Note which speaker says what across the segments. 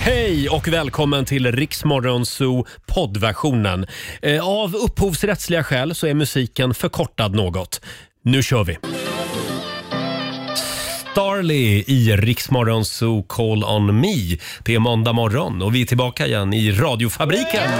Speaker 1: Hej och välkommen till Riksmorgonzoo poddversionen. Eh, Av upphovsrättsliga skäl så är musiken förkortad något. Nu kör vi! Starly i Riksmorgonzoo Call On Me. Det är måndag morgon och vi är tillbaka igen i radiofabriken.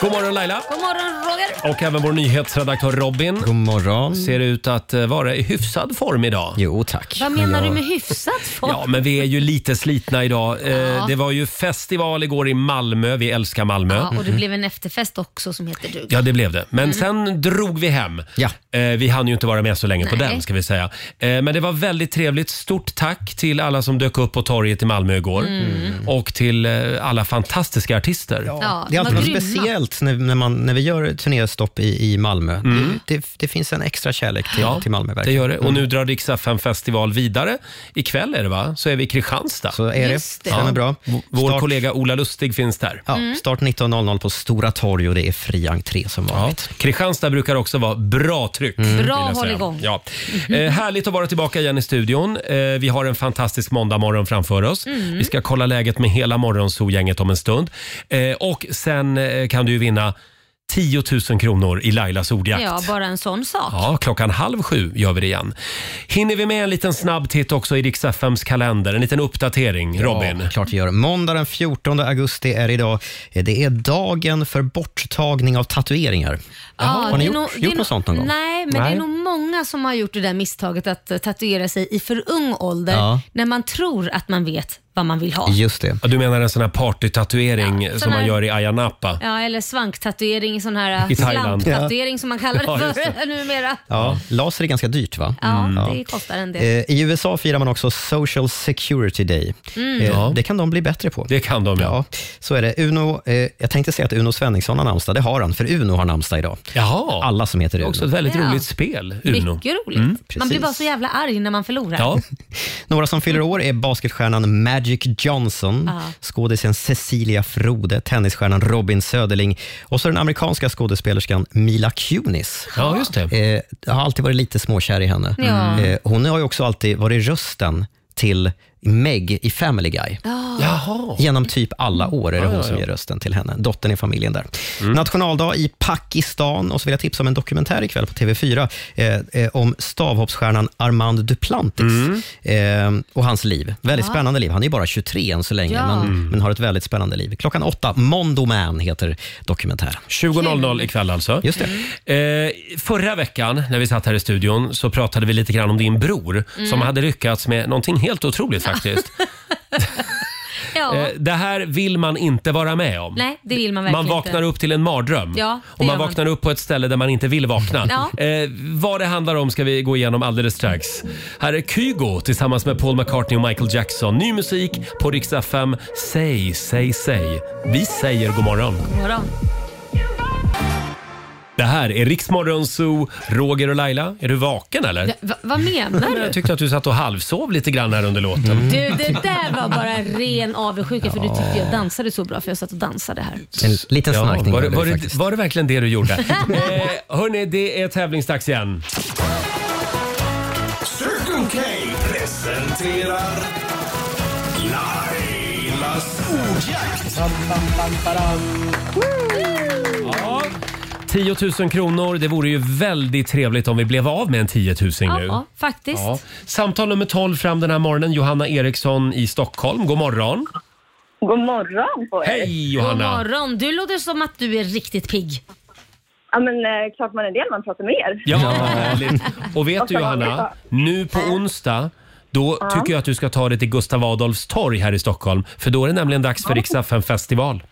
Speaker 1: God morgon Laila!
Speaker 2: God morgon Roger!
Speaker 1: Och även vår nyhetsredaktör Robin.
Speaker 3: God morgon.
Speaker 1: Ser ut att eh, vara i hyfsad form idag.
Speaker 3: Jo, tack.
Speaker 2: Vad menar du med hyfsat folk?
Speaker 1: Ja, men vi är ju lite slitna idag. Eh, Det var ju festival igår i Malmö. Vi älskar Malmö.
Speaker 2: Ja, Mm. och det blev en efterfest också som heter duga.
Speaker 1: Ja, det blev det. Men sen drog vi hem.
Speaker 3: Ja.
Speaker 1: Eh, vi hann ju inte vara med så länge på
Speaker 2: Nej.
Speaker 1: den, ska vi säga. Eh, men det var väldigt trevligt. Stort tack till alla som dök upp på torget i Malmö igår.
Speaker 2: Mm.
Speaker 1: Och till eh, alla fantastiska artister.
Speaker 2: Ja,
Speaker 3: Det
Speaker 2: de
Speaker 3: är alltid
Speaker 2: var
Speaker 3: något
Speaker 2: grymma.
Speaker 3: speciellt när, när, man, när vi gör turnéstopp i, i Malmö. Det, det, det finns en extra kärlek till, till Malmö.
Speaker 1: det
Speaker 3: verkligen.
Speaker 1: gör det. Och nu drar Rix FM festival vidare. Ikväll är det va? Så är vi i Kristianstad.
Speaker 3: Så är det.
Speaker 2: Just det. Mm.
Speaker 3: Stämmer
Speaker 2: Ja.
Speaker 3: bra.
Speaker 1: V- Vår
Speaker 3: Start-
Speaker 1: kollega Ola Lustig finns där.
Speaker 3: Ja, Start 19.00 på Stora Torg och det är fri entré som
Speaker 1: Ja.
Speaker 3: vanligt.
Speaker 1: Kristianstad brukar också vara bra tryck. vill jag
Speaker 2: Mm. håll
Speaker 1: säga.
Speaker 2: igång.
Speaker 1: Ja. Eh, härligt att vara tillbaka igen i studion. Eh, vi har en fantastisk måndagmorgon framför oss.
Speaker 2: Mm.
Speaker 1: Vi ska kolla läget med hela Morgonzoo-gänget om en stund. Eh, och sen eh, kan du ju vinna 10 000 kronor i Lailas ordjakt.
Speaker 2: Ja, bara en sån sak.
Speaker 1: Ja, klockan halv sju gör vi det igen. Hinner vi med en liten snabb titt också i Rix FMs kalender? En liten uppdatering, Robin.
Speaker 3: Ja, klart vi gör. Måndag den 14 augusti är idag. Det är dagen för borttagning av tatueringar. har ni
Speaker 2: det är
Speaker 3: gjort,
Speaker 2: nog- det är
Speaker 3: gjort
Speaker 2: nog-
Speaker 3: något sånt någon gång?
Speaker 2: Nej, men
Speaker 1: Nej.
Speaker 2: det är nog många som har gjort det där misstaget att eh, tatuera sig i för ung ålder
Speaker 3: Ja.
Speaker 2: när man tror att man vet vad man vill ha.
Speaker 3: Just det.
Speaker 1: Ja, Du menar en sån här partytatuering
Speaker 2: Ja, sån
Speaker 1: som man
Speaker 2: här-
Speaker 1: gör i Ayia Napa?
Speaker 2: Ja, eller svanktatuering, i sån här
Speaker 1: I
Speaker 2: eh,
Speaker 1: Thailand.
Speaker 2: slamtatuering som man kallar
Speaker 1: Ja,
Speaker 2: det
Speaker 1: just
Speaker 2: för numera.
Speaker 3: Ja, laser är ganska dyrt va?
Speaker 2: Ja, det kostar en del.
Speaker 3: Eh, I USA firar man också Social Security Day. Eh,
Speaker 1: Ja.
Speaker 3: Det kan de bli bättre på.
Speaker 1: Det kan de, ja.
Speaker 3: Ja, så är det. Uno, eh, jag tänkte säga att Uno Svenningsson har namnsdag. Det har han, för Uno har namnsdag idag.
Speaker 1: Jaha.
Speaker 3: Alla som heter
Speaker 1: Det är
Speaker 3: Uno.
Speaker 1: också ett väldigt
Speaker 2: Ja.
Speaker 1: roligt spel, Uno.
Speaker 2: Mycket roligt. man blir
Speaker 3: precis.
Speaker 2: bara så jävla arg när man förlorar.
Speaker 1: Ja,
Speaker 3: Några som fyller år är basketstjärnan Magic Johnson,
Speaker 1: Ah.
Speaker 2: Ja.
Speaker 3: skådisen Cecilia Frode, tennisstjärnan Robin Söderling och så den amerikanska skådespelerskan Mila Kunis.
Speaker 1: ja just det.
Speaker 3: Eh, jag har alltid varit lite småkär i henne.
Speaker 2: Ja.
Speaker 3: Eh, hon har ju också alltid varit rösten till Meg i Family Guy.
Speaker 1: Jaha.
Speaker 3: Genom typ alla år är det hon som ger rösten till henne. Dottern i familjen där. Nationaldag i Pakistan. Och så vill jag tipsa om en dokumentär ikväll på TV4 eh, eh, om stavhoppsstjärnan Armand Duplantis eh, och hans liv. Väldigt spännande liv. Han är ju bara 23 än så länge,
Speaker 2: Ja.
Speaker 3: men, men har ett väldigt spännande liv. Klockan åtta, Mondo Man heter dokumentären.
Speaker 1: 20.00 ikväll alltså.
Speaker 3: Just det.
Speaker 1: Eh, förra veckan när vi satt här i studion så pratade vi lite grann om din bror
Speaker 2: Mm.
Speaker 1: som hade lyckats med någonting helt otroligt faktiskt.
Speaker 2: Ja.
Speaker 1: Eh, det här vill man inte vara med om.
Speaker 2: Nej, det vill man verkligen
Speaker 1: Man vaknar
Speaker 2: inte.
Speaker 1: upp till en mardröm
Speaker 2: Ja, det
Speaker 1: och man
Speaker 2: gör man.
Speaker 1: vaknar upp på ett ställe där man inte vill vakna.
Speaker 2: Ja.
Speaker 1: Eh, vad det handlar om ska vi gå igenom alldeles strax. Här är Kygo tillsammans med Paul McCartney och Michael Jackson. Ny musik på Rix FM. Säg, säg, säg. Vi säger god morgon.
Speaker 2: God morgon.
Speaker 1: Det här är Riksmorgon Zoo. Roger och Laila, är du vaken eller?
Speaker 2: Ja, va, vad menar
Speaker 1: Jag
Speaker 2: du?
Speaker 1: tyckte att du satt och halvsov lite grann här under låten.
Speaker 2: Du, det där var bara en ren avundsjuka för du tyckte jag dansade så bra för jag satt och dansade här.
Speaker 3: En liten
Speaker 1: Ja,
Speaker 3: snarkning
Speaker 1: var, det,
Speaker 3: hörde
Speaker 1: var,
Speaker 3: vi
Speaker 1: det,
Speaker 3: faktiskt.
Speaker 1: var det verkligen det du gjorde? eh, hörni, det är tävlingsdags igen.
Speaker 4: Circle K presenterar Lailas ordjakt.
Speaker 1: 10 000 kronor, det vore ju väldigt trevligt om vi blev av med en 10 000 nu.
Speaker 2: Ja, ja faktiskt.
Speaker 1: Ja. Samtal nummer 12 fram den här morgonen, Johanna Eriksson i Stockholm. God morgon!
Speaker 5: God morgon på er.
Speaker 1: Hej
Speaker 2: God
Speaker 1: Johanna!
Speaker 2: morgon. Du låter som att du är riktigt pigg.
Speaker 5: Ja, men eh, klart man är det när man pratar med er.
Speaker 1: Ja, härligt. Och vet du
Speaker 5: Och så har vi
Speaker 1: Johanna, nu på onsdag då tycker jag att du ska ta dig till Gustav Adolfs torg här i Stockholm. För då är det nämligen dags för Rix FM festival.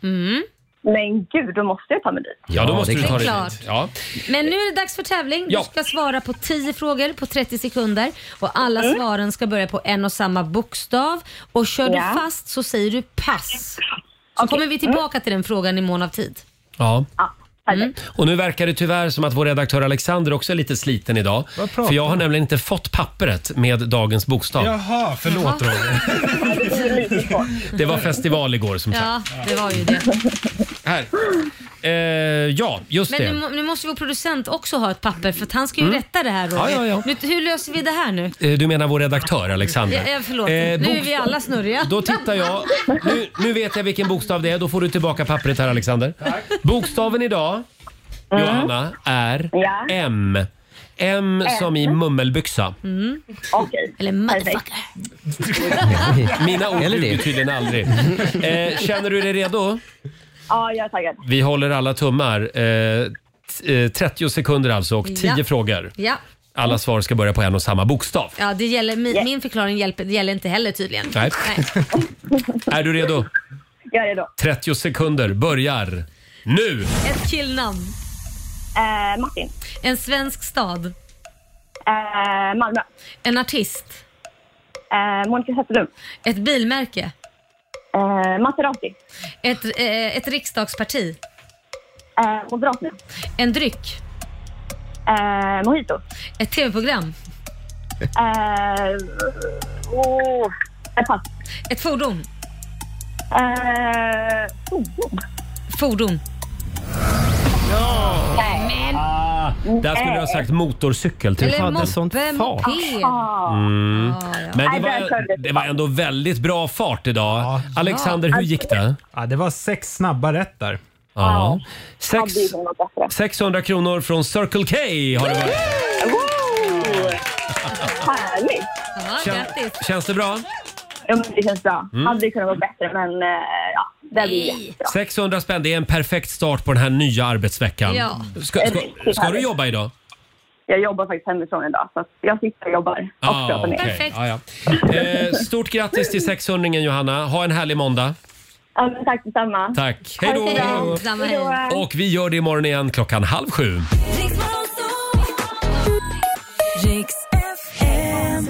Speaker 5: Men gud, då måste jag ta mig dit.
Speaker 1: Ja, då
Speaker 3: Ja,
Speaker 1: måste
Speaker 3: det är
Speaker 1: du ta
Speaker 2: klart.
Speaker 1: dig
Speaker 2: Det är
Speaker 1: dit. Ja.
Speaker 2: Men nu är det dags för tävling.
Speaker 1: Ja.
Speaker 2: Du ska svara på 10 frågor på 30 sekunder och alla
Speaker 1: Mm.
Speaker 2: svaren ska börja på en och samma bokstav. Och kör
Speaker 5: Ja.
Speaker 2: du fast så säger du pass. Så kommer vi tillbaka till den frågan i mån av tid.
Speaker 1: Ja. Mm.
Speaker 5: Ja, perfekt.
Speaker 1: Och nu verkar det tyvärr som att vår redaktör Alexander också är lite sliten idag. För jag har nämligen inte fått pappret med dagens bokstav.
Speaker 6: Jaha, förlåt Roger.
Speaker 5: Det är lite svårt.
Speaker 1: Det var festival igår som sagt.
Speaker 2: Ja, det var ju det.
Speaker 1: Här. Eh, ja, just
Speaker 2: Men
Speaker 1: det. Mm.
Speaker 2: nu, må- nu måste vår producent också ha ett papper för att han ska ju rätta det här Roger.
Speaker 1: Ja, ja, ja.
Speaker 2: Nu, hur löser vi det här nu?
Speaker 1: Eh, Du menar vår redaktör Alexander?
Speaker 2: Ja, ja, förlåt,
Speaker 1: Eh,
Speaker 2: nu är
Speaker 1: bokst-
Speaker 2: vi alla snurriga.
Speaker 1: Då tittar jag. Nu, nu vet jag vilken bokstav det är. Då får du tillbaka pappret här Alexander. Bokstaven idag, Johanna, är
Speaker 5: Ja.
Speaker 1: M. M som i mummelbyxa.
Speaker 5: Okej.
Speaker 2: Eller motherfucker.
Speaker 1: Mina ord
Speaker 3: Eller det.
Speaker 1: duger tydligen aldrig. Eh, känner du dig redo?
Speaker 5: Ja, jag är taggad.
Speaker 1: Vi håller alla tummar. Eh, t- eh, 30 sekunder alltså och 10
Speaker 2: Ja.
Speaker 1: frågor.
Speaker 2: Ja.
Speaker 1: Alla svar ska börja på en och samma bokstav.
Speaker 2: Ja, det gäller, min, min förklaring hjälper, det gäller inte heller tydligen.
Speaker 1: Nej. Är du redo?
Speaker 5: Jag är redo.
Speaker 1: 30 sekunder börjar nu!
Speaker 2: Ett killnamn.
Speaker 5: Eh, Martin.
Speaker 2: En svensk stad.
Speaker 5: Eh, Malmö.
Speaker 2: En artist.
Speaker 5: Eh, Monica Zetterlund.
Speaker 2: Ett bilmärke.
Speaker 5: Eh, Maserati.
Speaker 2: Ett, eh, ett riksdagsparti.
Speaker 5: Eh, Moderaterna.
Speaker 2: En dryck.
Speaker 5: Eh, Mojito.
Speaker 2: Ett tv-program.
Speaker 5: Eh, oh, ett pass.
Speaker 2: Ett fordon.
Speaker 5: Eh, oh, oh.
Speaker 2: Fordon.
Speaker 1: Där skulle du ha sagt motorcykel till
Speaker 2: Eller
Speaker 1: fadern.
Speaker 3: hade sånt
Speaker 2: moppe,
Speaker 3: fart.
Speaker 2: moped.
Speaker 5: Ah,
Speaker 2: Ja, ja.
Speaker 1: Men det
Speaker 5: Nej, där körde
Speaker 1: var,
Speaker 5: du.
Speaker 1: det var ändå väldigt bra fart idag. Alexander, hur gick det?
Speaker 6: Ja, det var sex snabba rätt där.
Speaker 1: Ja. Sex,
Speaker 5: hade ju något bättre.
Speaker 1: 600 kronor från Circle K har det varit.
Speaker 5: Wow! Härligt!
Speaker 2: Ja,
Speaker 1: Kän,
Speaker 2: grattis.
Speaker 1: känns det bra?
Speaker 5: Ja, men det känns bra. Hade ju kunnat vara bättre, men eh, ja, det blir
Speaker 2: Nej.
Speaker 5: jättebra.
Speaker 1: 600 spänn, det är en perfekt start på den här nya arbetsveckan.
Speaker 2: Ja.
Speaker 1: Ska, ska, ska du jobba idag?
Speaker 5: Jag jobbar faktiskt hemifrån idag, så att jag sitter och jobbar och pratar med er.
Speaker 1: Ah, okej.
Speaker 2: Perfekt.
Speaker 1: Ja, ja. Eh, stort grattis till 600 Johanna. Ha en härlig måndag.
Speaker 5: Ja, men tack detsamma.
Speaker 1: Tack. Hej
Speaker 5: Ha det
Speaker 1: då!
Speaker 5: så bra.
Speaker 2: Detsamma,
Speaker 5: Hej då.
Speaker 2: hej.
Speaker 1: Och vi gör det imorgon igen klockan halv sju.
Speaker 7: Riks FM.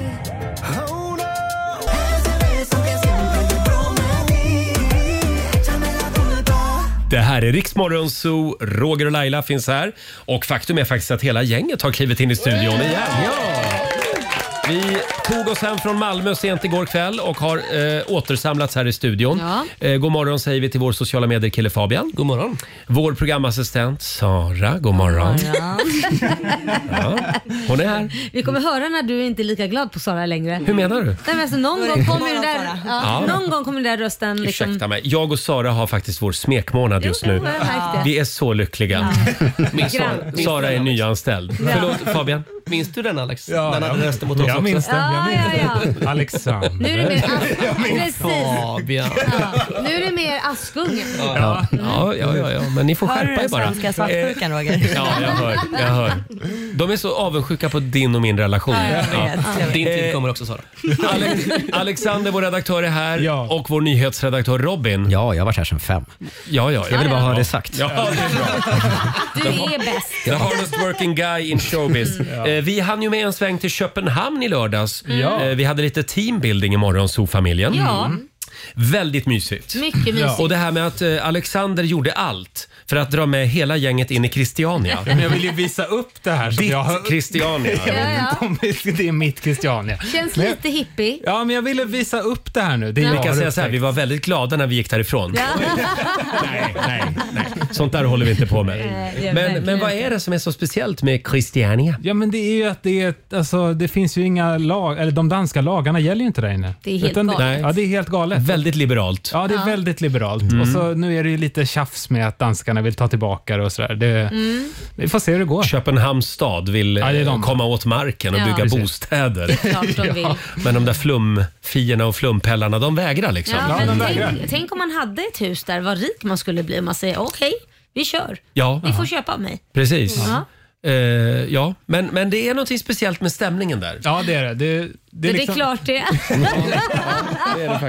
Speaker 1: Det här är Riksmorgon Zoo. Roger och Laila finns här. Och faktum är faktiskt att hela gänget har klivit in i studion igen. Ja. Vi tog oss hem från Malmö sent igår kväll och har eh, återsamlats här i studion.
Speaker 2: Ja.
Speaker 1: Eh, god morgon säger vi till vår sociala medier-kille Fabian. God morgon. Vår programassistent Sara, god morgon.
Speaker 2: Ja.
Speaker 1: Hon är här.
Speaker 2: Vi kommer höra när du inte är lika glad på Sara längre.
Speaker 1: Hur menar du?
Speaker 2: Nej, men alltså, någon, gång kommer den där, ja,
Speaker 1: Ja.
Speaker 2: någon gång kommer den där rösten liksom...
Speaker 1: Ursäkta mig. Jag och Sara har faktiskt vår smekmånad just nu.
Speaker 2: Jo, jag har märkt det.
Speaker 1: Vi är så lyckliga. Min
Speaker 2: Grann.
Speaker 1: Sara är nyanställd. Förlåt Fabian.
Speaker 3: Minns du den Alex?
Speaker 6: Ja,
Speaker 3: den hade
Speaker 6: ja.
Speaker 3: rösten mot oss
Speaker 6: jag
Speaker 3: också.
Speaker 6: minns den.
Speaker 2: Ja,
Speaker 6: Jag minns
Speaker 2: ja,
Speaker 6: den. Alexander.
Speaker 2: Nu är det mer, precis.
Speaker 3: Fabian.
Speaker 2: Ja. Nu är det mer Askungen.
Speaker 1: Ja, Mm. ja, ja, ja, ja. men ni får
Speaker 7: Hör du
Speaker 1: skärpa er
Speaker 7: den
Speaker 1: bara.
Speaker 7: svenska
Speaker 1: Eh,
Speaker 7: svartsjukan Roger?
Speaker 1: Ja, jag hör, jag hör. De är så avundsjuka på din och min relation. Ja.
Speaker 3: Din
Speaker 1: Eh,
Speaker 3: tid kommer också Sara.
Speaker 1: Alex Alexander, vår redaktör, är här
Speaker 6: Ja.
Speaker 1: och vår nyhetsredaktör Robin. Ja,
Speaker 3: Ja, jag har varit här sedan fem.
Speaker 1: ja, ja.
Speaker 3: Jag vill bara ha det sagt.
Speaker 1: Ja, det är bra.
Speaker 2: Du är bäst.
Speaker 1: The hardest working guy in showbiz. Eh, Vi hann ju med en sväng till Köpenhamn i lördags.
Speaker 6: Mm. Ja.
Speaker 1: Eh, Vi hade lite teambuilding i morgonzoo-familjen.
Speaker 2: Ja,
Speaker 1: Väldigt mysigt.
Speaker 2: mycket mysigt.
Speaker 1: Och det här med att eh, Alexander gjorde allt för att dra med hela gänget in i Christiania.
Speaker 6: Men jag vill ju visa upp det här som jag har...
Speaker 1: Ditt Christiania.
Speaker 2: Ja, ja.
Speaker 6: Om det är mitt Christiania.
Speaker 2: Känns
Speaker 6: Men-
Speaker 2: lite hippie.
Speaker 6: Ja, men jag ville visa upp det här nu. Det är
Speaker 1: Vi
Speaker 6: jag
Speaker 1: kan
Speaker 6: har
Speaker 1: säga så här, vi
Speaker 6: upptäckt.
Speaker 1: var väldigt glada när vi gick därifrån.
Speaker 2: Ja.
Speaker 1: Nej, nej, nej. Sånt där håller vi inte på med.
Speaker 2: Nej, det är
Speaker 1: Men,
Speaker 2: verkligen
Speaker 1: men vad är det som är så speciellt med Christiania?
Speaker 6: Ja, men det är ju att det är ett, alltså, det finns ju inga lag, eller de danska lagarna gäller ju inte där inne.
Speaker 2: Det är helt
Speaker 6: Utan,
Speaker 2: galet.
Speaker 6: Ja, det är helt galet.
Speaker 1: Väldigt liberalt.
Speaker 6: Ja, det är väldigt liberalt.
Speaker 1: Mm.
Speaker 6: Och så nu är det ju lite tjafs med att danskarna vill ta tillbaka det och sådär. Det,
Speaker 2: Mm.
Speaker 6: Vi får se hur det går.
Speaker 1: Köpenhamns stad vill
Speaker 6: Ja, det är
Speaker 1: eh,
Speaker 6: de.
Speaker 1: komma åt marken och
Speaker 2: Ja.
Speaker 1: bygga
Speaker 2: Precis.
Speaker 1: bostäder.
Speaker 2: Klart de vill.
Speaker 1: Men de där flumfierna och flumpellarna, de vägrar liksom.
Speaker 2: Ja,
Speaker 6: de
Speaker 2: men
Speaker 6: vägrar.
Speaker 2: tänk, tänk om man hade ett hus där, vad rik man skulle bli om man säger okej, vi kör.
Speaker 1: Ja.
Speaker 2: Ni får köpa av mig.
Speaker 1: Precis.
Speaker 2: Ja.
Speaker 1: Eh, ja, men, men det är något speciellt med stämningen där.
Speaker 6: Ja, det är det. Det,
Speaker 2: Det är,
Speaker 6: liksom-
Speaker 2: klart det.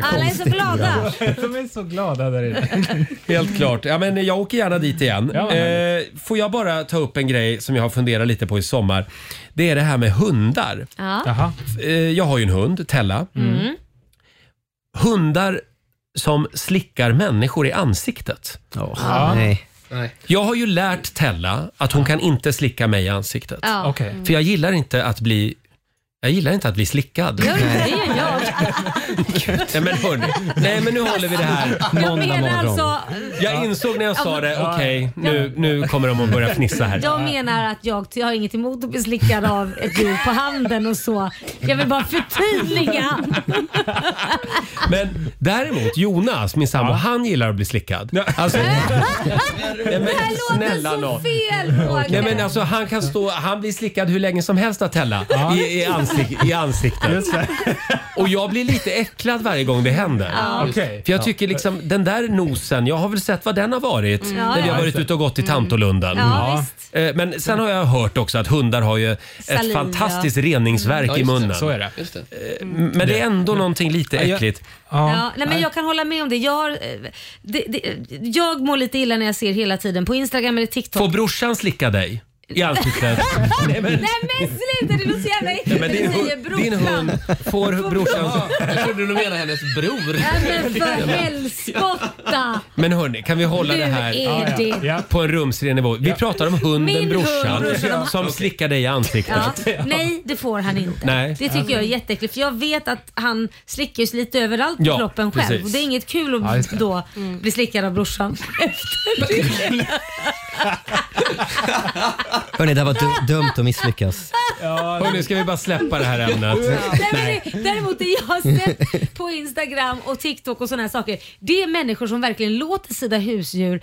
Speaker 2: Alla är så glada.
Speaker 6: De är så glada där inne.
Speaker 1: Helt klart. Ja, men jag åker gärna dit igen.
Speaker 6: Ja, vad
Speaker 1: eh, får jag bara ta upp en grej som jag har funderat lite på i sommar. Det är det här med hundar.
Speaker 2: Ja.
Speaker 6: Jaha.
Speaker 1: Eh, jag har ju en hund, Tella.
Speaker 2: Mm.
Speaker 1: Hundar som slickar människor i ansiktet.
Speaker 3: Ja. Nej.
Speaker 1: Jag har ju lärt Tella att hon kan inte slicka mig i ansiktet.
Speaker 2: Ja.
Speaker 6: Okej.
Speaker 1: För jag gillar inte att bli Jag gillar inte att bli slickad.
Speaker 2: Gör du inte? Det gör jag.
Speaker 1: Nej men hörni, nej men nu håller vi det här.
Speaker 2: Jag
Speaker 3: Måndag
Speaker 2: menar
Speaker 3: morgon.
Speaker 2: alltså,
Speaker 1: Jag insåg när jag sa det, okej nu, nu kommer de att börja fnissa här.
Speaker 2: jag menar att jag, jag har inget emot att bli slickad av ett djur på handen och så. Jag vill bara förtydliga.
Speaker 1: Men däremot Jonas, min sambo, han gillar att bli slickad. Alltså, nej, men,
Speaker 2: Det här låter
Speaker 1: snälla
Speaker 2: så
Speaker 1: nån.
Speaker 2: fel Roger.
Speaker 1: Nej men alltså han kan stå, han blir slickad hur länge som helst Natella i, i, ansik, i ansiktet. Och jag blir lite äcklad varje gång det händer.
Speaker 6: Okej.
Speaker 1: För jag tycker liksom den där nosen, jag har väl sett vad den har varit när
Speaker 2: Mm.
Speaker 1: vi
Speaker 2: Ja,
Speaker 1: har
Speaker 2: ja.
Speaker 1: varit ute och gått i Tantolunden.
Speaker 2: Ja, visst.
Speaker 1: Eh, Men sen har jag hört också att hundar har ju
Speaker 2: Saliv,
Speaker 1: ett
Speaker 2: ja.
Speaker 1: fantastiskt reningsverk
Speaker 8: Ja,
Speaker 1: i
Speaker 8: just det.
Speaker 1: munnen. Mm,
Speaker 6: Så är det. Mm.
Speaker 8: Just det.
Speaker 1: Men det är ändå någonting lite
Speaker 6: jag-
Speaker 1: äckligt.
Speaker 2: Ja, nej, men jag kan hålla med om det. Jag, har, eh, det, det. jag mår lite illa när jag ser hela tiden på Instagram eller TikTok.
Speaker 1: Får brorsan slicka dig i ansiktet? Nej men,
Speaker 2: Nej men sluta, det låter så jävla äckligt
Speaker 1: men
Speaker 2: när
Speaker 1: din,
Speaker 2: du
Speaker 1: hund, din
Speaker 2: brorsan.
Speaker 1: hund får brorsan...
Speaker 8: Jag trodde du menade hennes bror.
Speaker 2: Nej men för helskotta!
Speaker 1: Men hörni, kan vi hålla
Speaker 2: Du
Speaker 1: det här
Speaker 2: är det.
Speaker 6: Ja.
Speaker 1: på en rumsren nivå? Vi pratar om hunden
Speaker 2: Min
Speaker 1: brorsan,
Speaker 2: hund, brorsan.
Speaker 1: som slickar dig i ansiktet.
Speaker 2: Ja. Nej, det får han inte.
Speaker 1: Nej.
Speaker 2: Det tycker jag är jätteäckligt för jag vet att han slickar sig lite överallt på
Speaker 1: Ja,
Speaker 2: kroppen själv.
Speaker 1: precis.
Speaker 2: Och det är inget kul
Speaker 6: Ja,
Speaker 2: att
Speaker 6: just det.
Speaker 2: då bli slickad av brorsan.
Speaker 3: Hörni, det här var du- dumt att misslyckas.
Speaker 1: Hörni, ska vi bara släppa det här ämnet?
Speaker 2: Nej, men det, däremot det jag har sett på Instagram och TikTok och sådana här saker. Det är människor som verkligen låter sina husdjur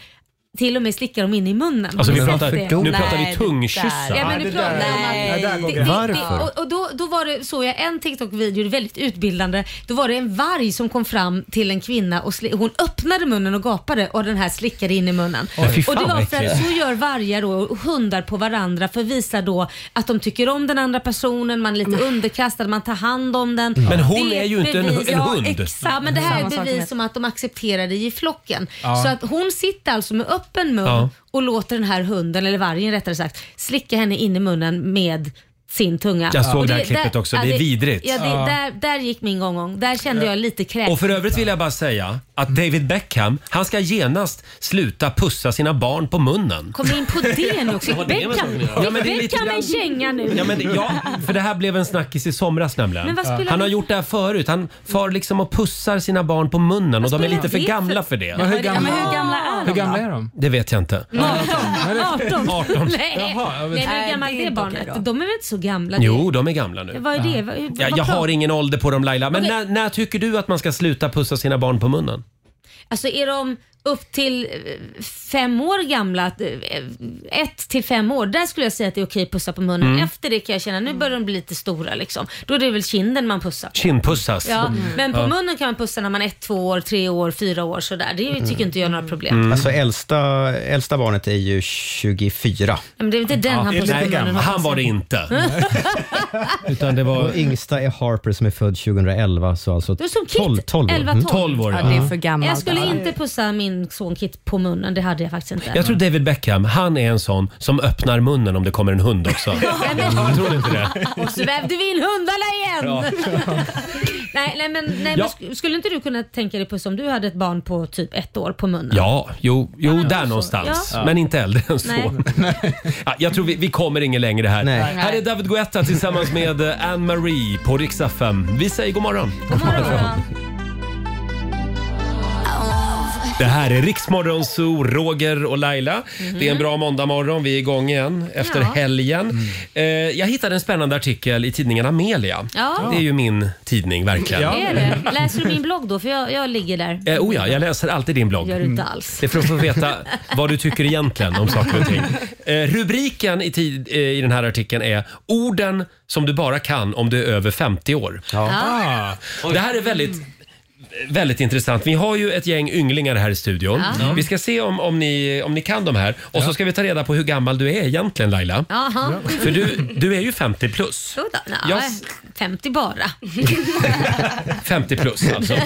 Speaker 2: till och med slicka dem in i munnen.
Speaker 1: Alltså,
Speaker 2: Har
Speaker 1: vi
Speaker 2: ni sett
Speaker 1: pratar,
Speaker 2: det?
Speaker 1: nu pratar
Speaker 9: Nej,
Speaker 1: vi
Speaker 9: det
Speaker 2: Ja,
Speaker 1: tungkyssar.
Speaker 2: men nu pratar
Speaker 9: Nej, där går
Speaker 2: Det- det-
Speaker 3: Varför?
Speaker 2: Och, och då, då var det, såg jag en TikTok-video, det är väldigt utbildande. Då var det en varg som kom fram till en kvinna och sli- hon öppnade munnen och gapade och den här slickade in i munnen.
Speaker 1: fy
Speaker 2: och det
Speaker 1: fan,
Speaker 2: var
Speaker 1: vad
Speaker 2: för att
Speaker 1: äckligt.
Speaker 2: så gör vargar då, och hundar på varandra för att visa då att de tycker om den andra personen, man är lite underkastad, man tar hand om den.
Speaker 1: Mm. Men hon
Speaker 2: Det
Speaker 1: är ju inte en
Speaker 2: bevis-
Speaker 1: hu- en hund.
Speaker 2: Ja, exakt. Ja, men det här
Speaker 9: Samma
Speaker 2: är
Speaker 9: sak
Speaker 2: bevis
Speaker 9: med-
Speaker 2: som att de accepterar dig i flocken. Så att hon sitter alltså med öppen mun
Speaker 1: Ja.
Speaker 2: och låter den här hunden, eller vargen rättare sagt, slicka henne in i munnen med sin tunga.
Speaker 1: Jag såg
Speaker 2: Och
Speaker 1: det här klippet också. Det är vidrigt.
Speaker 2: Ja, det, Där, där gick min gång. Där kände jag lite kräk.
Speaker 1: Och för övrigt vill jag bara säga att David Beckham, han ska genast sluta pussa sina barn på munnen.
Speaker 2: Kom in på det nu också.
Speaker 8: Vad har det med
Speaker 2: Beckham
Speaker 8: saken att göra?
Speaker 1: Ja, men det är lite
Speaker 2: Beckham är en
Speaker 1: grann-
Speaker 2: känga nu.
Speaker 1: Ja, men det, ja, för det här blev en snackis i somras nämligen.
Speaker 2: Men vad spelar
Speaker 1: han har
Speaker 2: det-
Speaker 1: gjort det här förut. Han far liksom och pussar sina barn på munnen och de är
Speaker 2: spelar
Speaker 1: lite för
Speaker 2: det för-
Speaker 1: gamla för det.
Speaker 6: Men hur
Speaker 9: Ja, men hur
Speaker 6: gamla,
Speaker 9: gamla är
Speaker 6: hur
Speaker 9: de?
Speaker 6: gamla är de?
Speaker 1: Det vet jag inte.
Speaker 2: 18. 18. Nej,
Speaker 6: Jaha, jag
Speaker 2: Nej men
Speaker 6: vet
Speaker 2: hur
Speaker 9: Nej,
Speaker 2: gammalt
Speaker 9: det är
Speaker 2: är
Speaker 9: inte okej då.
Speaker 2: barnet? De är väl inte så gamla?
Speaker 1: Jo, de är gamla nu.
Speaker 2: Vad är det? Vad, vad
Speaker 1: Ja, jag
Speaker 2: pratar-
Speaker 1: har ingen ålder på dem Laila, men
Speaker 2: Okej.
Speaker 1: när, när tycker du att man ska sluta pussa sina barn på munnen?
Speaker 2: Alltså är de upp till eh, fem år gamla, att, eh, ett till fem år, där skulle jag säga att det är okej att pussa på munnen.
Speaker 1: Mm.
Speaker 2: Efter det kan jag känna, nu börjar de bli lite stora liksom. Då är det väl kinden man pussar på.
Speaker 1: Kindpussas.
Speaker 2: Ja, men på munnen kan man pussa när man är ett, två år, tre år, fyra år sådär. Det
Speaker 1: Mm.
Speaker 2: tycker inte jag är några problem.
Speaker 3: Alltså äldsta, äldsta barnet är ju 24
Speaker 2: Men det är inte den han
Speaker 6: det är
Speaker 2: pussar
Speaker 6: lite
Speaker 2: på munnen.
Speaker 6: gammalt.
Speaker 1: Han var det inte. Utan det var
Speaker 3: och yngsta är Harper som är född 2011 så alltså
Speaker 2: Du är som
Speaker 3: 12,
Speaker 2: Kit,
Speaker 3: 12 år. Mm.
Speaker 2: 11-12.
Speaker 1: 12 år.
Speaker 9: Ja, det är för gammalt.
Speaker 2: Jag skulle
Speaker 9: alltså.
Speaker 2: inte pussa min son Kit på munnen, det hade jag faktiskt inte.
Speaker 1: Jag tror David Beckham, han är en sån som öppnar munnen om det kommer en hund också.
Speaker 2: Nej, men-
Speaker 1: Tror du inte det?
Speaker 2: Och så vävde vi in hundarna igen! nej, nej, men, nej,
Speaker 1: Ja.
Speaker 2: men sk- skulle inte du kunna tänka dig Puss om du hade ett barn på typ ett år på munnen?
Speaker 1: Ja, jo, jo där någonstans. Men inte äldre än så. Ja, jag tror vi, vi kommer ingen längre här.
Speaker 3: Nej.
Speaker 1: Här är David Guetta tillsammans med eh, Anne-Marie på Rix FM. Vi säger god morgon. Det här är Riksmorgon Zoo, Roger och Laila. Det är en bra måndagmorgon. Vi är igång igen efter
Speaker 2: Ja.
Speaker 1: helgen. Eh, jag hittade en spännande artikel i tidningen Amelia.
Speaker 2: Ja.
Speaker 1: Det är ju min tidning verkligen.
Speaker 6: Ja.
Speaker 2: Är det? Läser du min blogg då? För jag, jag ligger där.
Speaker 1: Eh, oh ja, jag läser alltid din blogg.
Speaker 2: Gör du inte alls.
Speaker 1: Det är för att få veta vad du tycker egentligen om saker och ting. Eh, rubriken i, tid, eh, i den här artikeln är “Orden som du bara kan om du är över 50 år”.
Speaker 6: Ah,
Speaker 1: Det här är väldigt Väldigt intressant. Vi har ju ett gäng ynglingar här i studion. Vi ska se om, om, ni, om ni kan de här. Och så ska vi ta reda på hur gammal du är egentligen Laila.
Speaker 2: Jaha.
Speaker 1: För du, du är ju 50 plus.
Speaker 2: Jo då, nej,
Speaker 1: Jag-
Speaker 2: 50 bara.
Speaker 1: 50 plus alltså. Eh,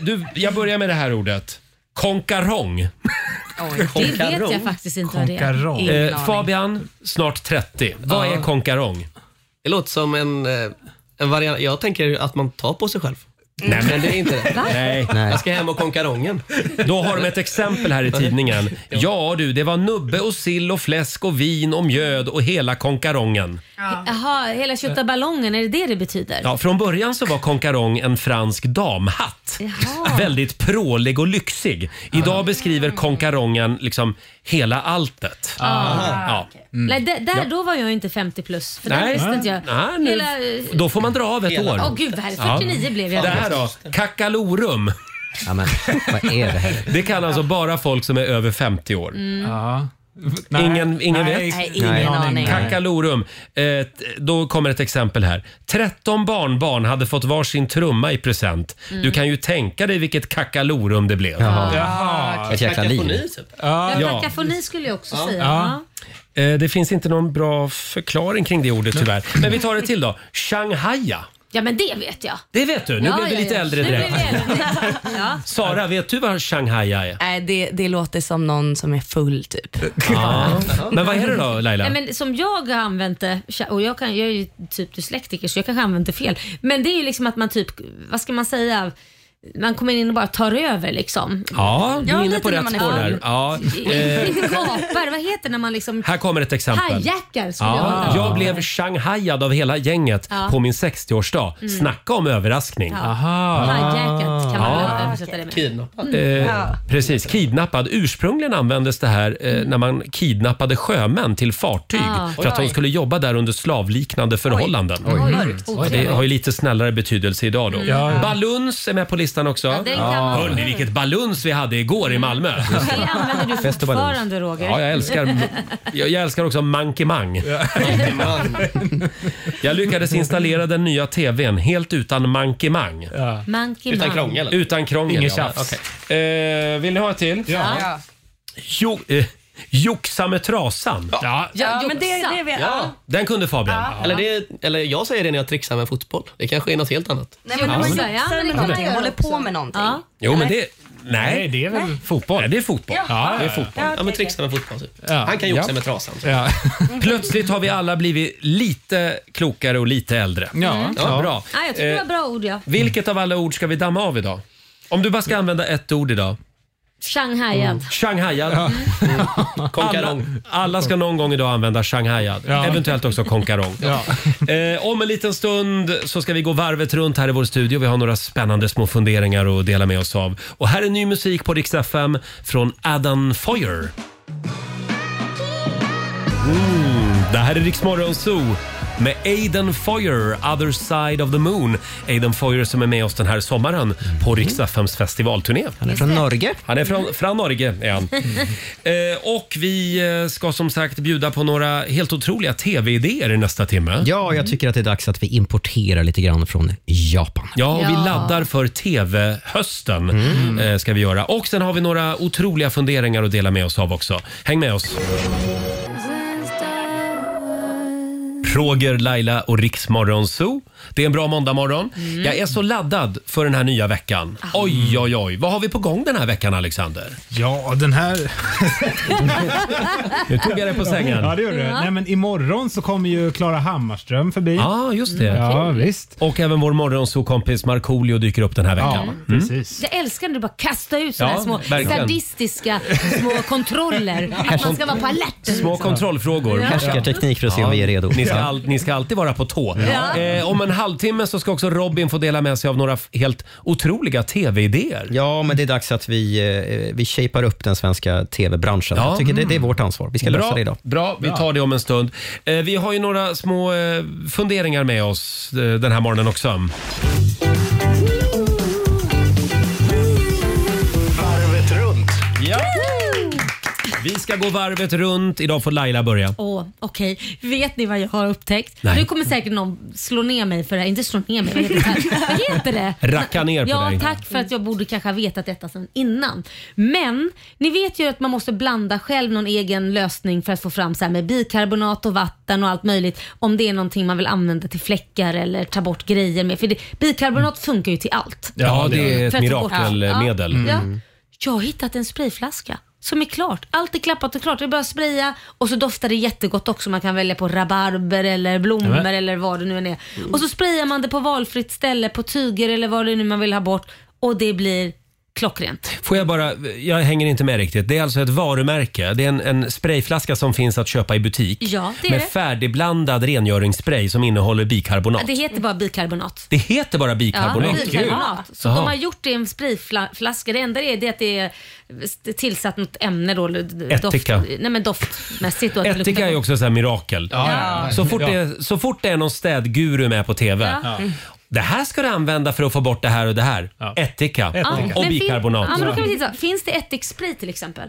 Speaker 1: du, jag börjar med det här ordet. Konkarong.
Speaker 2: Det vet jag faktiskt inte vad det är.
Speaker 6: garong.
Speaker 9: Ingen
Speaker 1: Eh,
Speaker 9: aning.
Speaker 1: Fabian, snart 30. Vad är konkarong?
Speaker 8: Det låter som en, eh, en variant. Jag tänker att man tar på sig själv.
Speaker 1: Nej, men det är inte det. Nej.
Speaker 3: Nej.
Speaker 8: Jag ska hem och konka rongen.
Speaker 1: Då har de ett exempel här i tidningen. Ja du, det var nubbe och sill och fläsk och vin och mjöd och hela konkarongen.
Speaker 2: Jaha, hela tjottaballongen, är det det det betyder?
Speaker 1: Eh. Ja, från början så var konkarong en fransk damhatt.
Speaker 2: Jaha.
Speaker 1: Väldigt prålig och lyxig. Idag beskriver konkarongen liksom hela alltet. Mm. Ja.
Speaker 2: Nej, där, där då var jag inte 50 plus. För Ah. det
Speaker 1: Nej.
Speaker 2: visste inte jag.
Speaker 1: Nej, nu,
Speaker 2: Hela... eh,
Speaker 1: då får man dra av ett år.
Speaker 2: Åh gud, vad är det? 49 blev jag.
Speaker 1: Det här då, kackalorum.
Speaker 3: Ja, men, vad är det här?
Speaker 1: Det kan alltså bara folk som är över 50 år.
Speaker 6: Ja. Nej.
Speaker 1: Ingen- ingen vet?
Speaker 2: Mm. Nej, ingen aning.
Speaker 1: Kackalorum. Eh, t- då kommer ett exempel här. 13 barnbarn hade fått varsin trumma i present. Du kan ju tänka dig vilket kackalorum det blev. Ah,
Speaker 6: Jaha.
Speaker 3: Ett jäkla liv.
Speaker 8: Kakafoni, typ.
Speaker 2: Ja,
Speaker 1: Ja.
Speaker 2: kakafoni skulle jag också säga.
Speaker 6: Ja.
Speaker 1: Eh, det finns inte någon bra förklaring kring det ordet tyvärr. Men vi tar det till då. Shanghaja.
Speaker 2: Ja, men det vet jag.
Speaker 1: Det vet du. Nu
Speaker 2: ja,
Speaker 1: blev vi
Speaker 2: ja,
Speaker 1: lite
Speaker 2: ja.
Speaker 1: äldre
Speaker 2: Nu blev
Speaker 1: direkt.
Speaker 2: vi äldre. ja.
Speaker 1: Sara, vet du vad Shanghaja är?
Speaker 9: Nej, det, det låter som någon som är full typ.
Speaker 1: Men vad är det då Laila?
Speaker 2: Nej, men som jag har använt det, och jag, kan, jag är ju typ dyslektiker så jag kanske har använt det fel. Men det är ju liksom att man typ, vad ska man säga, man kommer in och bara tar över liksom.
Speaker 1: Ja, du är
Speaker 9: Ja,
Speaker 1: inne
Speaker 9: lite
Speaker 1: på
Speaker 9: när
Speaker 1: rätt
Speaker 9: man är
Speaker 1: spår
Speaker 9: full.
Speaker 1: där. Ja. Eh,
Speaker 2: Inte gapar, vad heter det när man liksom
Speaker 1: här kommer ett exempel.
Speaker 2: hajackar? skulle
Speaker 1: Ja,
Speaker 2: jag
Speaker 1: jag blev shanghajad av hela gänget
Speaker 2: Ja. Mm.
Speaker 1: på min 60-årsdag. Snacka om överraskning.
Speaker 6: Aha.
Speaker 2: Hajjackat kan man väl översätta det med.
Speaker 8: Kidnappad.
Speaker 1: Eh, Precis, kidnappad. Ursprungligen användes det här eh, när man kidnappade sjömän till fartyg
Speaker 2: Ah.
Speaker 1: för att de skulle jobba där under slavliknande förhållanden.
Speaker 2: Mörkt,
Speaker 1: Det har
Speaker 2: otrevligt.
Speaker 1: ju lite snällare betydelse idag då.
Speaker 6: ja.
Speaker 1: Baluns är med på listan också. Ah.
Speaker 2: Ja, den kan man-
Speaker 1: Hörni, vilket baluns vi hade igår i Malmö.
Speaker 2: Det använder du
Speaker 3: Fest och balans.
Speaker 2: fortfarande Roger.
Speaker 1: Ja, jag älskar, jag, jag älskar också mankemang. Jag lyckades installera den nya tvn helt utan mankemang.
Speaker 2: Monkey
Speaker 8: Utan
Speaker 2: man.
Speaker 8: krångel.
Speaker 1: Utan krångel.
Speaker 6: Inget
Speaker 1: ja.
Speaker 6: tjafs.
Speaker 1: Okej. Eh, vill ni ha ett till?
Speaker 6: Ja.
Speaker 1: Jo, eh, joxa med trasan.
Speaker 6: Ja.
Speaker 9: Ja, men det,
Speaker 2: joxa.
Speaker 9: det vet
Speaker 8: Ja.
Speaker 1: Den kunde Fabian.
Speaker 8: Eller, det, eller jag säger det när jag trixar med fotboll. Det kanske är något helt annat.
Speaker 9: Nej, men när man
Speaker 2: Joxa,
Speaker 9: joxar
Speaker 2: ja, men det
Speaker 9: med
Speaker 2: kan man
Speaker 9: någonting,
Speaker 2: göra
Speaker 9: håller på
Speaker 2: också.
Speaker 9: med någonting.
Speaker 2: Ja.
Speaker 1: Jo, men det...
Speaker 6: Nej,
Speaker 1: Nej,
Speaker 6: det är väl...
Speaker 1: fotboll. Nej, det är fotboll.
Speaker 6: Ja,
Speaker 1: Det är fotboll.
Speaker 8: Ja, men trixa med fotboll typ.
Speaker 6: Ja.
Speaker 8: Han kan joxa
Speaker 1: Ja.
Speaker 8: med trasan. typ.
Speaker 6: Ja.
Speaker 2: Mm.
Speaker 1: Plötsligt har vi alla blivit lite klokare och lite äldre.
Speaker 6: Ja.
Speaker 1: Ja, bra. Eh,
Speaker 2: Ja, jag tycker det var bra ord ja.
Speaker 1: Vilket av alla ord ska vi damma av idag? Om du bara ska använda ett ord idag.
Speaker 2: Shanghaiad.
Speaker 1: Shanghaiad. Alla,
Speaker 8: Konkarong.
Speaker 1: alla ska någon gång idag använda shanghaiad.
Speaker 6: Ja.
Speaker 1: Eventuellt också konkarong.
Speaker 6: Ja.
Speaker 1: Eh, om en liten stund så ska vi gå varvet runt här i vår studio. Vi har några spännande små funderingar att dela med oss av. Och här är ny musik på Rix FM från Adam Foyer. Det här är Rix Morgon Zoo med Aiden Foyer, Other Side of the Moon. Aiden Foyer som är med oss den här sommaren på Rix FMs festivalturné.
Speaker 3: Han är från Norge.
Speaker 1: Han är från, från Norge. Är han. eh, och vi eh, ska som sagt bjuda på några helt otroliga tv-idéer i nästa timme.
Speaker 3: Ja, jag tycker att det är dags att vi importerar lite grann från Japan.
Speaker 1: Ja, och vi
Speaker 2: Ja.
Speaker 1: laddar för TV-hösten. Eh, ska vi göra. Och sen har vi några otroliga funderingar att dela med oss av också. Häng med oss! Roger, Laila och Riksmorgon Zoo. Det är en bra måndagmorgon. Jag är så laddad för den här nya veckan. Oj, oj, oj. Vad har vi på gång den här veckan, Alexander?
Speaker 6: ja, den här...
Speaker 1: Nu tog jag dig på sängen.
Speaker 6: Ja, det gör du. Nej, men imorgon så kommer ju Klara Hammarström förbi.
Speaker 1: Ja, just det.
Speaker 6: Ja, visst.
Speaker 1: Och även vår morgonsokompis Markoolio dyker upp den här
Speaker 6: Ja,
Speaker 1: veckan.
Speaker 6: precis.
Speaker 2: Jag älskar när du bara kastar ut såna
Speaker 1: Ja,
Speaker 2: här små
Speaker 1: verkligen.
Speaker 2: sadistiska små kontroller. Att man ska vara på alerten.
Speaker 1: Små kontrollfrågor.
Speaker 3: Härskarteknik för att se om vi är redo.
Speaker 1: Ni ska, all, ni ska alltid vara på tå. Eh, om en halvtimme så ska också Robin få dela med sig av några f- helt otroliga tv-idéer.
Speaker 3: Ja, men det är dags att vi, eh, vi shapear upp den svenska tv-branschen.
Speaker 1: Ja.
Speaker 3: Jag tycker det, det är vårt ansvar. Vi ska lösa det
Speaker 1: Bra,
Speaker 3: idag.
Speaker 1: bra, vi tar det om en stund. Eh, vi har ju några små eh, funderingar med oss eh, den här morgonen också.
Speaker 4: Varvet runt.
Speaker 1: Ja. Vi ska gå varvet runt. Idag får Laila börja.
Speaker 2: Åh, okej. Vet ni vad jag har upptäckt?
Speaker 1: Nej.
Speaker 2: Nu kommer säkert någon slå ner mig för det här. Inte slå ner mig, vad heter det? här? Vad heter det?
Speaker 1: Racka ner på
Speaker 2: ja,
Speaker 1: dig.
Speaker 2: tack för att jag borde kanske ha vetat detta sedan innan. Men ni vet ju att man måste blanda själv någon egen lösning för att få fram så här med bikarbonat och vatten och allt möjligt. Om det är någonting man vill använda till fläckar eller ta bort grejer med. För det, bikarbonat funkar ju till allt.
Speaker 1: Mm. Ja, det är ett
Speaker 2: För att få bort-
Speaker 1: mirakelmedel.
Speaker 2: Ja. Ja. Jag har hittat en sprayflaska som är klart. Allt är klappat och klart. Det är bara att spraya och så doftar det jättegott också. Man kan välja på rabarber eller blommor
Speaker 6: Nämen.
Speaker 2: eller vad det nu än är. Och så sprayar man det på valfritt ställe, på tyger eller vad det nu man vill ha bort och det blir klockrent.
Speaker 1: Får jag bara, jag hänger inte med riktigt. Det är alltså ett varumärke. Det är en, en sprayflaska som finns att köpa i butik.
Speaker 2: Ja, det är
Speaker 1: med
Speaker 2: det.
Speaker 1: färdigblandad rengöringsspray som innehåller bikarbonat.
Speaker 2: Det heter bara bikarbonat.
Speaker 1: Det heter bara bikarbonat.
Speaker 2: Ja, bikarbonat. Så
Speaker 1: Jaha.
Speaker 2: de har gjort det i en sprayflaska. Det enda är det att det är tillsatt något ämne då. Doft,
Speaker 1: Ättika.
Speaker 2: nej men doftmässigt. Då, att det luktar
Speaker 1: Ättika är
Speaker 2: gott.
Speaker 1: ju också så här mirakel.
Speaker 6: ja, ja.
Speaker 1: Så, fort
Speaker 6: Ja.
Speaker 1: det är, så fort det är någon städguru med på TV.
Speaker 2: Ja.
Speaker 1: Det här ska du använda för att få bort det här och det här.
Speaker 6: Ja.
Speaker 1: Ättika
Speaker 6: Ättika.
Speaker 2: men
Speaker 1: och
Speaker 2: fin-
Speaker 1: bikarbonat.
Speaker 2: Ja, men då kan vi titta. Finns det ättiksprit till exempel?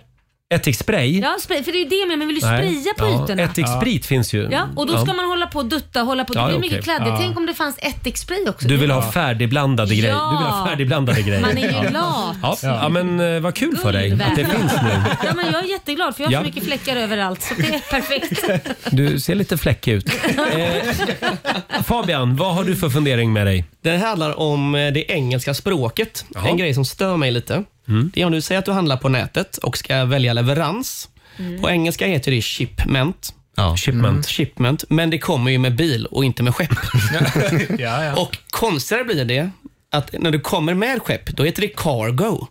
Speaker 1: Ättikspray?
Speaker 2: Ja, spray, för det är ju det jag menar. Man vill ju
Speaker 1: Nej.
Speaker 2: spraya på
Speaker 1: Ja,
Speaker 2: ytorna.
Speaker 1: Ättiksprit finns ju.
Speaker 2: Ja, och då
Speaker 1: Ja.
Speaker 2: ska man hålla på och dutta och hålla på. Det
Speaker 1: Ja,
Speaker 2: blir
Speaker 1: okej.
Speaker 2: mycket kladdigt.
Speaker 6: Ja.
Speaker 2: Tänk om det fanns ättikspray också.
Speaker 1: Du vill ha färdigblandade
Speaker 2: Ja.
Speaker 1: grejer. Du vill ha färdigblandade grejer.
Speaker 2: Man är ju lat.
Speaker 1: Ja. ja, men eh, vad kul för dig att det
Speaker 2: Guldvärd.
Speaker 1: finns nu.
Speaker 2: Ja, men jag är jätteglad för jag har
Speaker 1: Ja.
Speaker 2: så mycket fläckar överallt så det är perfekt.
Speaker 1: Du ser lite fläckig ut. Eh, Fabian, vad har du för fundering med dig?
Speaker 8: Den här handlar om eh, det engelska språket.
Speaker 1: Jaha.
Speaker 8: En grej som stör mig lite. Det är om du säger att du handlar på nätet och ska välja leverans. På engelska heter det shipment.
Speaker 3: Ja.
Speaker 1: Shipment.
Speaker 8: Shipment, men det kommer ju med bil och inte med skepp.
Speaker 6: Ja, ja.
Speaker 8: Och konstigare blir det att när du kommer med skepp, då heter det cargo.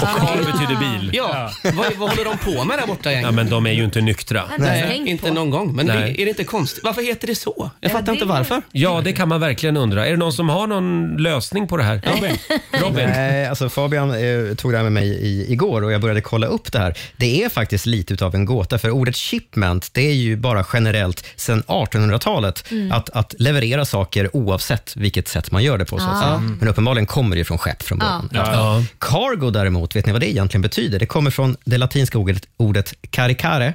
Speaker 1: Karl betyder bil.
Speaker 8: Ja, Vad, vad håller de på med där borta
Speaker 1: Ja,
Speaker 8: egentligen?
Speaker 1: men de är ju inte nyktra.
Speaker 2: Nej, tänkt
Speaker 8: inte
Speaker 2: på.
Speaker 8: någon gång. Men
Speaker 1: Nej.
Speaker 8: är, är det inte konstigt? Varför heter det så? Jag fattar
Speaker 2: det-
Speaker 8: inte varför.
Speaker 1: Ja, det kan man verkligen undra. Är det någon som har någon lösning på det här? Robin? Robin?
Speaker 3: Nej, alltså Fabian eh, tog det här med mig i, igår och jag började kolla upp det här. Det är faktiskt lite utav en gåta, för ordet shipment, det är ju bara generellt sedan 1800-talet,
Speaker 1: Mm.
Speaker 3: att, att leverera saker oavsett vilket sätt man gör det på. Så att säga. Men uppenbarligen kommer det ju från skepp från början.
Speaker 1: Mm. Ja.
Speaker 3: Cargo däremot, vet ni vad det egentligen betyder? Det kommer från det latinska ordet, ordet caricare,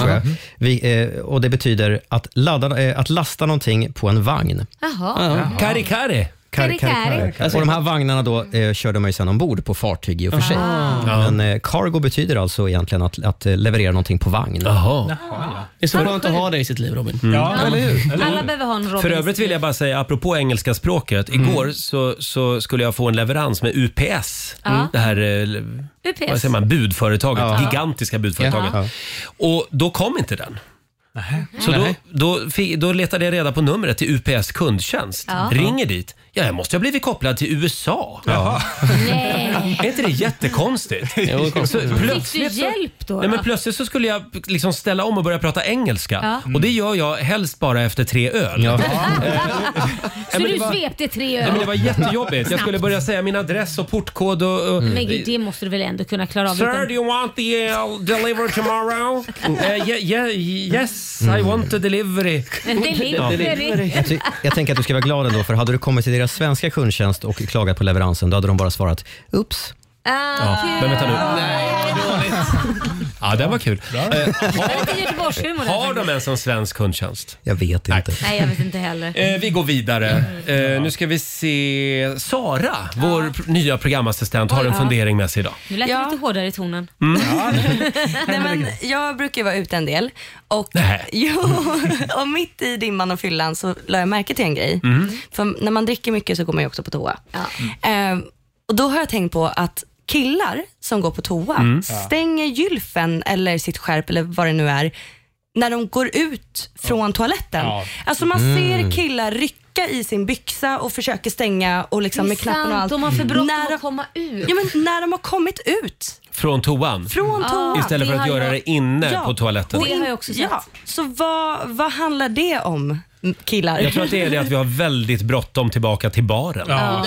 Speaker 3: tror jag.
Speaker 1: Mm.
Speaker 3: Vi, eh, och det betyder att, ladda, eh, att lasta någonting på en vagn.
Speaker 2: Jaha.
Speaker 1: Kari kari.
Speaker 2: Kari, kari.
Speaker 3: Och de här vagnarna då eh, körde man ju sen ombord på fartyg i och för sig. Men eh, cargo betyder alltså egentligen att, att eh, leverera någonting på vagn.
Speaker 1: Jaha.
Speaker 8: Det är så skönt att ha det i sitt liv, Robin.
Speaker 6: ja Mm. eller hur? Eller
Speaker 2: Alla
Speaker 6: hur?
Speaker 2: behöver ha en Robin.
Speaker 1: För övrigt vill jag bara säga, apropå engelska språket. Igår så, så skulle jag få en leverans med UPS.
Speaker 2: Ja.
Speaker 1: Det här eh,
Speaker 2: UPS.
Speaker 1: vad säger man, budföretaget, gigantiska budföretaget.
Speaker 3: Ja.
Speaker 1: Och då kom inte den. Så då, då, fi- då letade jag reda på numret till UPS kundtjänst.
Speaker 2: Ja.
Speaker 1: Ringer dit. Ja, jag måste ha blivit kopplad till USA.
Speaker 2: Nej.
Speaker 1: Är inte det jättekonstigt? så
Speaker 2: Fick du
Speaker 1: plötsligt så,
Speaker 2: hjälp då?
Speaker 1: nej, men
Speaker 2: då?
Speaker 1: plötsligt så skulle jag liksom ställa om och börja prata engelska.
Speaker 2: Ja.
Speaker 1: Och det gör jag helst bara efter tre öl.
Speaker 2: Så
Speaker 1: men
Speaker 2: du
Speaker 1: det var-
Speaker 2: svepte tre
Speaker 1: Nej, men det
Speaker 2: öl?
Speaker 1: var jättejobbigt. Jag skulle börja säga min adress och portkod och... och
Speaker 2: Men gud, det måste du väl ändå kunna klara av?
Speaker 1: Sir,
Speaker 2: utan-
Speaker 1: do you want the uh, delivery tomorrow? Uh, yeah, yeah, yes, I want the delivery.
Speaker 2: Det ligger i.
Speaker 3: Jag, ty- jag tänker att du ska vara glad ändå, för hade du kommit till deras svenska kundtjänst och klagat på leveransen, då hade de bara svarat ”Ups”.
Speaker 2: Ah, kul.
Speaker 1: Men vänta nu. Ja, den var kul. Eh,
Speaker 2: Det är Göteborgshumor.
Speaker 1: har de ens en svensk kundtjänst?
Speaker 3: Jag vet inte.
Speaker 2: Nej, jag vet inte heller.
Speaker 1: Eh, vi går vidare. Eh, nu ska vi se. Sara, vår pr- nya programassistent, har en fundering med sig idag.
Speaker 2: Nu lät
Speaker 9: Ja.
Speaker 2: det lite hårdare i
Speaker 1: Mm.
Speaker 2: tonen.
Speaker 9: Nej, men jag brukar ju vara ute en del och,
Speaker 1: Nej.
Speaker 9: jo, och mitt i dimman och fyllan så la jag märke till en grej. För när man dricker mycket så går man ju också på toa. Eh, och Då har jag tänkt på att killar som går på toa stänger gylfen eller sitt skärp eller vad det nu är när de går ut från toaletten.
Speaker 6: Ja.
Speaker 9: Alltså man
Speaker 1: Mm.
Speaker 9: ser killar rycka i sin byxa och försöker stänga och liksom med knappen och allt.
Speaker 2: de har för bråttom
Speaker 9: När de-
Speaker 2: att komma ut.
Speaker 9: Ja, men när de har kommit ut
Speaker 1: Från toan.
Speaker 9: från toan.
Speaker 1: Istället för
Speaker 2: Ah. det
Speaker 1: att
Speaker 2: har
Speaker 1: göra
Speaker 2: jag-
Speaker 1: det inne på toaletten.
Speaker 2: Det har jag också sett.
Speaker 9: Ja, så vad, vad handlar det om, m- killar?
Speaker 1: Jag tror att det är det att vi har väldigt bråttom tillbaka till baren.
Speaker 6: Ja.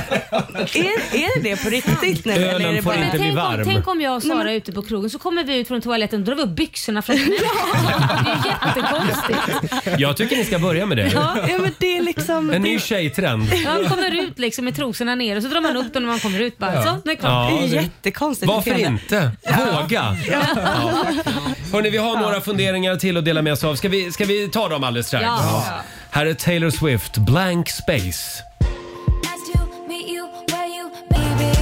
Speaker 9: är, är det det på riktigt nu?
Speaker 1: Ölen
Speaker 9: Eller är det
Speaker 1: får
Speaker 9: bara...
Speaker 1: inte- blir
Speaker 2: tänk, om,
Speaker 1: varm.
Speaker 2: tänk om jag och Sara är ute på krogen så kommer vi ut från toaletten och drar vi upp byxorna från knäna. Det är jättekonstigt.
Speaker 1: Jag tycker ni ska börja med det.
Speaker 9: Ja, ja, men det är liksom...
Speaker 1: En
Speaker 9: det-
Speaker 1: ny tjejtrend.
Speaker 2: Man kommer ut liksom med trosorna ner och så drar man upp dem när man kommer ut. Bara, Så, nu är det klart.
Speaker 1: Ja,
Speaker 9: det är
Speaker 1: det-
Speaker 9: jättekonstigt.
Speaker 1: Varför
Speaker 9: beteende.
Speaker 1: inte? Våga! Ja. Hörrni, vi har några funderingar till att dela med oss av. Ska vi, ska vi ta dem alldeles strax?
Speaker 2: Ja.
Speaker 1: Här är Taylor Swift, Blank Space.
Speaker 7: Nice to meet you, where you, baby.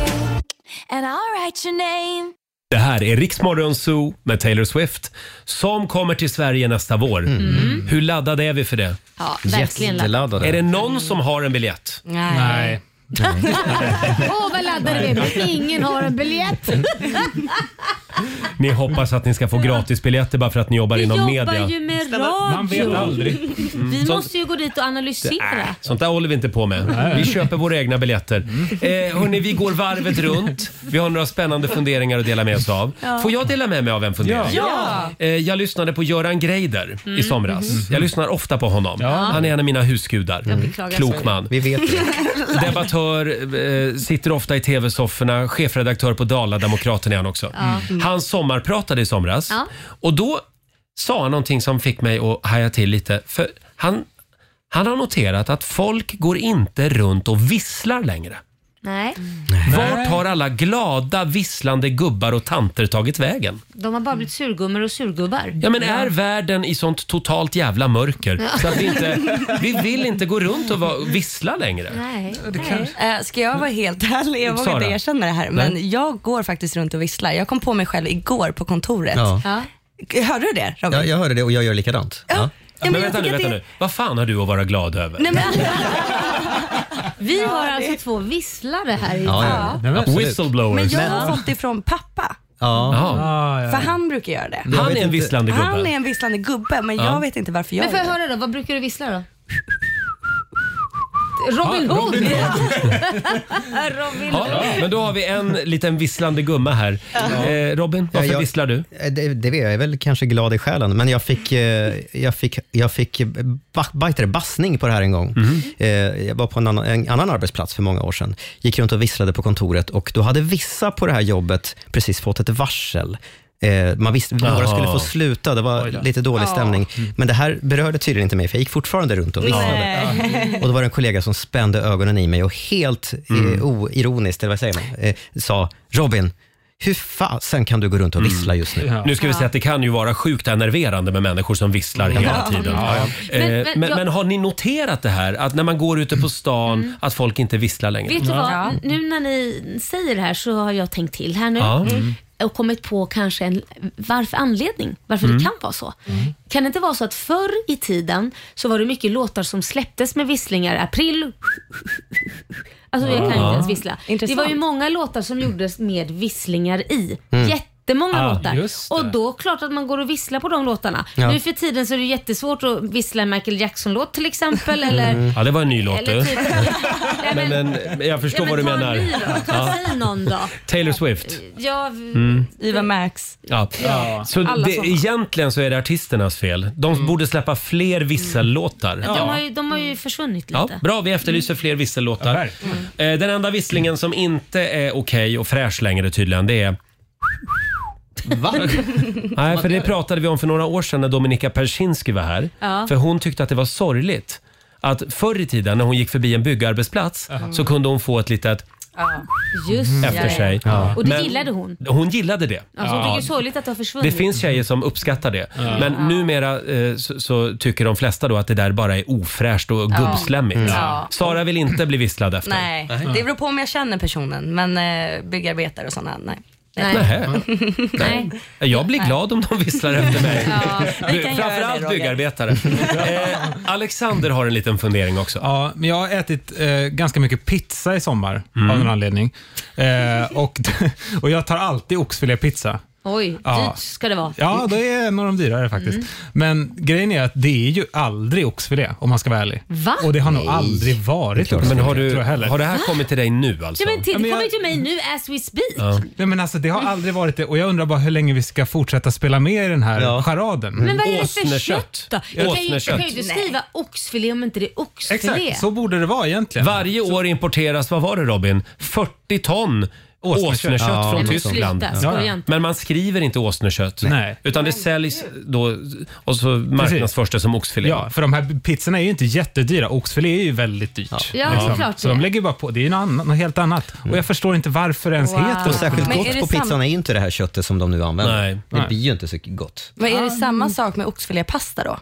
Speaker 7: And I'll write your name.
Speaker 1: Det här är Riksmorgon Zoo med Taylor Swift som kommer till Sverige nästa vår.
Speaker 2: Mm.
Speaker 1: Hur laddade är vi för det?
Speaker 2: Ja, verkligen.
Speaker 3: Jätteladdade.
Speaker 1: Är det någon som har en biljett?
Speaker 9: Nej.
Speaker 6: Nej.
Speaker 2: Åh, vad laddade vi är. Ingen har en biljett.
Speaker 1: Ni hoppas att ni ska få gratisbiljetter bara för att ni jobbar
Speaker 2: Vi
Speaker 1: inom
Speaker 2: jobbar
Speaker 1: media.
Speaker 2: ju med radio.
Speaker 6: Man vet aldrig.
Speaker 2: Vi
Speaker 1: Sånt-
Speaker 2: måste ju gå dit och analysera.
Speaker 1: Sånt där håller vi inte på med. Vi köper våra egna biljetter. Eh, hörni, vi går varvet runt. Vi har några spännande funderingar att dela med oss av. Får jag dela med mig av en fundering?
Speaker 2: Ja.
Speaker 1: Eh, jag lyssnade på Göran Greider i somras. Jag lyssnar ofta på honom. Han är en av mina husgudar.
Speaker 2: beklagar,
Speaker 1: Klok
Speaker 2: sorry.
Speaker 1: man.
Speaker 3: Vi vet det.
Speaker 1: Debattör, eh, sitter ofta i tv-sofforna, chefredaktör på Dala-Demokraten är han också.
Speaker 9: Mm.
Speaker 1: Mm. Han sommarpratade i somras
Speaker 2: Ja.
Speaker 1: och då sa han någonting som fick mig att haja till lite. För han, han har noterat att folk går inte runt och visslar längre.
Speaker 2: Nej,
Speaker 1: Vart har alla glada, visslande gubbar och tanter tagit vägen?
Speaker 2: de har bara blivit surgummor och surgubbar.
Speaker 1: Ja, men är världen i sånt totalt jävla mörker så att vi inte vi vill inte gå runt och vara, vissla längre?
Speaker 2: Nej.
Speaker 9: Eh, Ska jag vara helt ärlig? Jag vågar
Speaker 1: Sara.
Speaker 9: inte erkänna det här, men
Speaker 1: Nej.
Speaker 9: jag går faktiskt runt och visslar. Jag kom på mig själv igår på kontoret.
Speaker 3: Ja.
Speaker 2: Ja.
Speaker 9: Hörde du det Robin?
Speaker 3: Ja, jag hörde det och jag gör likadant. Ja.
Speaker 9: Ja,
Speaker 1: Men
Speaker 9: jag
Speaker 1: vänta nu,
Speaker 9: tycker att
Speaker 1: vänta
Speaker 9: det-
Speaker 1: nu. Vad fan har du att vara glad över?
Speaker 9: Nej, men,
Speaker 2: Vi har alltså två visslare här. i-
Speaker 3: Ja, ja.
Speaker 6: Nej, men-
Speaker 3: Absolut.
Speaker 9: men
Speaker 1: Whistleblowers.
Speaker 9: jag har fått det från pappa,
Speaker 3: Ja.
Speaker 1: Jaha.
Speaker 6: Ah, ja.
Speaker 9: för han brukar göra det.
Speaker 1: Han
Speaker 3: vet
Speaker 1: är en
Speaker 3: inte-
Speaker 1: visslande gubbe.
Speaker 9: Han är en visslande gubbe, men jag vet inte varför jag
Speaker 2: Men får jag
Speaker 9: gör det.
Speaker 2: höra då, vad brukar du vissla då? Robin Hood! Robin Hood.
Speaker 1: Ja, men då har vi en liten visslande gumma här. Eh, Robin, varför
Speaker 3: Ja, jag-
Speaker 1: visslar du?
Speaker 3: Eh, Det, det vet jag. jag är väl kanske glad i själen, men jag fick, eh, jag fick, jag fick eh, ba, vad heter det, bassning på det här en gång.
Speaker 1: Mhm.
Speaker 3: Eh, jag var på en annan, en annan arbetsplats för många år sedan. Gick runt och visslade på kontoret och då hade vissa på det här jobbet precis fått ett varsel. Eh, man visste, några skulle få sluta, det var lite dålig stämning.
Speaker 9: Mm.
Speaker 3: Men det här berörde tydligen inte mig, för jag gick fortfarande runt och visslade. Och då var det en kollega som spände ögonen i mig och helt
Speaker 1: Mm.
Speaker 3: eh, oironiskt, eller vad säger man, eh, sa Robin, hur fasen kan du gå runt och
Speaker 1: Mm.
Speaker 3: vissla just nu?
Speaker 1: Nu ska vi säga att det kan ju vara sjukt enerverande med människor som visslar hela tiden. Eh,
Speaker 2: Men-
Speaker 1: Men,
Speaker 2: men
Speaker 1: men,
Speaker 2: jag-
Speaker 1: har ni noterat det här? Att när man går ute på stan, att folk inte visslar längre?
Speaker 2: Vet du vad, nu när ni säger det här så har jag tänkt till här nu. Mm.
Speaker 1: Ja.
Speaker 6: Mm.
Speaker 2: och kommit på kanske en varför anledning, varför
Speaker 6: Mm.
Speaker 2: det kan vara så. Kan det inte vara så att förr i tiden så var det mycket låtar som släpptes med visslingar, april, alltså jag kan inte ens vissla.
Speaker 9: Intressant.
Speaker 2: Det var ju många låtar som gjordes med visslingar i. Jättemånga
Speaker 6: Ah,
Speaker 2: låtar.
Speaker 6: just det.
Speaker 2: Och då klart att man går och visslar på de låtarna.
Speaker 3: Ja.
Speaker 2: Nu för tiden så är det jättesvårt att vissla en Michael Jackson-låt till exempel.
Speaker 6: Mm.
Speaker 2: Eller,
Speaker 1: Ja, det var en ny låt
Speaker 2: eller
Speaker 1: du.
Speaker 2: typ... Nej,
Speaker 1: Men, men jag förstår vad du
Speaker 2: ta en
Speaker 1: menar.
Speaker 2: ny då. Ta- Säg någon då.
Speaker 1: Taylor Swift.
Speaker 2: Ja,
Speaker 9: Iva Max.
Speaker 1: Ja. Så
Speaker 2: alla
Speaker 1: det,
Speaker 2: såna.
Speaker 1: egentligen så är det artisternas fel. De borde släppa fler vissellåtar.
Speaker 2: De, har ju, de har ju försvunnit
Speaker 1: Ja,
Speaker 2: lite.
Speaker 1: bra, vi efterlyser fler
Speaker 6: Ja,
Speaker 1: vissellåtar.
Speaker 6: verkligen.
Speaker 1: Eh, Den enda visslingen som inte är okej och fräsch längre tydligen, det
Speaker 2: Mm.
Speaker 1: är...
Speaker 8: Va?
Speaker 1: Nej, för det pratade vi om för några år sedan när Dominika Persinski var här.
Speaker 2: Ja.
Speaker 1: För hon tyckte att det var sorgligt att förr i tiden när hon gick förbi en byggarbetsplats så kunde hon få ett litet
Speaker 2: Just
Speaker 1: efter
Speaker 2: ja,
Speaker 1: sig.
Speaker 2: Ja. Och det
Speaker 1: Men-
Speaker 2: gillade hon.
Speaker 1: Hon gillade det.
Speaker 2: Alltså, hon tycker det är sorgligt att det har
Speaker 1: Det
Speaker 2: försvunnit.
Speaker 1: finns tjejer som uppskattar det. Men numera eh, så, så tycker de flesta då att det där bara är ofräscht och gubbslemmigt.
Speaker 2: Mm.
Speaker 9: Ja.
Speaker 1: Sara vill inte bli visslad efter.
Speaker 9: Nej, det beror på om jag känner personen, men eh, byggarbetare och sådana, nej.
Speaker 2: Nej.
Speaker 1: Nähä.
Speaker 2: Nej.
Speaker 1: Jag blir glad om de visslar efter mig.
Speaker 9: vi kan göra det,
Speaker 1: Framförallt
Speaker 9: Roger.
Speaker 1: byggarbetare. Eh, Alexander har en liten fundering också.
Speaker 6: Ja, men jag har ätit eh, ganska mycket pizza i sommar
Speaker 1: Mm.
Speaker 6: av någon anledning. Eh, och, och jag tar alltid oxfilépizza.
Speaker 2: Oj,
Speaker 6: Ja.
Speaker 2: dyrt ska det vara.
Speaker 6: Ja, det är en av de dyrare faktiskt.
Speaker 1: Mm.
Speaker 6: Men grejen är att det är ju aldrig oxfilé om man ska vara ärlig.
Speaker 2: Va?
Speaker 6: Och det har nog aldrig varit oxfilé.
Speaker 1: Men har, du,
Speaker 6: tror jag heller.
Speaker 1: har det här kommit till dig nu alltså?
Speaker 2: Ja, men titta,
Speaker 6: Ja, men jag-
Speaker 2: kommer ju till mig nu as we speak.
Speaker 6: Nej, men alltså, det har aldrig varit det. Och jag undrar bara hur länge vi ska fortsätta spela med i den här
Speaker 3: Ja.
Speaker 6: charaden.
Speaker 2: Men vad är det för
Speaker 1: Åsnekött.
Speaker 2: kött då? Jag kan ju, jag kan ju
Speaker 1: Åsnekött.
Speaker 2: inte skriva oxfilé om inte det är oxfilé.
Speaker 6: Exakt, så borde det vara egentligen.
Speaker 1: Varje år importeras, vad var det Robin? 40 ton
Speaker 6: Åsnekött.
Speaker 1: åsnekött
Speaker 6: Ja,
Speaker 1: från
Speaker 2: Nej, men
Speaker 1: Tyskland.
Speaker 2: Sluta,
Speaker 6: Ja,
Speaker 2: skoja
Speaker 6: ja.
Speaker 2: inte.
Speaker 1: Men man skriver inte åsnekött.
Speaker 6: Nej.
Speaker 1: Utan det säljs då och så marknadsförs det som oxfilé.
Speaker 6: Ja, för de här pizzorna är ju inte jättedyra. Oxfilé är ju väldigt dyrt. Ja,
Speaker 2: det är klart
Speaker 6: Så
Speaker 2: det är. Mm.
Speaker 6: de lägger ju bara på. Det är ju något, annat, något helt annat. Och jag förstår inte varför det ens
Speaker 2: Wow.
Speaker 6: heter
Speaker 3: Och särskilt
Speaker 9: Men är
Speaker 3: gott
Speaker 9: det
Speaker 3: på
Speaker 9: sam-
Speaker 3: pizzan är ju inte det här köttet som de nu använder.
Speaker 1: Nej.
Speaker 3: Det
Speaker 6: Nej.
Speaker 3: blir ju inte så gott.
Speaker 9: Men är det samma sak med oxfilépasta då?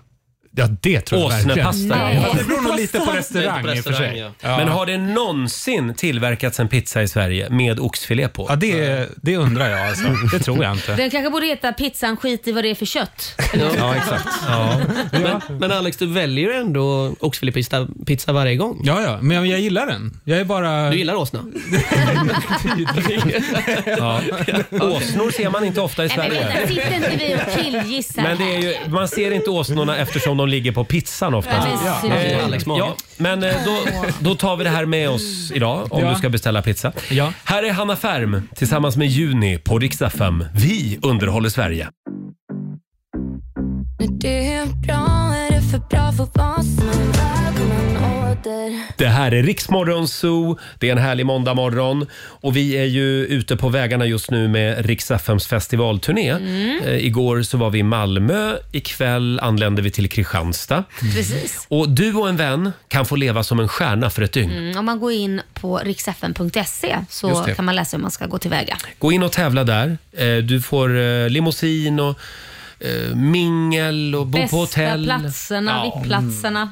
Speaker 6: Ja, det tror jag verkligen.
Speaker 1: Åsnepasta.
Speaker 2: Nej.
Speaker 6: Ja, det beror nog lite på
Speaker 8: Lite
Speaker 6: restaurang
Speaker 8: på
Speaker 6: i och för sig.
Speaker 8: restaurang,
Speaker 6: Ja.
Speaker 1: Men har det någonsin tillverkats en pizza i Sverige med oxfilé på?
Speaker 6: Ja, det, det undrar jag alltså. Det tror jag inte.
Speaker 2: Den kanske borde heta “Pizzan skit i vad det är för kött”.
Speaker 3: Ja, exakt.
Speaker 8: Men, men Alex, du väljer ändå oxfilépizza pizza varje gång.
Speaker 6: Ja, ja, men jag gillar den. Jag är bara...
Speaker 8: Du gillar åsna?
Speaker 1: Åsnor ser man inte ofta i
Speaker 2: Nej, men
Speaker 1: Sverige.
Speaker 2: vänta, sitter inte vi och killgissar
Speaker 1: Men det är ju, man ser inte åsnorna eftersom de ligger på pizzan oftast.
Speaker 2: Ja,
Speaker 8: Ja.
Speaker 2: men,
Speaker 8: Eh,
Speaker 2: ja.
Speaker 8: Alex mage.
Speaker 1: Ja, men eh, då, då tar vi det här med oss idag om
Speaker 6: Ja.
Speaker 1: du ska beställa pizza.
Speaker 6: Ja.
Speaker 1: Här är Hanna Färm tillsammans med Juni på Riksdag 5. Vi underhåller Sverige.
Speaker 7: När du är bra är det för bra för att vara sant. Man åter.
Speaker 1: Det här är Riksmorgon Zoo. Det är en härlig måndagmorgon och vi är ju ute på vägarna just nu med Rix FMs festivalturné. Eh, igår så var vi i Malmö. Ikväll anländer vi till Kristianstad.
Speaker 2: Precis.
Speaker 1: Och du och en vän kan få leva som en stjärna för ett dygn.
Speaker 2: Mm, Om man går in på riksfn.se så kan man läsa hur man ska gå tillväga.
Speaker 1: Gå in och tävla där. Eh, du får eh, limousin och eh, mingel och bo
Speaker 2: Bästa
Speaker 1: på hotell.
Speaker 2: platserna, Mm.
Speaker 1: Ja.
Speaker 2: VIP-platserna.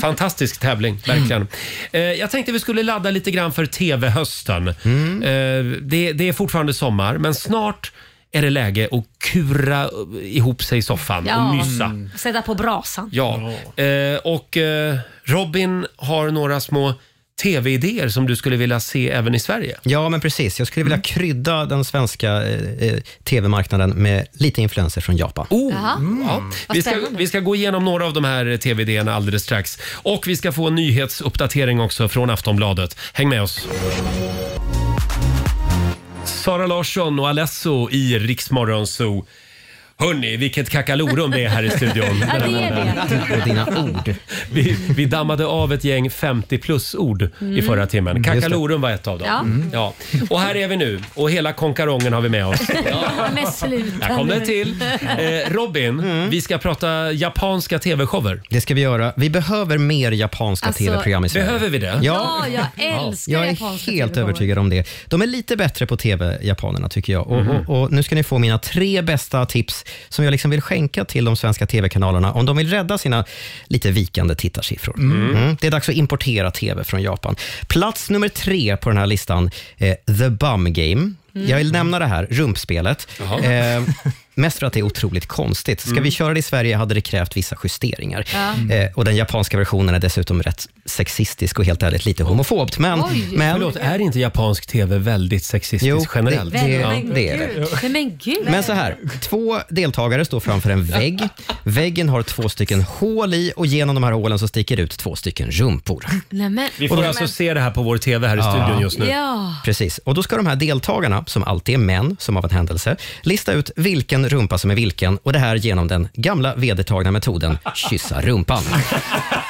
Speaker 1: Fantastisk tävling, verkligen. Eh, jag tänkte vi skulle ladda lite grann för TV-hösten. Eh, det, det är fortfarande sommar, men snart är det läge att kura ihop sig i soffan
Speaker 2: Ja. Mm.
Speaker 1: och mysa.
Speaker 2: Sätta på brasan.
Speaker 1: Ja, eh, och eh, Robin har några små TV-idéer som du skulle vilja se även i Sverige.
Speaker 3: Ja, men precis. Jag skulle vilja krydda den svenska eh, eh, tv-marknaden med lite influenser från Japan.
Speaker 1: Oh,
Speaker 2: Jaha.
Speaker 1: ja. vi, ska,
Speaker 2: spännande.
Speaker 1: vi ska gå igenom några av de här tv-idéerna alldeles strax. Och vi ska få en nyhetsuppdatering också från Aftonbladet. Häng med oss! Sara Larsson och Alesso i Riksmorgon Zoo. Hörni, vilket kakalorum det är här i studion.
Speaker 2: Ja, det är det.
Speaker 3: Och dina ord.
Speaker 1: Vi, vi dammade av ett gäng 50 plus-ord i förra timmen. Kakalorum var ett av dem.
Speaker 2: Mm. Ja.
Speaker 1: Mm. Ja. Och här är vi nu och hela konkarongen har vi med oss.
Speaker 2: Med sluten.
Speaker 1: Här kom det till. Eh, Robin,
Speaker 3: Mm.
Speaker 1: vi ska prata japanska tv-shower.
Speaker 3: Det ska vi göra. Vi behöver mer japanska
Speaker 2: Alltså,
Speaker 3: tv-program i Sverige.
Speaker 1: Behöver vi det?
Speaker 3: Ja,
Speaker 2: Ja, jag älskar
Speaker 3: jag är
Speaker 2: japanska
Speaker 3: helt
Speaker 2: TV-shower.
Speaker 3: övertygad om det. De är lite bättre på tv, japanerna, tycker jag. Och, och, och Nu ska ni få mina tre bästa tips som jag liksom vill skänka till de svenska tv-kanalerna om de vill rädda sina lite vikande tittarsiffror. Mm. Det är dags att importera tv från Japan. Plats nummer tre på den här listan, eh, The Bum Game. Jag vill nämna det här, rumpspelet. Eh, mest för att det är otroligt konstigt. Ska vi köra det i Sverige hade det krävt vissa justeringar. Eh, och Den japanska versionen är dessutom rätt sexistisk och helt ärligt lite homofobt. Men,
Speaker 2: Oj.
Speaker 3: men
Speaker 1: Förlåt, är inte japansk tv väldigt sexistisk
Speaker 3: Jo,
Speaker 1: generellt?
Speaker 3: det- det-
Speaker 2: Men
Speaker 3: det är det.
Speaker 2: gud. Nej, Men gud.
Speaker 3: Men så här, två deltagare står framför en vägg. Väggen har två stycken hål i och genom de här hålen så sticker ut två stycken rumpor.
Speaker 2: Nej, men.
Speaker 1: Vi får alltså se det här på vår tv här i studion just nu.
Speaker 2: Ja.
Speaker 3: Precis. Och då ska de här deltagarna, som alltid är män, som av en händelse, lista ut vilken rumpa som är vilken och det här genom den gamla vedertagna metoden kyssa rumpan.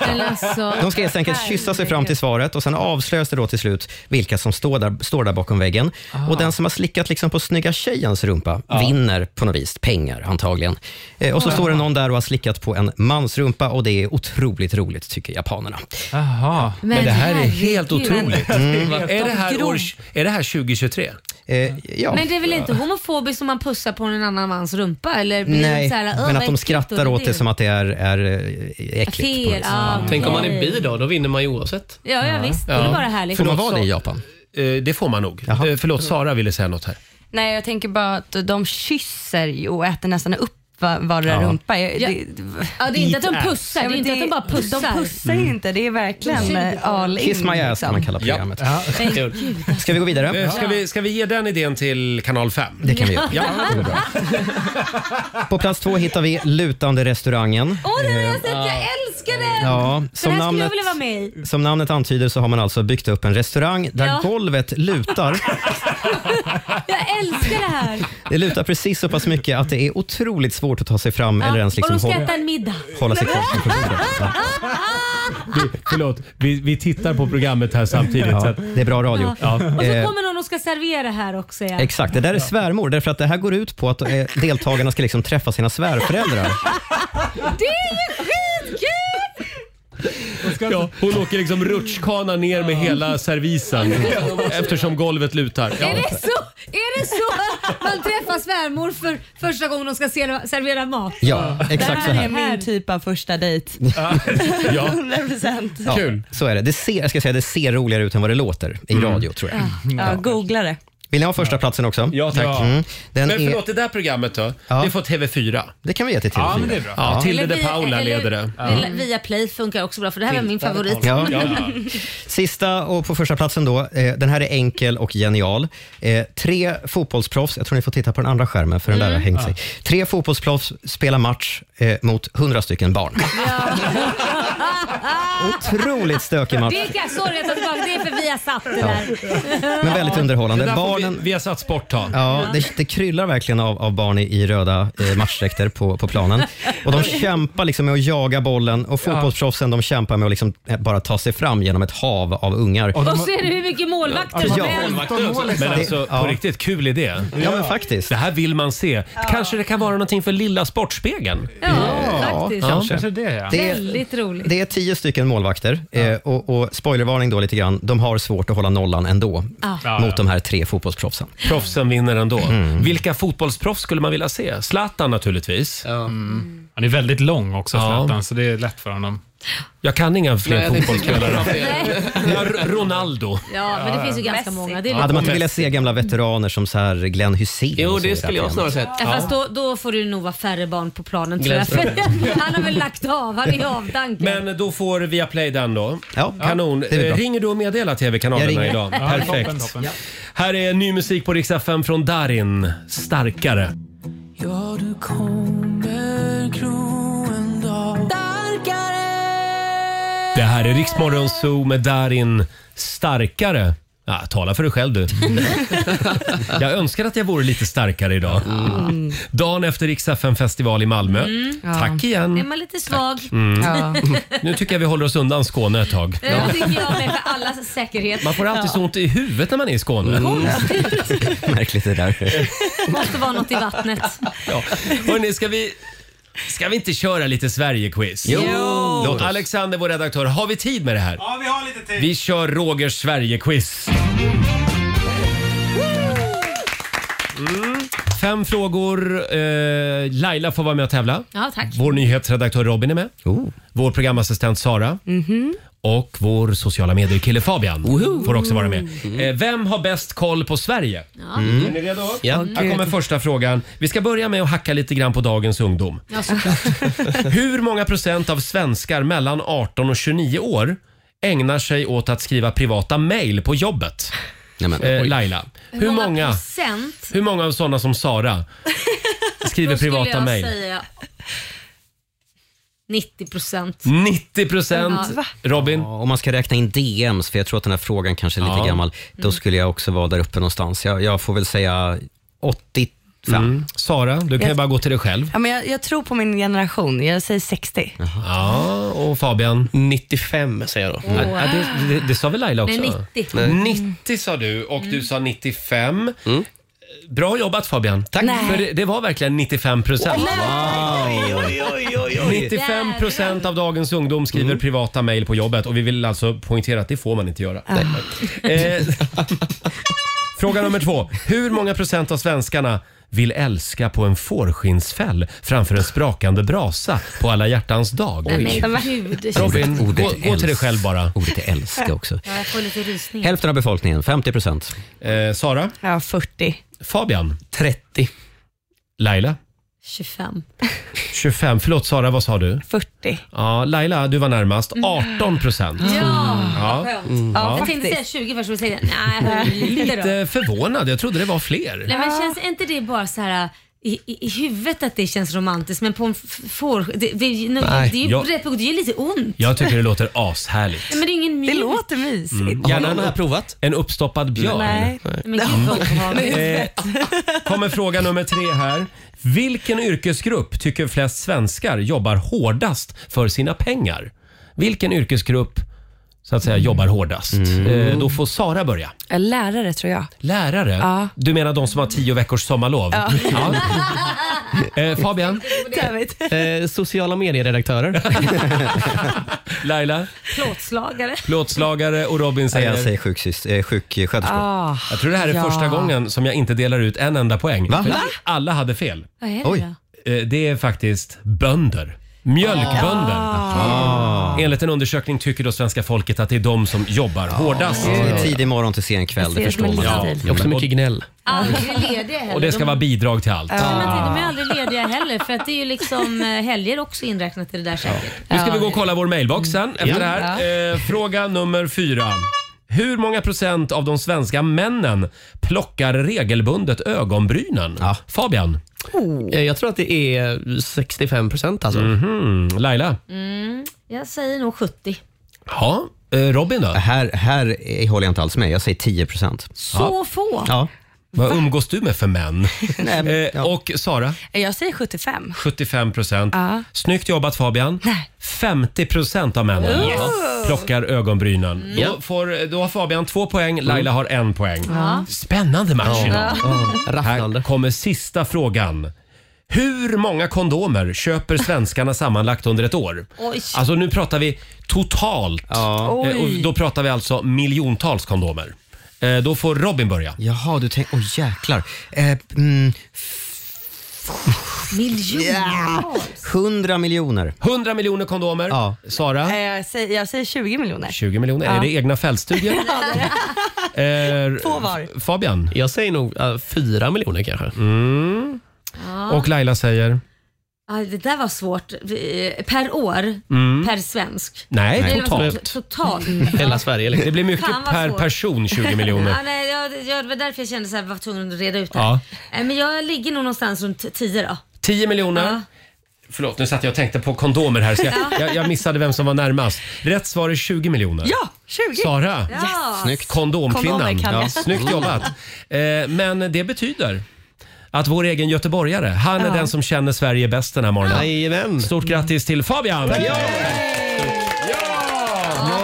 Speaker 2: Men alltså,
Speaker 3: De ska helt enkelt kyssa sig fram till svaret och sen avslöjas det då till slut vilka som står där, står där bakom väggen.
Speaker 2: Ah.
Speaker 3: Och den som har slickat liksom på snygga tjejens rumpa vinner på något vis pengar antagligen. Eh,
Speaker 2: Ah.
Speaker 3: och så står det någon där och har slickat på en mans rumpa och det är otroligt roligt tycker japanerna.
Speaker 6: Jaha.
Speaker 1: Men det här är helt
Speaker 2: herregud. Mm.
Speaker 1: otroligt. Är, det här år, är det här 2023?
Speaker 3: Eh, ja.
Speaker 2: Men det är väl inte homofobiskt om man pussar på en annan mans rumpa? Eller blir det
Speaker 3: Nej,
Speaker 2: så här, "Åh,
Speaker 3: men
Speaker 2: vad
Speaker 3: att de
Speaker 2: äckligt", och
Speaker 3: skrattar åt det som att det är, är eh, äckligt. på något
Speaker 2: Fel.
Speaker 3: vis.
Speaker 2: Ja,
Speaker 8: Tänk om man är
Speaker 2: okej.
Speaker 8: bi då, då vinner man ju oavsett.
Speaker 2: Ja, ja visst. Det är bara härligt.
Speaker 3: Får man vara det i Japan?
Speaker 1: Eh, det får man nog.
Speaker 3: Jaha.
Speaker 1: Eh, förlåt, Sara ville säga något här.
Speaker 9: Nej, jag tänker bara att de kysser ju och äter nästan upp va- vardera rumpa. Jag,
Speaker 2: Ja.
Speaker 9: det,
Speaker 2: Ja, det är inte att de
Speaker 1: Eat ass.
Speaker 2: pussar, det är inte att de bara pussar.
Speaker 9: De pussar ju inte, det är verkligen
Speaker 2: Mm.
Speaker 9: eh, all in.
Speaker 3: Kiss my ass kan
Speaker 9: liksom.
Speaker 3: man kalla programmet.
Speaker 8: Kul.
Speaker 2: alltså.
Speaker 3: Ska vi gå vidare?
Speaker 1: Eh, ska, vi, ska vi ge den idén till kanal 5?
Speaker 3: Det kan vi göra. På plats två hittar vi Lutande restaurangen.
Speaker 2: Åh, den har jag sett, jag älskar den!
Speaker 3: Ja,
Speaker 2: den
Speaker 3: som
Speaker 2: här skulle
Speaker 3: namnet,
Speaker 2: jag vilja vara med i.
Speaker 3: som namnet antyder så har man alltså byggt upp en restaurang där
Speaker 2: Ja.
Speaker 3: golvet lutar.
Speaker 2: Jag älskar det här.
Speaker 3: Det lutar precis så pass mycket att det är otroligt svårt att ta sig fram eller ens
Speaker 2: och
Speaker 3: liksom
Speaker 2: de ska
Speaker 3: hålla,
Speaker 2: äta en middag.
Speaker 3: hålla sig kvar på bordet. Ja.
Speaker 1: Förlåt, vi, vi tittar på programmet här samtidigt. så
Speaker 3: Ja,
Speaker 1: att-
Speaker 3: det är bra radio.
Speaker 2: Och så
Speaker 3: Eh,
Speaker 2: kommer någon och ska servera här också. Ja.
Speaker 3: Exakt, det där är svärmor därför att det här går ut på att eh, deltagarna ska liksom träffa sina svärföräldrar.
Speaker 2: Det är ju skitkul!
Speaker 6: ska
Speaker 1: Ja,
Speaker 6: inte-
Speaker 1: hon åker liksom rutschkana ner med hela servisen eftersom golvet lutar. Ja.
Speaker 2: Är det, så, är det så att man träffar svärmor för första gången de ska se- servera mat?
Speaker 3: Ja, exakt så
Speaker 9: liksom. Det här är
Speaker 3: här.
Speaker 9: min typ av första dejt.
Speaker 1: Ja.
Speaker 9: 100%.
Speaker 3: Ja,
Speaker 1: Kul.
Speaker 3: Så är det. Det ser, jag ska säga, det ser roligare ut än vad det låter i radio, tror jag.
Speaker 9: Ja, googla det.
Speaker 3: Vill ni ha första platsen också?
Speaker 1: Mm. Ja, tack.
Speaker 3: Mm. Den
Speaker 1: Men
Speaker 3: är,
Speaker 1: förlåt, det där programmet då?
Speaker 3: Ja.
Speaker 1: Det får TV4.
Speaker 3: det kan vi ge till TV4.
Speaker 6: Ja, men det är bra.
Speaker 1: Ja, Tilde de
Speaker 2: via-
Speaker 1: Paula
Speaker 2: eller-
Speaker 1: leder det.
Speaker 2: eller Via Play funkar också bra för det här var min favorit.
Speaker 3: Ja.
Speaker 1: Ja.
Speaker 3: Sista och på första platsen då. Eh, den här är enkel och genial. Eh, tre fotbollsproffs, jag tror ni får titta på den andra skärmen för den där har hängt sig. Tre fotbollsproffs spelar match eh, mot hundra stycken barn. Otroligt stökig match,
Speaker 2: Det kan, sorry jag tar tillbaka, det är för vi har satt det där.
Speaker 3: men väldigt underhållande.
Speaker 1: Där får
Speaker 3: Barnen,
Speaker 1: Vi, vi har satt sport ta.
Speaker 3: Ja, det, det kryllar verkligen av, av barn i, i röda eh, matchdräkter på, på planen. Och De kämpar liksom med att jaga bollen och fotbollsproffsen de kämpar med att liksom eh, bara ta sig fram genom ett hav av ungar.
Speaker 6: Och de
Speaker 2: Och
Speaker 6: har-
Speaker 2: så är det hur mycket målvakter
Speaker 6: de har
Speaker 2: som helst.
Speaker 6: målvakter också.
Speaker 1: Men
Speaker 3: Det-
Speaker 1: alltså, på
Speaker 3: ja.
Speaker 1: riktigt, kul idé.
Speaker 3: Ja, men faktiskt.
Speaker 1: Det här vill man se. Kanske det kan vara någonting för Lilla Sportspegeln?
Speaker 2: Ja, faktiskt.
Speaker 3: Ja.
Speaker 6: Kanske det, ja.
Speaker 3: Det är,
Speaker 2: Väldigt roligt.
Speaker 3: det är tio stycken målvakter eh, och, och spoilervarning då lite grann. De har svårt att hålla nollan ändå
Speaker 6: Ja, ja.
Speaker 3: mot de här tre fotbollsproffsen.
Speaker 1: Proffsen vinner ändå.
Speaker 3: Mm.
Speaker 1: Vilka fotbollsproffs skulle man vilja se? Zlatan naturligtvis.
Speaker 2: Mm.
Speaker 6: Han är väldigt lång också,
Speaker 1: Ja.
Speaker 6: Zlatan, så det är lätt för honom.
Speaker 1: Jag kan inga fler
Speaker 8: Nej, det-
Speaker 1: fotbollsspelare.
Speaker 2: Nej.
Speaker 1: Ja, R- Ronaldo.
Speaker 2: Ja, men det finns ju ganska
Speaker 9: Messi.
Speaker 2: många. Det är
Speaker 3: Hade man
Speaker 2: lite
Speaker 3: inte velat se gamla veteraner som så här Glenn Hysén?
Speaker 8: Jo,
Speaker 3: och så i
Speaker 8: det
Speaker 3: här
Speaker 8: skulle jag snarare
Speaker 3: programmet?
Speaker 8: sett.
Speaker 2: Ja, fast då, då får det nog vara färre barn på planen tror jag. För han har väl lagt av, han är i avdanken.
Speaker 1: Men då får Viaplay den då.
Speaker 3: Ja,
Speaker 1: Kanon.
Speaker 3: det blir
Speaker 1: Eh,
Speaker 3: bra.
Speaker 1: Ringer du och meddelar
Speaker 3: Jag
Speaker 1: TV-kanalerna
Speaker 3: ringer.
Speaker 1: idag?
Speaker 6: Ja,
Speaker 1: Perfekt.
Speaker 6: Toppen, toppen.
Speaker 1: Här är ny musik på Rix FM från Darin. Starkare. Det här är Riksmorgon Zoo med Darin Starkare. Ja, tala för dig själv du. jag önskar att jag vore lite starkare idag. Dagen efter Rix FM festival i Malmö. Tack
Speaker 2: är
Speaker 1: igen.
Speaker 2: man lite svag?
Speaker 1: Nu tycker jag vi håller oss undan Skåne ett tag.
Speaker 2: Det eh, tycker jag med för allas säkerhet.
Speaker 1: Man får alltid så ont i huvudet när man är i Skåne.
Speaker 3: Märkligt det där.
Speaker 2: måste vara något i vattnet.
Speaker 1: Ja. Hörrni, ska vi, ska vi inte köra lite Sverige-quiz?
Speaker 3: Jo.
Speaker 1: Låt Alexander, vår redaktör, har vi tid med det här?
Speaker 4: Ja, vi har lite tid.
Speaker 1: Vi kör Rogers Sverige-quiz. Mm. Fem frågor. Eh, Laila får vara med och tävla.
Speaker 2: Ja, tack.
Speaker 1: Vår nyhetsredaktör Robin är med.
Speaker 3: Oh.
Speaker 1: Vår programassistent Sara. Och vår sociala medier-kille Fabian får också vara med.
Speaker 2: Mm.
Speaker 1: Eh, Vem har bäst koll på Sverige? Mm. Är ni redo?
Speaker 8: Ja.
Speaker 1: Här kommer första frågan. Vi ska börja med att hacka lite grann på dagens ungdom.
Speaker 2: Ja, såklart.
Speaker 1: Hur många procent av svenskar mellan 18 och 29 år ägnar sig åt att skriva privata mejl på jobbet?
Speaker 3: Nej, men,
Speaker 1: Eh, Laila, hur många,
Speaker 2: procent?
Speaker 1: hur många av sådana som Sara skriver
Speaker 2: Då skulle
Speaker 1: privata
Speaker 2: jag
Speaker 1: mejl?
Speaker 2: säga 90 procent.
Speaker 1: 90 procent. Robin?
Speaker 3: Ja, Om man ska räkna in DMs, för jag tror att den här frågan kanske är lite
Speaker 1: Ja.
Speaker 3: gammal, då skulle jag också vara där uppe någonstans. Jag, jag får väl säga 85.
Speaker 1: Mm. Sara, du kan ju bara gå till dig själv.
Speaker 9: Ja, men jag, jag tror på min generation. Jag säger 60.
Speaker 1: Ja, och Fabian?
Speaker 8: 95 säger jag då.
Speaker 1: Ja, det, det, det sa väl Laila också?
Speaker 2: Nej, 90.
Speaker 1: 90 sa du och
Speaker 8: Mm.
Speaker 1: du sa 95. Bra jobbat Fabian. Tack. För det, det var verkligen 95 procent.
Speaker 8: Oj, oj, oj,
Speaker 1: 95 procent av dagens ungdom skriver privata mejl på jobbet och vi vill alltså poängtera att det får man inte göra.
Speaker 8: Ah.
Speaker 1: Eh, Fråga nummer två. Hur många procent av svenskarna vill älska på en fårskinnsfäll framför en sprakande brasa på alla hjärtans dag?
Speaker 2: Nej, men gud.
Speaker 1: Robin,
Speaker 3: Ordet
Speaker 1: gå, gå till dig
Speaker 3: älsk-
Speaker 1: själv bara.
Speaker 3: Ordet är älska också.
Speaker 2: Ja, jag får lite rysningar.
Speaker 3: Hälften av befolkningen, 50 procent.
Speaker 1: Eh, Sara,
Speaker 9: Ja, 40.
Speaker 1: Fabian,
Speaker 8: 30.
Speaker 1: Laila,
Speaker 2: 25.
Speaker 1: 25. Förlåt Sara, vad sa du?
Speaker 9: 40.
Speaker 1: Ja, Laila, du var närmast. 18 procent.
Speaker 2: Ja,
Speaker 1: Ja.
Speaker 2: skönt.
Speaker 9: Ja,
Speaker 2: Jag tänkte säga 20 först, men säga nej, lite då.
Speaker 1: Lite förvånad, jag trodde det var fler.
Speaker 2: Nej, men känns inte det bara så här i, i, i huvudet att det känns romantiskt men på en f- får... Det, det, det, är ju- det, är ju
Speaker 1: jag-
Speaker 2: rätt på, det gör lite ont.
Speaker 1: Jag tycker det låter ashärligt.
Speaker 2: Nej, men det är ingen
Speaker 9: Det
Speaker 2: mjuk...
Speaker 9: låter mysigt.
Speaker 8: Har
Speaker 1: Gärna
Speaker 8: någon här
Speaker 1: en,
Speaker 8: provat?
Speaker 1: en uppstoppad björn.
Speaker 9: Nej.
Speaker 2: Men
Speaker 1: Mm.
Speaker 2: gud vad obehagligt.
Speaker 1: Eh, kommer fråga nummer tre här. Vilken yrkesgrupp tycker flest svenskar jobbar hårdast för sina pengar? Vilken yrkesgrupp så att säga jobbar hårdast? Eh, då får Sara börja.
Speaker 9: Ja, Lärare tror jag.
Speaker 1: Lärare? Du menar de som har tio veckors sommarlov? Ja. Eh, Fabian,
Speaker 8: Eh, sociala medieredaktörer.
Speaker 1: Laila,
Speaker 2: Plåtslagare.
Speaker 1: plåtslagare och Robin
Speaker 3: Nej, jag
Speaker 1: säger...
Speaker 3: säger sjuksys- eh, sjuksköterskor.
Speaker 9: Ah,
Speaker 1: Jag tror det här är första gången som jag inte delar ut en enda poäng.
Speaker 3: Va?
Speaker 1: För
Speaker 3: Va?
Speaker 1: Alla hade fel.
Speaker 2: Vad är det
Speaker 3: Oj.
Speaker 2: då?
Speaker 1: Eh, Det är faktiskt bönder. Mjölkbönder.
Speaker 3: Ah.
Speaker 1: Enligt en undersökning tycker då svenska folket att det är de som jobbar hårdast.
Speaker 3: Ja. Tidig morgon till sen kväll, det
Speaker 9: ser
Speaker 3: förstår
Speaker 9: som en
Speaker 3: man.
Speaker 9: liten
Speaker 3: Ja.
Speaker 9: stil.
Speaker 8: Det är också mycket gnäll.
Speaker 2: Aldrig lediga heller.
Speaker 1: Och det ska
Speaker 2: de,
Speaker 1: vara bidrag till allt.
Speaker 2: Ja, men de är aldrig lediga heller för att det är ju liksom eh, helger också inräknat i det där säkert.
Speaker 1: Nu ska vi gå och kolla vår mailbox
Speaker 3: Mm.
Speaker 1: sen efter det här. Eh, fråga nummer fyra. Hur många procent av de svenska männen plockar regelbundet ögonbrynen?
Speaker 3: Ja.
Speaker 1: Fabian?
Speaker 8: Eh, Jag tror att det är 65 procent alltså.
Speaker 1: Mhm. Laila?
Speaker 3: Mm.
Speaker 2: Jag säger nog 70.
Speaker 1: Ja. Eh, Robin då?
Speaker 3: Här, här eh, håller jag inte alls med. Jag säger 10 procent.
Speaker 2: Så få.
Speaker 3: Ja.
Speaker 1: Vad umgås du med för män?
Speaker 3: men,
Speaker 1: Eh,
Speaker 3: ja.
Speaker 1: Och Sara?
Speaker 9: Eh, jag säger 75.
Speaker 1: 75 procent.
Speaker 9: Ja.
Speaker 1: Snyggt jobbat Fabian. 50 procent av männen plockar ögonbrynen. Då, får, då har Fabian två poäng, Laila har en poäng. Spännande match idag. Här
Speaker 8: Rafflande.
Speaker 1: kommer sista frågan. Hur många kondomer köper svenskarna sammanlagt under ett år?
Speaker 2: Oj.
Speaker 1: Alltså nu pratar vi totalt. Eh, Och då pratar vi alltså miljontals kondomer. Eh, Då får Robin börja.
Speaker 3: Jaha, du tänker... Åh jäklar. Eh, mm,
Speaker 2: Miljontals.
Speaker 3: 100 miljoner.
Speaker 1: 100 miljoner kondomer.
Speaker 3: Ja.
Speaker 1: Sara?
Speaker 9: Eh, Jag säger, jag säger 20 miljoner.
Speaker 1: 20 miljoner. Är det egna fältstudier? Eh,
Speaker 9: Två var.
Speaker 1: Fabian
Speaker 8: Jag säger nog eh, fyra miljoner kanske.
Speaker 1: och Laila säger
Speaker 2: Ja, det där var svårt. Eh, Per år, per svensk.
Speaker 1: nej,
Speaker 2: Nej, det var
Speaker 1: totalt.
Speaker 2: to- Totalt.
Speaker 8: Hela Sverige.
Speaker 1: Det
Speaker 8: Liksom.
Speaker 1: blir mycket
Speaker 2: Fan, vad
Speaker 1: per
Speaker 2: svårt.
Speaker 1: person 20 miljoner.
Speaker 2: Ja, nej, jag, jag, det var därför jag kände att jag var tvungen att reda ut det.
Speaker 1: Ja.
Speaker 2: Eh, Men jag ligger nog någonstans runt 10 då.
Speaker 1: 10 miljoner.
Speaker 2: Ja.
Speaker 1: Förlåt, nu satt jag och tänkte på kondomer här. Så jag, jag, jag missade vem som var närmast. Rätt svar är 20 miljoner.
Speaker 9: Ja, 20.
Speaker 1: Sara,
Speaker 2: Ja.
Speaker 1: snyggt. kondomkvinnan.
Speaker 9: Kondomer kan jag.
Speaker 1: Ja, snyggt jobbat. Eh, men det betyder att vår egen göteborgare, han är den som känner Sverige bäst den här morgonen.
Speaker 8: Jajamän.
Speaker 1: Stort grattis till Fabian!
Speaker 8: Vad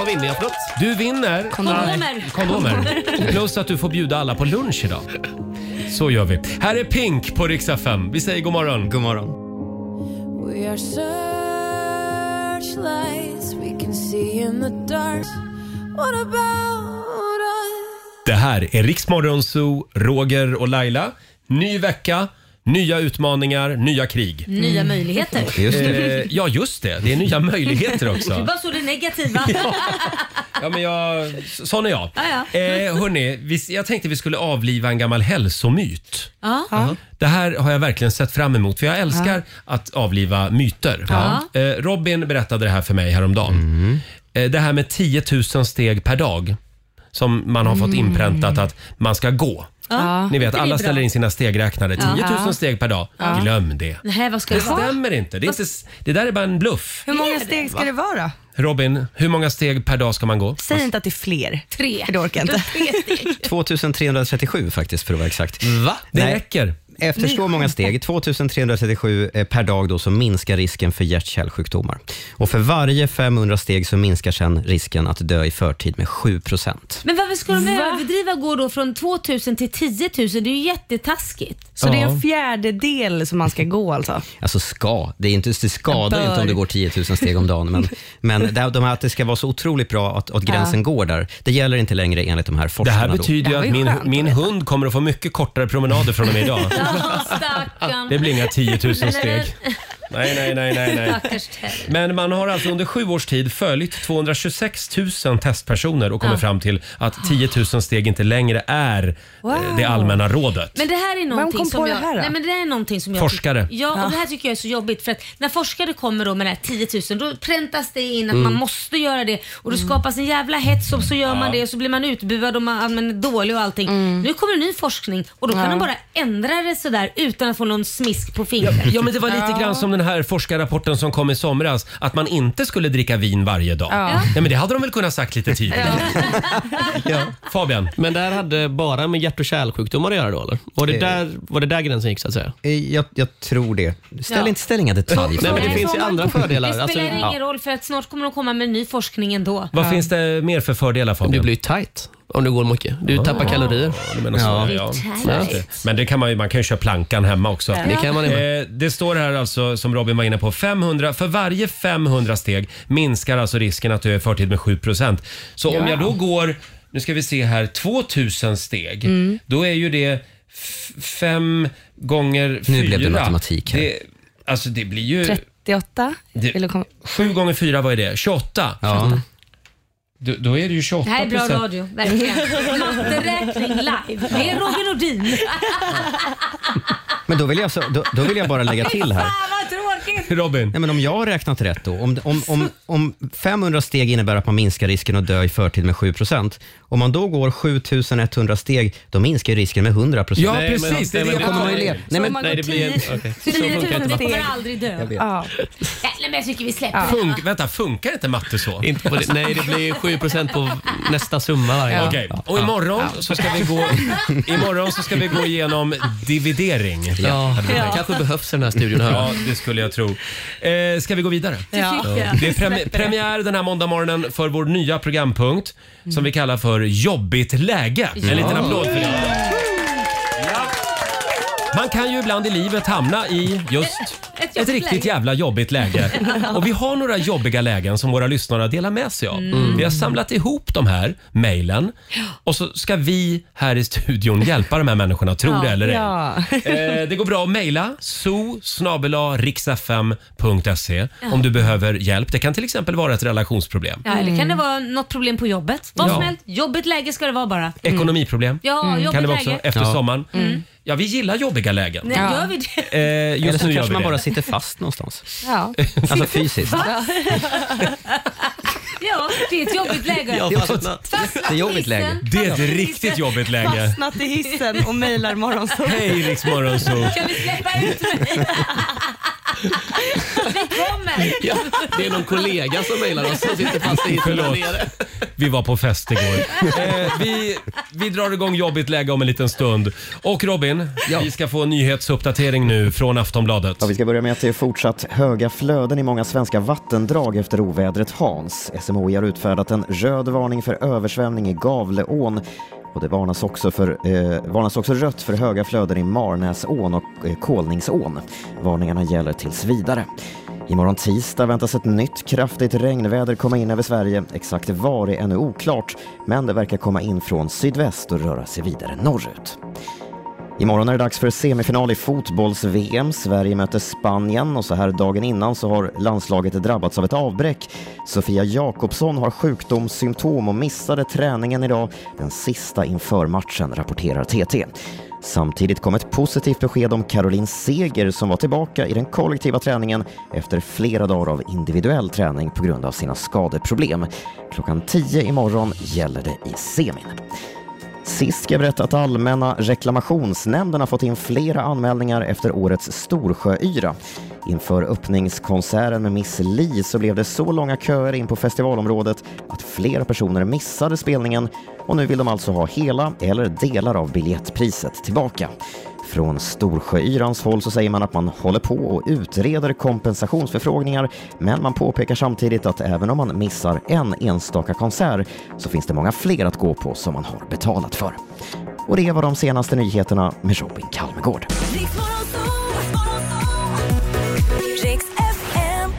Speaker 8: vinner jag för något?
Speaker 1: Du vinner
Speaker 2: Kondomer.
Speaker 1: kondomer. Plus att du får bjuda alla på lunch idag. Så gör vi. Här är Pink på riksdag 5. Vi säger god morgon.
Speaker 3: God morgon.
Speaker 7: We are searchlights we can see in the dark. What about us?
Speaker 1: Det här är Riksmorgon Zoo, Roger och Laila. Ny vecka, nya utmaningar, nya krig.
Speaker 2: Nya möjligheter.
Speaker 3: Just det.
Speaker 1: Eh, ja, just det. Det är nya möjligheter också.
Speaker 2: Bara så det negativa.
Speaker 1: Ja, men jag, sån är jag.
Speaker 2: Ja,
Speaker 1: Eh, hörni, vi, jag tänkte vi skulle avliva en gammal hälsomyt. Mm.
Speaker 2: Ja.
Speaker 1: Det här har jag verkligen sett fram emot för jag älskar att avliva myter.
Speaker 2: Ja.
Speaker 1: Eh, Robin berättade det här för mig häromdagen. Eh, det här med 10 000 steg per dag som man har fått inpräntat att man ska gå.
Speaker 2: Mm. Ja.
Speaker 1: Ni vet,
Speaker 2: Det är
Speaker 1: alla
Speaker 2: bra.
Speaker 1: ställer in sina stegräknare. 10 000 steg per dag. Glöm det.
Speaker 2: Nej, vad ska
Speaker 1: Det
Speaker 2: det vara?
Speaker 1: stämmer inte. Det, är inte. s- det där är bara en bluff.
Speaker 9: Hur många steg ska det vara då?
Speaker 1: Robin, hur många steg per dag ska man gå?
Speaker 9: Säg inte att det är fler.
Speaker 2: Tre.
Speaker 9: För det orkar jag inte.
Speaker 2: Tre steg.
Speaker 3: 2337 faktiskt, för att vara exakt.
Speaker 8: Va?
Speaker 1: Det
Speaker 3: Nej.
Speaker 1: räcker.
Speaker 3: Efter så många steg, 2337 eh, per dag, då, så minskar risken för hjärt-kärlsjukdomar. Och för varje 500 steg så minskar sen risken att dö i förtid med 7 procent.
Speaker 2: Men varför ska de överdriva och gå då från 2000 till 10 000? Det är ju jättetaskigt.
Speaker 9: Så det är en fjärdedel som man ska gå alltså?
Speaker 3: Alltså ska, det, är inte, det skadar ju inte om du går 10 000 steg om dagen, men, men det, här- de här, att det ska vara så otroligt bra att, att gränsen går där, det gäller inte längre enligt de här
Speaker 1: Det
Speaker 3: forskarna.
Speaker 1: här
Speaker 3: då.
Speaker 1: betyder ju
Speaker 9: Det var
Speaker 1: att
Speaker 9: ju
Speaker 1: min,
Speaker 9: skönt att
Speaker 1: min
Speaker 9: veta.
Speaker 1: hund kommer att få mycket kortare promenader från och med idag.
Speaker 2: Ja, stackarn.
Speaker 1: Det blir inga 10 000 steg.
Speaker 2: Nej,
Speaker 1: Nej, nej, nej, nej. nej.
Speaker 2: Stackars Ted.
Speaker 1: Men man har alltså under sju års tid följt 226 000 testpersoner och kommit fram till att 10 000 steg inte längre är eh, det allmänna rådet.
Speaker 2: Men det här är någonting
Speaker 9: kom
Speaker 2: som
Speaker 9: på
Speaker 2: jag,
Speaker 9: det här då? Ah.
Speaker 2: nej, men det här är någonting som jag
Speaker 1: Forskare.
Speaker 2: Tycker, ja, och det här tycker jag är så jobbigt för att när forskare kommer då med det här 10 000 då präntas det in
Speaker 1: Mm.
Speaker 2: att man måste göra det och
Speaker 9: Mm.
Speaker 2: då skapas en jävla hets och så gör man det och så blir man utbuad och man, man är dålig och allting.
Speaker 9: Mm.
Speaker 2: Nu kommer ny forskning och då kan de bara ändra det sådär utan att få någon smisk på fingret.
Speaker 1: Ja, men det var lite grann som den här forskarrapporten som kom i somras, att man inte skulle dricka vin varje dag. Nej, men det hade de väl kunnat sagt lite tidigare. Fabian,
Speaker 8: Men det här hade bara med hjärt och kärlsjukdomar att göra då eller? Var det, där, var det där gränsen gick så att säga?
Speaker 3: Eh, Jag, jag tror det. Ställ,
Speaker 2: Ja.
Speaker 3: inte, ställ inga detaljer.
Speaker 8: Nej, men det
Speaker 2: Nej,
Speaker 8: finns ju
Speaker 2: sommaren
Speaker 8: andra
Speaker 2: kommer.
Speaker 8: fördelar.
Speaker 2: Det
Speaker 8: Alltså,
Speaker 2: spelar ingen
Speaker 8: ja.
Speaker 2: roll för att snart kommer de komma med ny forskning ändå.
Speaker 1: vad finns det mer för fördelar
Speaker 8: Det
Speaker 1: Fabian?
Speaker 8: blir ju tajt. om du går mycket. Du tappar kalorier.
Speaker 1: Du menar så,
Speaker 8: Ja.
Speaker 1: ja.
Speaker 2: Ja.
Speaker 1: Just det. Men det kan man, ju, man kan ju köra plankan hemma också.
Speaker 8: Det kan man inte.
Speaker 1: Eh, det står här alltså, som Robin var inne på, 500, för varje 500 steg minskar alltså risken att du är i förtid med 7 Så om jag då går, nu ska vi se här, 2000 steg, då är ju det f- fem gånger fyra.
Speaker 10: Nu blev det matematik här.
Speaker 1: Det, alltså det blir ju...
Speaker 9: 38?
Speaker 1: Det-
Speaker 9: Vill du komma?
Speaker 1: sju gånger fyra vad är det? 28?
Speaker 10: Ja.
Speaker 1: Då, då är det ju 28
Speaker 2: Det här är bra radio, verkligen. Matteräkning live. Det är Roger Nordin.
Speaker 10: Men då vill, jag så, då, då vill jag bara lägga till här.
Speaker 2: Fan vad tråkigt.
Speaker 1: Robin?
Speaker 10: Nej, men om jag har räknat rätt då, om, om, om, om 500 steg innebär att man minskar risken att dö i förtid med 7 om man då går 7100 steg, då minskar ju risken med 100
Speaker 1: Ja,
Speaker 8: Nej, men-
Speaker 1: precis. Det är
Speaker 8: nej,
Speaker 1: det
Speaker 8: men-
Speaker 1: jag kommer
Speaker 8: nej,
Speaker 1: ihåg.
Speaker 9: Så
Speaker 10: men-
Speaker 9: om man går
Speaker 8: Nej, det blir en...
Speaker 9: 10
Speaker 8: okej. Så
Speaker 2: 10
Speaker 8: funkar inte
Speaker 2: 000
Speaker 8: matte.
Speaker 2: steg. kommer aldrig dö.
Speaker 9: Ja.
Speaker 2: Jävlar, men jag tycker vi släpper det.
Speaker 1: Funk, vänta, funkar inte matte så?
Speaker 8: Inte på det. Nej, det blir 7 på nästa summa varje gång.
Speaker 1: Okej, och imorgon så ska vi gå Imorgon så ska vi gå igenom dividering.
Speaker 8: Ja, det kanske behövs i den här studion. Här.
Speaker 1: Ja, det skulle jag tro. Eh, ska vi gå vidare?
Speaker 2: Ja.
Speaker 1: Det är premi- premiär den här måndagmorgonen för vår nya programpunkt som vi kallar för Jobbigt läge. En liten applåd för det. Ja. Man kan ju ibland i livet hamna i just
Speaker 2: Ett
Speaker 1: ett,
Speaker 2: jobbigt
Speaker 1: riktigt
Speaker 2: läge.
Speaker 1: jävla jobbigt läge. Och vi har några jobbiga lägen som våra lyssnare delar med sig av. Vi har samlat ihop de här mejlen och så ska vi här i studion hjälpa de här människorna, tro det eller ej.
Speaker 9: Ja.
Speaker 1: Eh, det går bra att mejla so riksfm.se om du behöver hjälp. Det kan till exempel vara ett relationsproblem,
Speaker 2: Ja,
Speaker 9: Mm.
Speaker 2: eller kan det vara något problem på jobbet? Vad
Speaker 1: Ja.
Speaker 2: som helst. Jobbigt läge ska det vara bara.
Speaker 1: ekonomiproblem.
Speaker 2: Mm. Ja, Mm. jobbigt
Speaker 1: Kan det vara också
Speaker 2: läge.
Speaker 1: efter
Speaker 10: Ja.
Speaker 1: sommaren. Ja, vi gillar jobbiga lägen.
Speaker 2: Nej,
Speaker 9: Ja.
Speaker 2: gör vi det?
Speaker 1: Eh,
Speaker 10: Eller
Speaker 1: just
Speaker 10: så
Speaker 1: nu gör
Speaker 10: kanske
Speaker 1: vi
Speaker 10: man
Speaker 1: det.
Speaker 10: bara sitter fast någonstans.
Speaker 9: Ja.
Speaker 10: Alltså fysiskt.
Speaker 2: Ja, det är ett jobbigt läge.
Speaker 8: Jag har
Speaker 3: alltså-
Speaker 8: fastnat.
Speaker 10: Det är alltså jobbigt läge.
Speaker 1: Det är ett riktigt jobbigt läge.
Speaker 9: Fastnat i hissen och mejlar morgonsol.
Speaker 1: Hej Rix Morgonzoo!
Speaker 2: Kan vi släppa ut mig? Vi kommer.
Speaker 8: Ja, det är någon kollega som mejlar oss som sitter fast i
Speaker 1: Förlåt.
Speaker 8: nere.
Speaker 1: Vi var på fest igår. Eh, vi, vi drar igång jobbigt läge om en liten stund. Och Robin, vi ska få en nyhetsuppdatering nu från Aftonbladet.
Speaker 3: Ja, vi ska börja med att det är fortsatt höga flöden i många svenska vattendrag efter ovädret Hans. SMHI har utfärdat en röd varning för översvämning i Gavleån och det varnas också, för, eh, varnas också rött för höga flöden i Marnäsån och eh, Kolningsån. Varningarna gäller tills vidare. Imorgon tisdag väntas ett nytt kraftigt regnväder komma in över Sverige. Exakt var är ännu oklart, men det verkar komma in från sydväst och röra sig vidare norrut. Imorgon är det dags för semifinal i fotbolls-VM. Sverige möter Spanien och så här dagen innan så har landslaget drabbats av ett avbräck. Sofia Jakobsson har sjukdomssymptom och missade träningen idag, den sista inför matchen, rapporterar TT. Samtidigt kom ett positivt besked om Caroline Seger som var tillbaka i den kollektiva träningen efter flera dagar av individuell träning på grund av sina skadeproblem. Klockan 10 imorgon gäller det i semin. Sist ska jag berätta att Allmänna reklamationsnämnden har fått in flera anmälningar efter årets Storsjöyra. Inför öppningskonserten med Miss Li så blev det så långa köer in på festivalområdet att flera personer missade spelningen och nu vill de alltså ha hela eller delar av biljettpriset tillbaka. Från Storsjöyrands håll så säger man att man håller på och utreder kompensationsförfrågningar men man påpekar samtidigt att även om man missar en enstaka konsert så finns det många fler att gå på som man har betalat för. Och det var de senaste nyheterna med Robin Kalmegård.
Speaker 7: Riks Morgonzoo, Riks FM.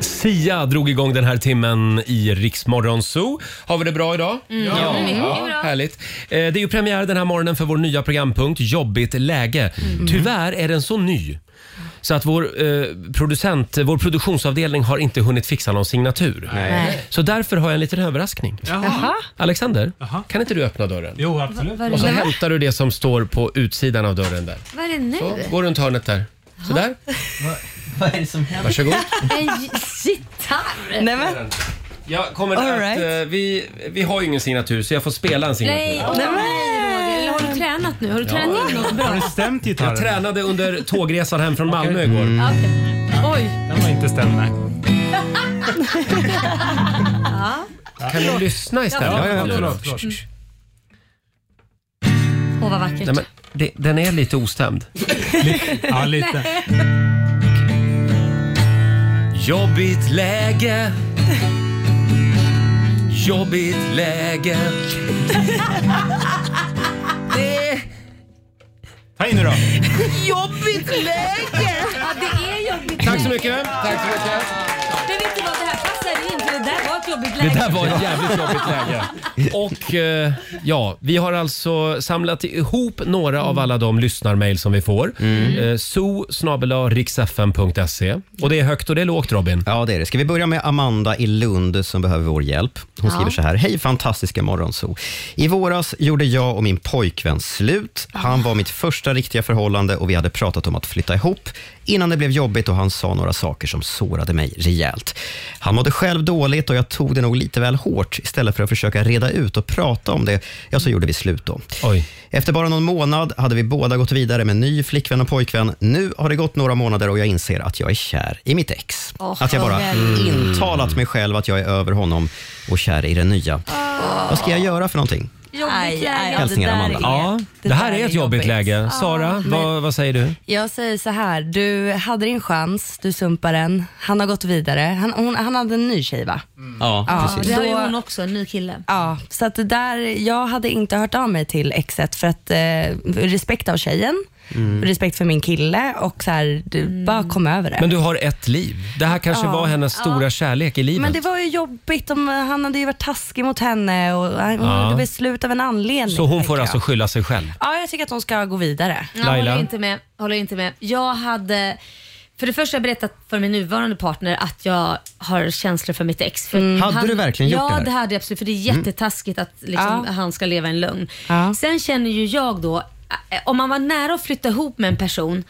Speaker 1: Sia drog igång den här timmen i Riksmorgon Zoo. Har vi det bra idag? Ja,
Speaker 2: bra.
Speaker 1: härligt. Eh, Det är ju premiär den här morgonen för vår nya programpunkt Jobbigt läge. Mm. Tyvärr är den så ny. Så att vår, eh, producent, vår produktionsavdelning har inte hunnit fixa någon signatur.
Speaker 2: Nej.
Speaker 1: Så därför har jag en liten överraskning.
Speaker 9: Jaha.
Speaker 1: Alexander,
Speaker 6: Jaha.
Speaker 1: kan inte du öppna dörren?
Speaker 6: Jo, absolut.
Speaker 2: Vad
Speaker 1: Och så
Speaker 2: är det,
Speaker 1: hämtar du det som står på utsidan av dörren där.
Speaker 2: vad är det nu?
Speaker 1: Så, gå runt hörnet där. Sådär,
Speaker 10: Vad är det som händer?
Speaker 1: varsågod.
Speaker 2: En gitarr?
Speaker 9: Nej men,
Speaker 1: Ja, kommer
Speaker 9: All
Speaker 1: att,
Speaker 9: right.
Speaker 1: eh, vi, vi har ju ingen signatur så jag får spela en signatur.
Speaker 2: Nej, åh, nej Roger. Eller Har du tränat nu? Har du tränat in något
Speaker 6: Har
Speaker 2: bra?
Speaker 6: du stämt
Speaker 1: Jag
Speaker 6: gitarren?
Speaker 1: tränade under tågresan hem från Malmö
Speaker 2: Okej.
Speaker 1: igår.
Speaker 2: Oj,
Speaker 6: Den var inte stämd, nej.
Speaker 1: Kan du lyssna istället?
Speaker 2: Ja,
Speaker 1: ja,
Speaker 6: Förlåt, förlåt.
Speaker 2: Mm. åh vad vackert.
Speaker 1: Nej, men, det, den är lite ostämd.
Speaker 6: Ja, lite.
Speaker 1: Jobbigt läge Jobbigt läge Det... Ta in nu då.
Speaker 2: Jobbigt läge! Ja, det är jobbigt
Speaker 1: Tack så mycket. Tack så mycket.
Speaker 2: Men vet du vad, det här passade inte. Det där var ett jobbigt
Speaker 1: Det
Speaker 2: läge.
Speaker 1: där var ett jävligt jobbigt läge. Och eh, ja, vi har alltså samlat ihop några av alla de lyssnarmail som vi får. Mm. Eh, so Och det är högt och det är lågt, Robin.
Speaker 3: Ja, det är det. Ska vi börja med Amanda i Lund som behöver vår hjälp? Hon
Speaker 11: Ja.
Speaker 3: skriver så här. Hej fantastiska morgonso. I våras gjorde jag och min pojkvän slut. Han var mitt första riktiga förhållande och vi hade pratat om att flytta ihop innan det blev jobbigt och han sa några saker som sårade mig rejält. Han mådde själv dåligt och jag tog det nog lite väl hårt. Istället för att försöka reda ut och prata om det, ja, så gjorde vi slut då. Efter bara någon månad hade vi båda gått vidare med ny flickvän och pojkvän. Nu har det gått några månader och jag inser att jag är kär i mitt ex.
Speaker 11: Åh,
Speaker 3: att jag bara
Speaker 11: vad väl.
Speaker 3: intalat mig själv att jag är över honom och kär i den nya. Vad ska jag göra för någonting?
Speaker 9: Jobbigt läge.
Speaker 3: Hälsningar Amanda.
Speaker 1: Ja, det, här är ett jobbigt läge. Sara, vad, vad säger du?
Speaker 9: Jag säger så här, du hade din chans, du sumpar den, han har gått vidare, han, hon, han hade en ny tjej va?
Speaker 3: Ja,
Speaker 2: det har ju hon också, en ny kille.
Speaker 9: Ja, så att det där, jag hade inte hört av mig till exet för att eh, respekt av tjejen,
Speaker 1: Mm.
Speaker 9: respekt för min kille och så här, du, bara kom över det.
Speaker 1: Men du har ett liv. Det här kanske
Speaker 9: Ja.
Speaker 1: var hennes
Speaker 9: Ja.
Speaker 1: stora kärlek i livet.
Speaker 9: Men det var ju jobbigt, om, eh, han hade ju varit taskig mot henne och han- hon
Speaker 1: Ja.
Speaker 9: ja. blev slut av en anledning.
Speaker 1: Så hon
Speaker 9: tänker
Speaker 1: får
Speaker 9: jag.
Speaker 1: alltså skylla sig själv.
Speaker 9: Ja, jag tycker att hon ska gå vidare.
Speaker 1: Ja, Laila?
Speaker 2: Håller inte med. Håller inte med. Jag hade... För det första har jag berättat för min nuvarande partner att jag har känslor för mitt ex. För
Speaker 3: Mm. Hade du verkligen gjort
Speaker 2: ja,
Speaker 3: det
Speaker 2: Ja,
Speaker 3: Mm. här?
Speaker 2: det hade jag absolut. För det är jättetaskigt att liksom,
Speaker 9: Ja.
Speaker 2: han ska leva en lögn. Sen känner ju jag då, eh, om man var nära att flytta ihop med en person,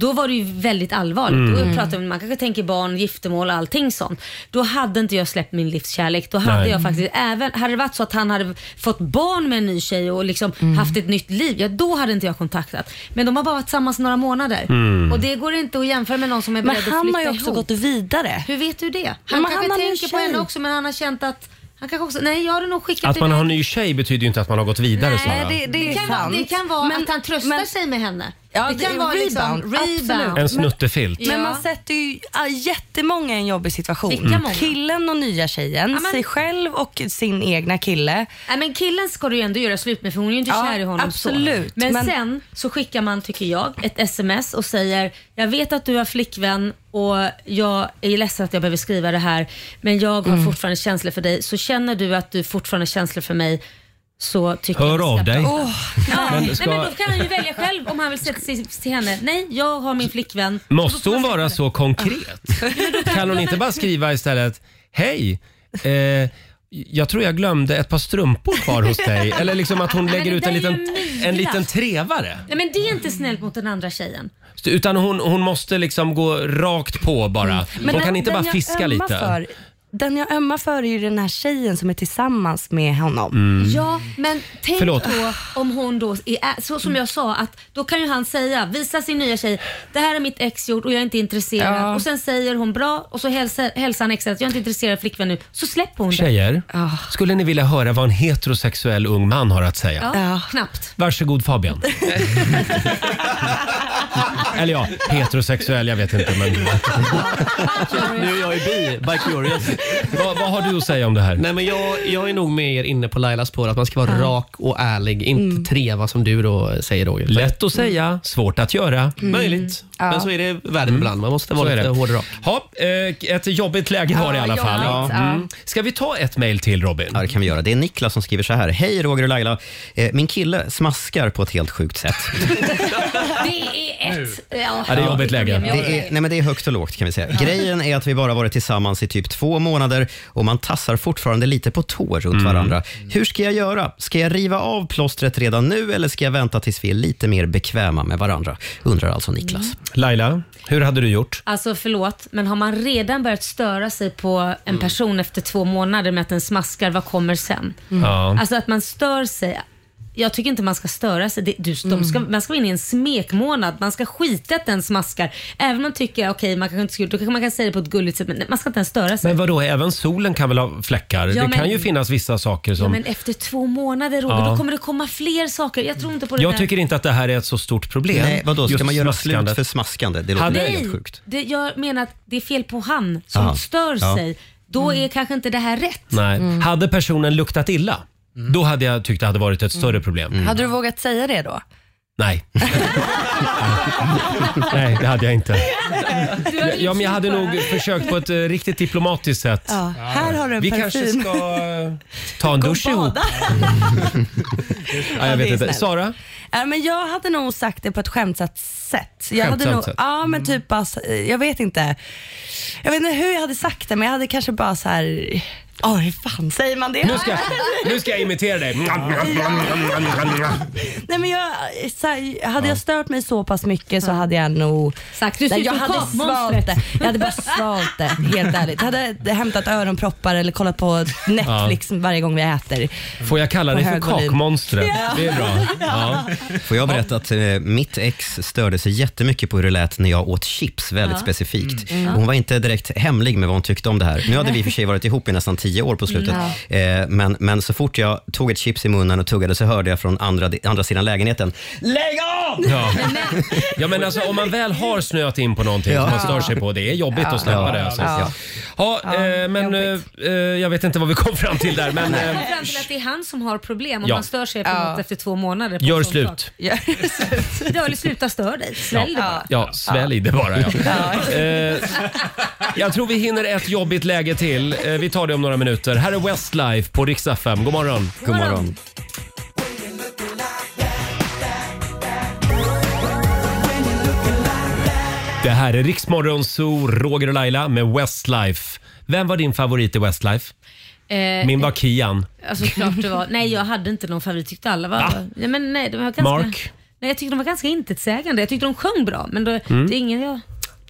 Speaker 2: då var det ju väldigt allvarligt.
Speaker 9: Mm.
Speaker 2: Då
Speaker 9: Mm.
Speaker 2: pratade vi, man kanske tänker barn, giftermål och allting sånt. Då hade inte jag släppt min livskärlek. Då hade
Speaker 9: Nej.
Speaker 2: jag faktiskt, även, hade det varit så att han hade fått barn med en ny tjej och liksom
Speaker 9: Mm.
Speaker 2: haft ett nytt liv, ja då hade inte jag kontaktat. Men de har bara varit tillsammans några månader
Speaker 9: Mm.
Speaker 2: och det går inte att jämföra med någon som är
Speaker 9: Men
Speaker 2: beredd att flytta
Speaker 9: han
Speaker 2: ihop.
Speaker 9: har ju också gått vidare.
Speaker 2: Hur vet du det? Han
Speaker 9: Men
Speaker 2: kanske
Speaker 9: han har en
Speaker 2: tänker på
Speaker 9: tjej.
Speaker 2: henne också men han har känt att han kanske också, nej jag hade nog skickat
Speaker 1: Att man har en
Speaker 2: iväg-
Speaker 1: ny tjej betyder ju inte att man har gått vidare, Sara.
Speaker 2: Nej, det, det, kan vara, det kan vara att han tröstar sig med henne. det kan vara liksom rebound.
Speaker 1: En snuttefilt.
Speaker 9: Men man sätter ju ja, jättemånga i en jobbig situation.
Speaker 2: Vilka många?
Speaker 9: Killen och nya tjejen,
Speaker 2: men-
Speaker 9: sig själv och sin egna kille.
Speaker 2: Nej, men killen ska du ju ändå göra slut med för hon är ju inte
Speaker 9: Ja,
Speaker 2: kär i honom
Speaker 9: absolut,
Speaker 2: så. Men,
Speaker 9: men-
Speaker 2: sen så skickar man, tycker jag, ett sms och säger jag vet att du har flickvän och jag är ledsen att jag behöver skriva det här men jag har
Speaker 9: Mm.
Speaker 2: fortfarande känslor för dig så känner du att du fortfarande har känslor för mig så tycker
Speaker 1: Hör
Speaker 2: jag
Speaker 1: av dig.
Speaker 2: Oh, ja.
Speaker 1: Men
Speaker 2: men,
Speaker 1: ska-
Speaker 2: Nej, men då kan han ju välja själv om han vill sätta sig till henne. Nej, jag har min flickvän.
Speaker 1: Måste hon vara så konkret? Kan hon inte bara skriva istället Hej, eh, jag tror jag glömde ett par strumpor kvar hos dig. Eller liksom att hon
Speaker 2: Men
Speaker 1: lägger
Speaker 2: det
Speaker 1: ut
Speaker 2: där
Speaker 1: en
Speaker 2: är ju
Speaker 1: liten,
Speaker 2: mygla.
Speaker 1: en liten trevare.
Speaker 2: Nej, men det är inte snällt mot den andra tjejen.
Speaker 1: Utan hon, hon måste liksom gå rakt på
Speaker 2: Mm.
Speaker 1: bara.
Speaker 9: Men
Speaker 1: hon
Speaker 9: den-
Speaker 1: kan inte
Speaker 9: den
Speaker 1: bara
Speaker 9: jag
Speaker 1: fiska
Speaker 9: ömmar
Speaker 1: lite.
Speaker 9: För, den jag ömmar för är ju den här tjejen som är tillsammans med honom.
Speaker 1: Mm.
Speaker 2: Ja, men tänk
Speaker 9: Förlåt.
Speaker 2: då om hon då, är, så som jag sa, att då kan ju han säga, visa sin nya tjej, det här har mitt ex gjort och jag är inte intresserad.
Speaker 9: Ja.
Speaker 2: Och sen säger hon bra och så hälsar, hälsar han exet att jag är inte intresserad av flickvän nu. Så släpper hon
Speaker 1: Tjejer,
Speaker 2: Ah.
Speaker 1: skulle ni vilja höra vad en heterosexuell ung man har att
Speaker 2: det.
Speaker 1: säga?
Speaker 2: Ja, knappt.
Speaker 1: Varsågod Fabian. Eller ja, heterosexuell, jag vet inte. Men...
Speaker 8: Nu är jag i bi, by curious.
Speaker 1: vad, vad har du att säga om det här?
Speaker 8: Nej, men jag, jag är nog med er inne på Lailas spår, att man ska vara rak och ärlig, inte treva som du då säger Roger.
Speaker 1: Lätt att säga, svårt att göra.
Speaker 8: Mm. Möjligt.
Speaker 1: Ja.
Speaker 8: Men så är det världen ibland. Man måste vara
Speaker 1: Så är
Speaker 8: lite
Speaker 1: det.
Speaker 8: hård och rak.
Speaker 1: Ja, eh, ett jobbigt läge var det i alla fall.
Speaker 3: jobbigt, ja.
Speaker 1: Mm. Ska vi ta ett mejl till Robin?
Speaker 3: Ja, det kan vi göra. Det är Niklas som skriver så här. Hej Roger och Laila. Eh, Min kille smaskar på ett helt sjukt sätt.
Speaker 2: Det är ett... Ja,
Speaker 3: Det är, nej, men det är högt och lågt kan vi säga. Grejen är att vi bara varit tillsammans i typ två månader och man tassar fortfarande lite på tå runt
Speaker 1: Mm.
Speaker 3: varandra. Hur ska jag göra? Ska jag riva av plåstret redan nu eller ska jag vänta tills vi är lite mer bekväma med varandra? Undrar alltså Niklas.
Speaker 1: Mm. Laila, hur hade du gjort?
Speaker 2: Alltså förlåt, men har man redan börjat störa sig på en
Speaker 1: Mm.
Speaker 2: person efter två månader med att den smaskar, vad kommer sen?
Speaker 1: Ja.
Speaker 2: Alltså att man stör sig. jag tycker inte man ska störa sig. Det- Du,
Speaker 1: Mm.
Speaker 2: de ska, Man ska vara inne i en smekmånad. Man ska skita att den smaskar. Även om man tycker, okej, man kanske inte skulle, då kanske man kan säga det på ett gulligt sätt, men man ska inte ens störa sig.
Speaker 1: Men vadå, även solen kan väl ha fläckar?
Speaker 2: Ja,
Speaker 1: det
Speaker 2: men-
Speaker 1: kan ju finnas vissa saker
Speaker 2: Ja,
Speaker 1: som...
Speaker 2: men efter två månader Roger,
Speaker 1: Ja.
Speaker 2: då kommer det komma fler saker. Jag tror inte på det
Speaker 1: jag
Speaker 2: där.
Speaker 1: tycker inte att det här är ett så stort problem.
Speaker 3: Nej, vadå, ska
Speaker 1: Just
Speaker 3: man göra
Speaker 1: smaskandet.
Speaker 3: slut för smaskande? Det
Speaker 1: Hade-
Speaker 3: låter
Speaker 1: Nej.
Speaker 3: helt sjukt.
Speaker 2: Det, jag menar att det är fel på han som
Speaker 1: Aha.
Speaker 2: stör
Speaker 1: Ja. Mm.
Speaker 2: sig. Då är kanske inte det här rätt.
Speaker 1: Nej.
Speaker 9: Mm.
Speaker 1: Hade personen luktat illa,
Speaker 3: Mm.
Speaker 1: då hade jag tyckt det hade varit ett större problem.
Speaker 9: Hade du vågat säga det då?
Speaker 1: Nej. Nej, det hade jag inte. Ja, men jag hade nog försökt på ett eh, riktigt diplomatiskt sätt.
Speaker 9: Ja, här har du en
Speaker 1: Vi
Speaker 9: parfym.
Speaker 1: kanske ska ta en
Speaker 9: Gå och
Speaker 1: dusch ihop.
Speaker 9: bada.
Speaker 1: Ja, jag
Speaker 9: det
Speaker 1: vet
Speaker 9: är
Speaker 1: inte.
Speaker 9: snällt.
Speaker 1: Sara?
Speaker 9: Ja, Äh, men jag hade nog sagt det på ett skämtsamt sätt. Jag hade
Speaker 1: Skämtsamt
Speaker 9: nog,
Speaker 1: sätt? Mm.
Speaker 9: Ja, men typ bara, så- jag vet inte. Jag vet inte hur jag hade sagt det, men jag hade kanske bara så här. Ja, hur fan säger man det?
Speaker 1: Nu ska, nu ska jag imitera dig.
Speaker 9: Nej, men jag, så här, hade jag stört mig så pass mycket så hade jag nog...
Speaker 2: Sagt, du ser
Speaker 9: Nej,
Speaker 2: ut
Speaker 9: jag
Speaker 2: som
Speaker 9: hade
Speaker 2: kakmonstret.
Speaker 9: svalt det. Jag hade bara svalt det, helt ärligt. Jag hade hämtat öronproppar eller kollat på Netflix varje gång vi äter.
Speaker 1: Får jag kalla
Speaker 9: På
Speaker 1: dig för
Speaker 9: hög volym.
Speaker 1: kakmonstret?
Speaker 9: Ja.
Speaker 1: Det är bra. Ja.
Speaker 3: Får jag berätta att eh, mitt ex störde sig jättemycket på hur det lät när jag åt chips väldigt
Speaker 2: Ja.
Speaker 3: specifikt.
Speaker 2: Mm. Ja.
Speaker 3: Och Hon var inte direkt hemlig med vad hon tyckte om det här. Nu hade vi i och för sig varit ihop i nästan tio år på slutet.
Speaker 2: Mm,
Speaker 3: Eh, men, men så fort jag tog ett chips i munnen och tuggade så hörde jag från andra, andra sidan lägenheten. Lägg av!
Speaker 1: Ja. ja, men alltså om man väl har snöat in på någonting som
Speaker 3: Ja.
Speaker 1: man stör sig på, det är jobbigt att släppa
Speaker 3: Ja.
Speaker 1: det. Alltså. Ja,
Speaker 3: Ja.
Speaker 1: eh, men eh, eh, jag vet inte vad vi kom fram till där, men
Speaker 2: Jag
Speaker 1: eh,
Speaker 2: kommer fram till att det är han som har problem om
Speaker 1: Ja.
Speaker 2: man stör sig på
Speaker 9: Ja.
Speaker 2: något efter två månader. På
Speaker 1: Gör
Speaker 2: en sån
Speaker 1: slut.
Speaker 2: sak. Ja, eller sluta störa dig. Svälj det bara.
Speaker 1: ja, svälj det bara. Ja. Eh, jag tror vi hinner ett jobbigt läge till. Eh, vi tar det om några minuter. Här är Westlife på Rix FM. God morgon.
Speaker 3: God morgon.
Speaker 1: Det här är Riksmorgon Zoo, Roger och Laila med Westlife. Vem var din favorit i Westlife?
Speaker 2: Eh,
Speaker 1: Min var Kian.
Speaker 2: Alltså klart det var. Nej jag hade inte någon favorit. Tyckte alla var...
Speaker 1: Va?
Speaker 2: Ja, men nej, de var ganska...
Speaker 1: Mark?
Speaker 2: Nej jag tyckte de var ganska intetsägande. Jag tyckte de sjöng bra men då,
Speaker 1: Mm.
Speaker 2: det är ingen jag...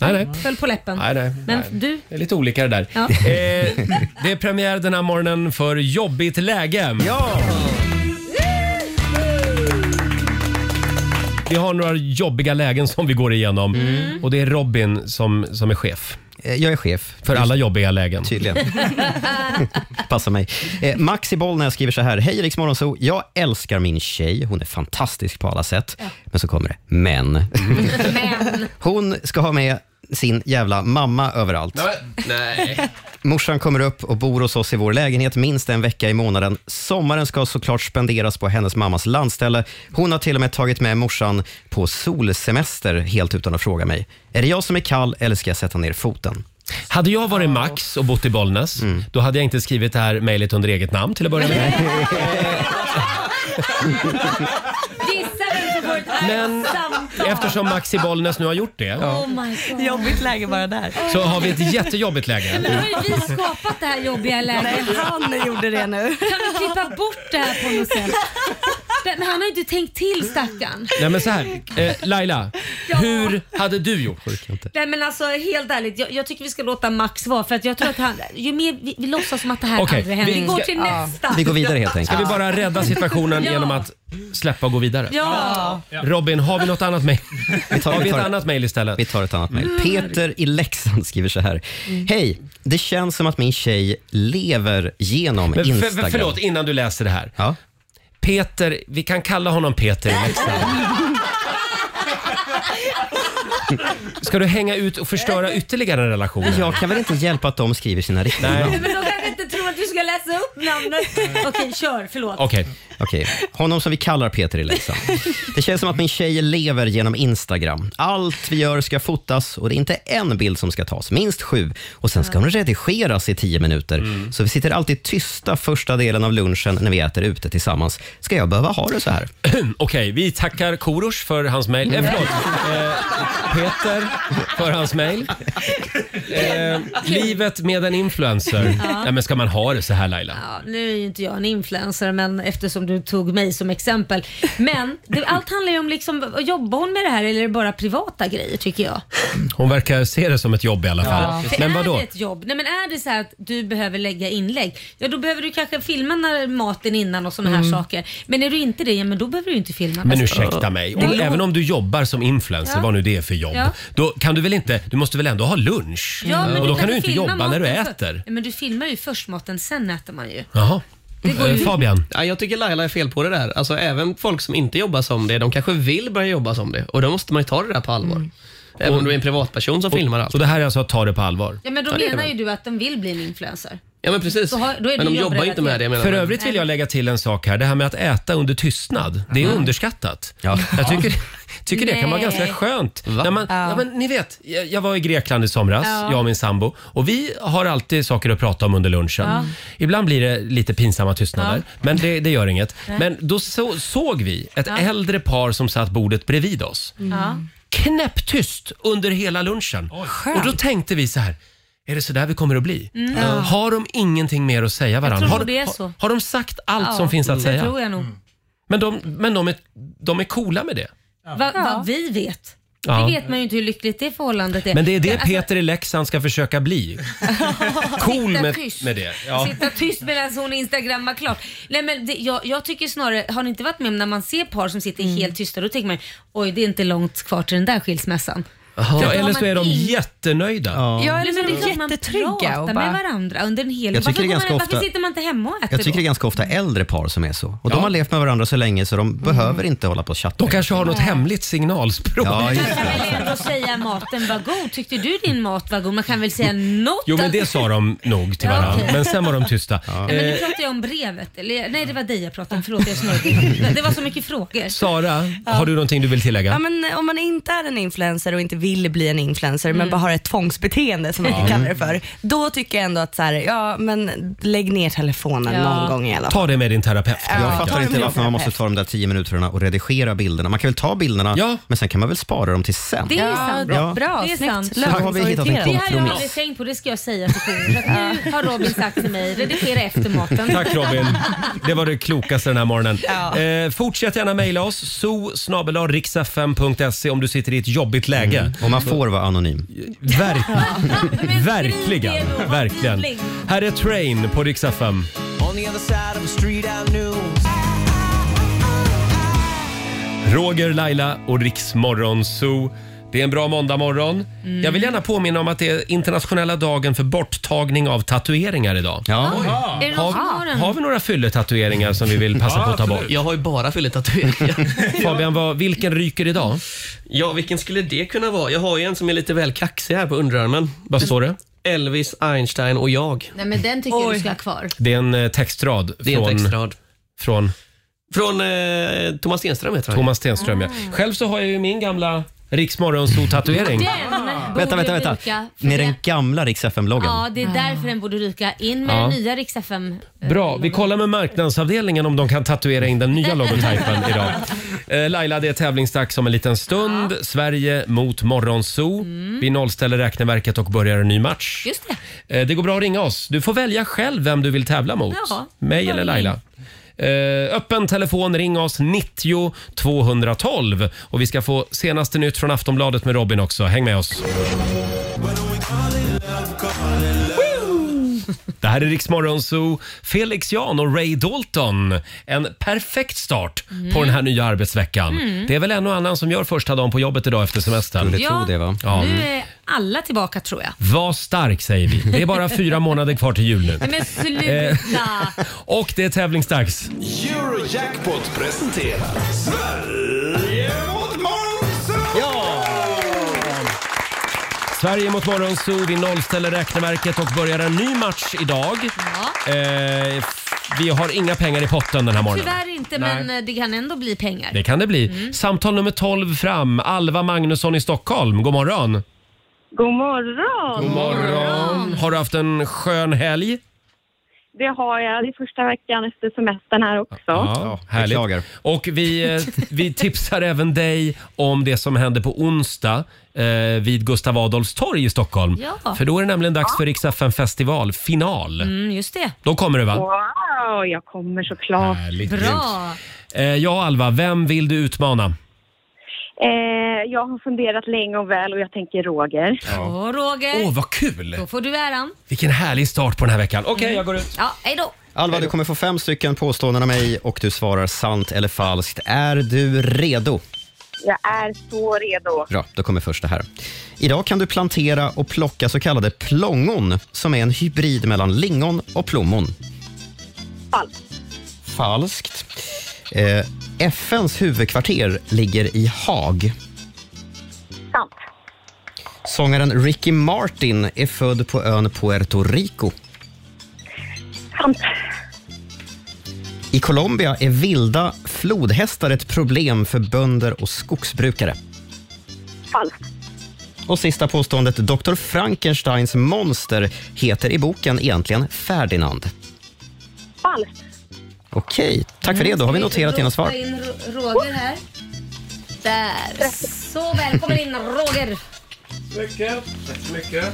Speaker 1: Nej, nej.
Speaker 2: Föll på läppen.
Speaker 1: Nej, nej,
Speaker 2: men
Speaker 1: nej.
Speaker 2: du?
Speaker 1: Det är lite olika det där.
Speaker 2: Ja.
Speaker 1: Eh, det är premiär den här morgonen för Jobbigt läge. Ja! Vi har några jobbiga lägen som vi går igenom och det är Robin som, som är chef.
Speaker 3: eh, Jag är chef.
Speaker 1: För alla jobbiga lägen.
Speaker 3: Tydligen. Passa mig. Eh, Max i Bollnäs skriver så här. Hej Rix Morgonzoo. Jag älskar min tjej. Hon är fantastisk på alla sätt. Men så kommer det. Men. Hon ska ha med sin jävla mamma överallt.
Speaker 1: Nej.
Speaker 3: Morsan kommer upp och bor hos oss i vår lägenhet minst en vecka i månaden. Sommaren ska såklart spenderas på hennes mammas landställe. Hon har till och med tagit med morsan på solsemester helt utan att fråga mig. Är det jag som är kall eller ska jag sätta ner foten?
Speaker 1: Hade jag varit Max och bott i Bollnäs, då hade jag inte skrivit det här mejlet under eget namn till att börja med.
Speaker 2: Gissa vem som får ett
Speaker 1: Men
Speaker 2: samtal.
Speaker 1: eftersom Max i Bollnäs nu har gjort det,
Speaker 2: Oh my god.
Speaker 9: Jobbigt läge bara där.
Speaker 1: så har vi ett jättejobbigt
Speaker 2: Men
Speaker 1: läge.
Speaker 2: då har ju vi skapat det här jobbiga läget.
Speaker 9: Nej, han gjorde det nu.
Speaker 2: Kan vi klippa bort det här på något sätt? Den, han har ju inte tänkt till stackarn.
Speaker 1: Nej, men så här. Eh, Laila, hur hade du gjort?
Speaker 2: Nej men alltså helt ärligt, jag, jag tycker vi ska låta Max vara för att jag tror att han, ju mer vi, vi låtsas som att det här
Speaker 1: Okej,
Speaker 2: aldrig händer.
Speaker 1: vi
Speaker 2: Vi går
Speaker 1: ska-
Speaker 2: till
Speaker 9: ja.
Speaker 2: nästa.
Speaker 3: Vi går vidare helt enkelt.
Speaker 1: Ska vi bara rädda situationen
Speaker 2: Ja.
Speaker 1: genom att släppa och gå vidare?
Speaker 2: Ja.
Speaker 1: Robin, har vi något annat mejl?
Speaker 3: Vi tar-
Speaker 1: Har vi
Speaker 3: vi
Speaker 1: ett
Speaker 3: tar-
Speaker 1: annat mejl istället?
Speaker 3: Vi tar ett annat mejl. Peter i Leksand skriver så här. Hej, det känns som att min tjej lever genom
Speaker 1: Men för, för,
Speaker 3: Instagram.
Speaker 1: förlåt, innan du läser det här.
Speaker 3: Ja.
Speaker 1: Peter, vi kan kalla honom Peter i Leksand. Ska du hänga ut och förstöra ytterligare en relation? här?
Speaker 3: Jag kan väl inte hjälpa att de skriver sina riktiga
Speaker 1: Nej.
Speaker 3: namn?
Speaker 2: Men de kanske inte tror att vi ska läsa upp namnet. Okej, kör. Förlåt.
Speaker 1: Okej.
Speaker 3: Okej, honom som vi kallar Peter i Leksand. Det känns som att min tjej lever genom Instagram. Allt vi gör ska fotas och det är inte en bild som ska tas, minst sju. Och sen ska hon redigeras i tio minuter. Så vi sitter alltid tysta första delen av lunchen när vi äter ute tillsammans. Ska jag behöva ha det så här?
Speaker 1: Okej, vi tackar Korosh för hans mejl. Eh, förlåt. Eh, Peter för hans mejl. Eh, livet med en influencer.
Speaker 2: Ja.
Speaker 1: Nej, men ska man ha det så här Laila?
Speaker 2: Ja, nu är ju inte jag en influencer men eftersom du tog mig som exempel. Men det, allt handlar ju om liksom, jobbar hon med det här eller är det bara privata grejer tycker jag?
Speaker 1: Hon verkar se det som ett jobb i alla fall.
Speaker 2: För
Speaker 1: Men
Speaker 2: är
Speaker 1: vadå?
Speaker 2: det ett jobb? Nej men är det så här att du behöver lägga inlägg, ja då behöver du kanske filma när maten innan och sådana
Speaker 1: Mm.
Speaker 2: här saker. Men är du inte det, ja men då behöver du inte filma.
Speaker 1: Men ursäkta mig,
Speaker 2: Alltså, Det
Speaker 1: om,
Speaker 2: lå-
Speaker 1: även om du jobbar som influencer,
Speaker 2: Ja.
Speaker 1: vad nu det är för jobb,
Speaker 2: Ja.
Speaker 1: då kan du väl inte, du måste väl ändå ha lunch?
Speaker 2: Ja, men
Speaker 1: Mm. och då
Speaker 2: du
Speaker 1: kan du ju inte
Speaker 2: filma
Speaker 1: jobba när du
Speaker 2: maten
Speaker 1: äter.
Speaker 2: För, men du filmar ju först maten, sen äter man ju.
Speaker 1: Jaha.
Speaker 2: Det går ju-
Speaker 1: Eh, Fabian?
Speaker 8: Ja, jag tycker Laila är fel på det där. Alltså, även folk som inte jobbar som det, de kanske vill börja jobba som det. Och då måste man ju ta det där på allvar. Även om du är en privatperson som filmar allt. Så
Speaker 1: det här är alltså att ta det på allvar?
Speaker 2: Ja men då
Speaker 8: det är
Speaker 2: menar
Speaker 8: det.
Speaker 2: ju du att de vill bli en influencer.
Speaker 8: Ja men precis.
Speaker 2: Så har- då är
Speaker 8: men
Speaker 2: det
Speaker 8: de jobbar ju inte med det. menar
Speaker 1: För
Speaker 8: jag.
Speaker 1: övrigt vill jag lägga till en sak här. Det här med att äta under tystnad, det är
Speaker 8: Mm.
Speaker 1: underskattat. Jag tycker, tycker det kan vara
Speaker 8: Nej.
Speaker 1: ganska skönt.
Speaker 8: Va?
Speaker 1: När man, ja.
Speaker 8: Ja.
Speaker 1: men, ni vet, jag, jag var i Grekland i somras,
Speaker 8: Ja.
Speaker 1: jag och min sambo. Och vi har alltid saker att prata om under lunchen.
Speaker 8: Ja.
Speaker 1: Ibland blir det lite pinsamma tystnader,
Speaker 8: Ja.
Speaker 1: men det, det gör inget.
Speaker 8: Nej.
Speaker 1: Men då så, såg vi ett
Speaker 8: Ja. Mm.
Speaker 1: äldre par som satt bordet bredvid oss.
Speaker 2: Ja.
Speaker 1: Knäpptyst under hela lunchen. Och då tänkte vi så här, är det så där vi kommer att bli?
Speaker 2: Mm.
Speaker 1: Eh,
Speaker 2: Ja.
Speaker 1: Har de ingenting mer att säga varandra?
Speaker 2: tror
Speaker 1: Har,
Speaker 2: nog det är
Speaker 1: har-
Speaker 2: så.
Speaker 1: har de sagt allt
Speaker 2: Ja,
Speaker 1: som finns att
Speaker 2: Det
Speaker 1: säga?
Speaker 2: tror jag nog.
Speaker 3: Mm.
Speaker 1: Men, de, men de, är, de är coola med det.
Speaker 2: Vad vad vi vet.
Speaker 1: Ja.
Speaker 2: Det vet man ju inte hur lyckligt det förhållandet är.
Speaker 1: Men det är det
Speaker 2: Alltså,
Speaker 1: Peter i Leksand ska försöka bli. Cool
Speaker 2: Sitta
Speaker 1: med,
Speaker 2: tyst.
Speaker 1: med det. Ja.
Speaker 2: Sitta tyst medan hon instagrammar klart. Nej, men det, jag, jag tycker snarare, har ni inte varit med om när man ser par som sitter
Speaker 1: Mm.
Speaker 2: helt tysta, då tänker man oj det är inte långt kvar till den där skilsmässan. För
Speaker 1: Ja,
Speaker 2: då har
Speaker 1: eller så
Speaker 2: man
Speaker 1: är de
Speaker 2: in-
Speaker 1: jättenöjda.
Speaker 2: Ja, eller
Speaker 9: eller
Speaker 2: men det
Speaker 9: så
Speaker 2: är klart man
Speaker 9: jättetrygga och
Speaker 2: pratar
Speaker 3: bara-
Speaker 2: med varandra under en hel
Speaker 3: Jag tycker
Speaker 2: varför,
Speaker 3: det är
Speaker 2: går
Speaker 3: ganska
Speaker 2: man, varför
Speaker 3: ofta-
Speaker 2: sitter man inte hemma och äter
Speaker 3: Jag tycker det är
Speaker 2: då?
Speaker 3: ganska ofta äldre par som är så. Och De har levt med varandra så länge så de
Speaker 2: Mm.
Speaker 3: behöver inte hålla på och chatta. De
Speaker 1: kanske har något hemligt signalspråk.
Speaker 3: Ja, just
Speaker 2: Man kan väl ändå säga maten var god. Tyckte du din mat var god? Man kan väl säga något?
Speaker 1: Jo, men
Speaker 2: att-
Speaker 1: det sa de nog till
Speaker 2: Ja,
Speaker 1: varandra.
Speaker 2: okej.
Speaker 1: Men sen var de tysta.
Speaker 2: Ja, men nu
Speaker 1: Eh,
Speaker 2: pratar jag om brevet. Eller, nej, det var dig jag pratade om. Förlåt, jag snurrade. Det var så mycket frågor.
Speaker 1: Sara,
Speaker 9: Ja.
Speaker 1: har du någonting du vill tillägga?
Speaker 9: Ja, men eh, om man inte är en influencer och inte vill bli en influencer men
Speaker 2: Mm.
Speaker 9: bara har ett tvångsbeteende som man
Speaker 1: Ja.
Speaker 9: kan kalla det för. Då tycker jag ändå att så här, ja men lägg ner telefonen någon gång i alla fall.
Speaker 1: Ta det med din terapeut.
Speaker 9: Ja,
Speaker 3: Jag
Speaker 9: ta
Speaker 3: fattar
Speaker 9: det
Speaker 3: inte
Speaker 9: med
Speaker 3: varför man måste
Speaker 9: terapeut.
Speaker 3: ta de där tio minuterna och redigera bilderna. Man kan väl ta bilderna, men sen kan man väl spara dem till sen.
Speaker 2: Det är sant.
Speaker 3: Ja.
Speaker 2: det är
Speaker 9: snyggt.
Speaker 2: sant.
Speaker 3: Så då har vi hittat en
Speaker 2: Det har jag
Speaker 3: kompromiss.
Speaker 2: aldrig tänkt på, det ska jag säga till Kurt. Att Nu har Robin sagt till mig, redigera efter maten.
Speaker 1: Tack Robin. Det var det klokaste den här morgonen.
Speaker 2: Ja.
Speaker 1: Eh, fortsätt gärna mejla oss. so riksfm.se om du sitter i ett jobbigt läge.
Speaker 3: Och man får vara anonym.
Speaker 1: Verk verkligen. verkligen. Här är Train på Rix FM.
Speaker 4: On the other side of the street I knew
Speaker 1: Roger, Laila och Rix Morgon Zoo. Det är en bra måndagmorgon.
Speaker 4: Mm.
Speaker 1: Jag vill gärna påminna om att det är internationella dagen för borttagning av tatueringar idag.
Speaker 3: Ja.
Speaker 2: Är det någon som har en?
Speaker 1: Har vi några fylletatueringar som vi vill passa
Speaker 8: Ja,
Speaker 1: på att ta
Speaker 8: absolut.
Speaker 1: bort?
Speaker 8: Jag har ju bara fylletatueringar.
Speaker 1: Fabian, vad, vilken ryker idag?
Speaker 8: Ja, vilken skulle det kunna vara? Jag har ju en som är lite väl kaxig här på underarmen.
Speaker 1: Vad står det?
Speaker 8: Elvis, Einstein och jag.
Speaker 2: Nej, men den tycker jag du ska ha kvar.
Speaker 1: Det är en eh, textrad.
Speaker 8: Det är en
Speaker 1: från,
Speaker 8: textrad.
Speaker 1: Från
Speaker 8: Från eh, Thomas Stenström heter han.
Speaker 1: Thomas Stenström. Ja. Själv så har jag ju min gamla Rix Morgonzoo-tatuering.
Speaker 2: Den
Speaker 3: Vänta,
Speaker 2: borde
Speaker 3: vänta, vänta.
Speaker 2: ryka, för
Speaker 3: Med
Speaker 2: det-
Speaker 3: den gamla Rix FM-loggen.
Speaker 2: Ja, det är därför den borde ryka. In med
Speaker 1: Ja.
Speaker 2: den nya eh, riks FM.
Speaker 1: Bra, vi kollar med marknadsavdelningen om de kan tatuera in den nya logotypen idag. Eh, Laila, det är tävlingsdags om en liten stund. Sverige mot Morgonzoo. Vi nollställer räkneverket och börjar en ny match.
Speaker 2: Just
Speaker 1: Eh, det. det går bra att ringa oss. Du får välja själv vem du vill tävla mot.
Speaker 2: Ja,
Speaker 1: Mig
Speaker 2: bara
Speaker 1: eller
Speaker 2: ring.
Speaker 1: Laila. Eh, öppen telefon, ring oss 90 212. Och vi ska få senaste nytt från Aftonbladet med Robin också. Häng med oss. Det här är Riksmorgon Zoo. Felix Jan och Ray Dalton. En perfekt start på den här nya arbetsveckan.
Speaker 2: Mm.
Speaker 1: Det är väl en och annan som gör första dagen på jobbet idag efter semestern.
Speaker 2: Skulle tro Ja. det,
Speaker 1: va? Ja.
Speaker 2: Nu är alla tillbaka tror jag.
Speaker 1: Var stark säger vi. Det är bara fyra månader kvar till jul nu.
Speaker 2: Nej, men
Speaker 1: Eh,
Speaker 2: sluta!
Speaker 1: och det är tävlingsdags.
Speaker 4: Eurojackpot presenterar Sverige mot Monzo! Ja!
Speaker 1: Sverige mot Morgonzoo. Vi nollställer räkneverket och börjar en ny match idag. Eh, f- vi har inga pengar i potten den här morgonen.
Speaker 2: Tyvärr inte,
Speaker 1: Nej.
Speaker 2: men eh, det kan ändå bli pengar.
Speaker 1: Det kan det bli. Samtal nummer 12 fram. Alva Magnusson i Stockholm. God morgon.
Speaker 12: God morgon!
Speaker 1: God morgon. Har du haft en skön helg?
Speaker 12: det har jag. Det är första veckan efter semestern här också.
Speaker 1: Ja, härligt. Och vi, eh, vi tipsar även dig om det som händer på onsdag eh, vid Gustav Adolfs torg i Stockholm.
Speaker 2: Ja.
Speaker 1: För då är det nämligen dags för Rix FM festival, final.
Speaker 2: Mm, just det.
Speaker 1: Då kommer du va?
Speaker 12: Wow, jag kommer såklart.
Speaker 1: Härligt.
Speaker 2: Bra.
Speaker 1: Eh, ja, Alva, vem vill du utmana?
Speaker 12: Eh, jag har funderat länge och väl och jag tänker Roger.
Speaker 2: Och Roger.
Speaker 1: Åh, vad kul!
Speaker 2: Då får du äran.
Speaker 1: Vilken härlig start på den här veckan. Okej,
Speaker 2: Mm.
Speaker 1: jag går ut.
Speaker 2: Ja, hej då.
Speaker 3: Alva, du kommer få fem stycken påståenden av mig och du svarar sant eller falskt. Är du redo?
Speaker 12: Jag är så redo.
Speaker 3: Bra, då kommer första här. Idag kan du plantera och plocka så kallade plongon som är en hybrid mellan lingon och plommon.
Speaker 12: Falskt.
Speaker 3: Falskt. Eh, FNs huvudkvarter ligger i Haag.
Speaker 12: Sant.
Speaker 3: Sångaren Ricky Martin är född på ön Puerto Rico.
Speaker 12: Sant.
Speaker 3: I Colombia är vilda flodhästar ett problem för bönder och skogsbrukare.
Speaker 12: Falskt.
Speaker 3: Och sista påståendet, Dr. Frankensteins monster heter i boken egentligen Ferdinand.
Speaker 12: Falskt.
Speaker 3: Okej, tack för det. Då har vi noterat dina svar.
Speaker 2: Ropa in Ro- Roger här. Där. Så välkommen in Roger.
Speaker 1: Mycket. Tack så mycket.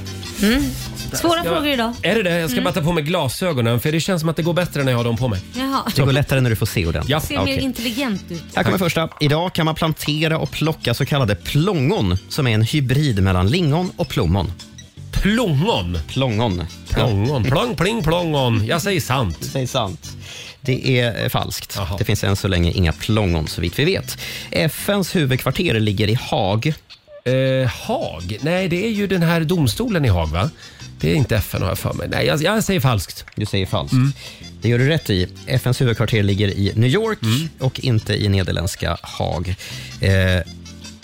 Speaker 2: Svåra frågor idag.
Speaker 1: Är det det? Jag ska
Speaker 2: Mm.
Speaker 1: bara ta på mig glasögonen för det känns som att det går bättre när jag har dem på mig.
Speaker 2: Jaha.
Speaker 3: Det går lättare när du får se ordentligt.
Speaker 1: Ja.
Speaker 2: Ser mer intelligent ut.
Speaker 3: Här kommer första. Idag kan man plantera och plocka så kallade plongon som är en hybrid mellan lingon och plommon.
Speaker 1: Plongon?
Speaker 3: Plongon.
Speaker 1: Plongon. Plong, pling, plongon. Jag säger sant. Du
Speaker 3: säger sant. Det är eh, falskt. Det finns än så länge inga plongon så vitt vi vet. FNs huvudkvarter ligger i Haag.
Speaker 1: Eh, Haag? Nej, det är ju den här domstolen i Haag, va? Det är inte FN har jag för mig. Nej, jag, jag säger falskt.
Speaker 3: Du säger falskt.
Speaker 1: Mm.
Speaker 3: Det gör du rätt i. FNs huvudkvarter ligger i New York
Speaker 1: Mm.
Speaker 3: och inte i nederländska Haag. Eh,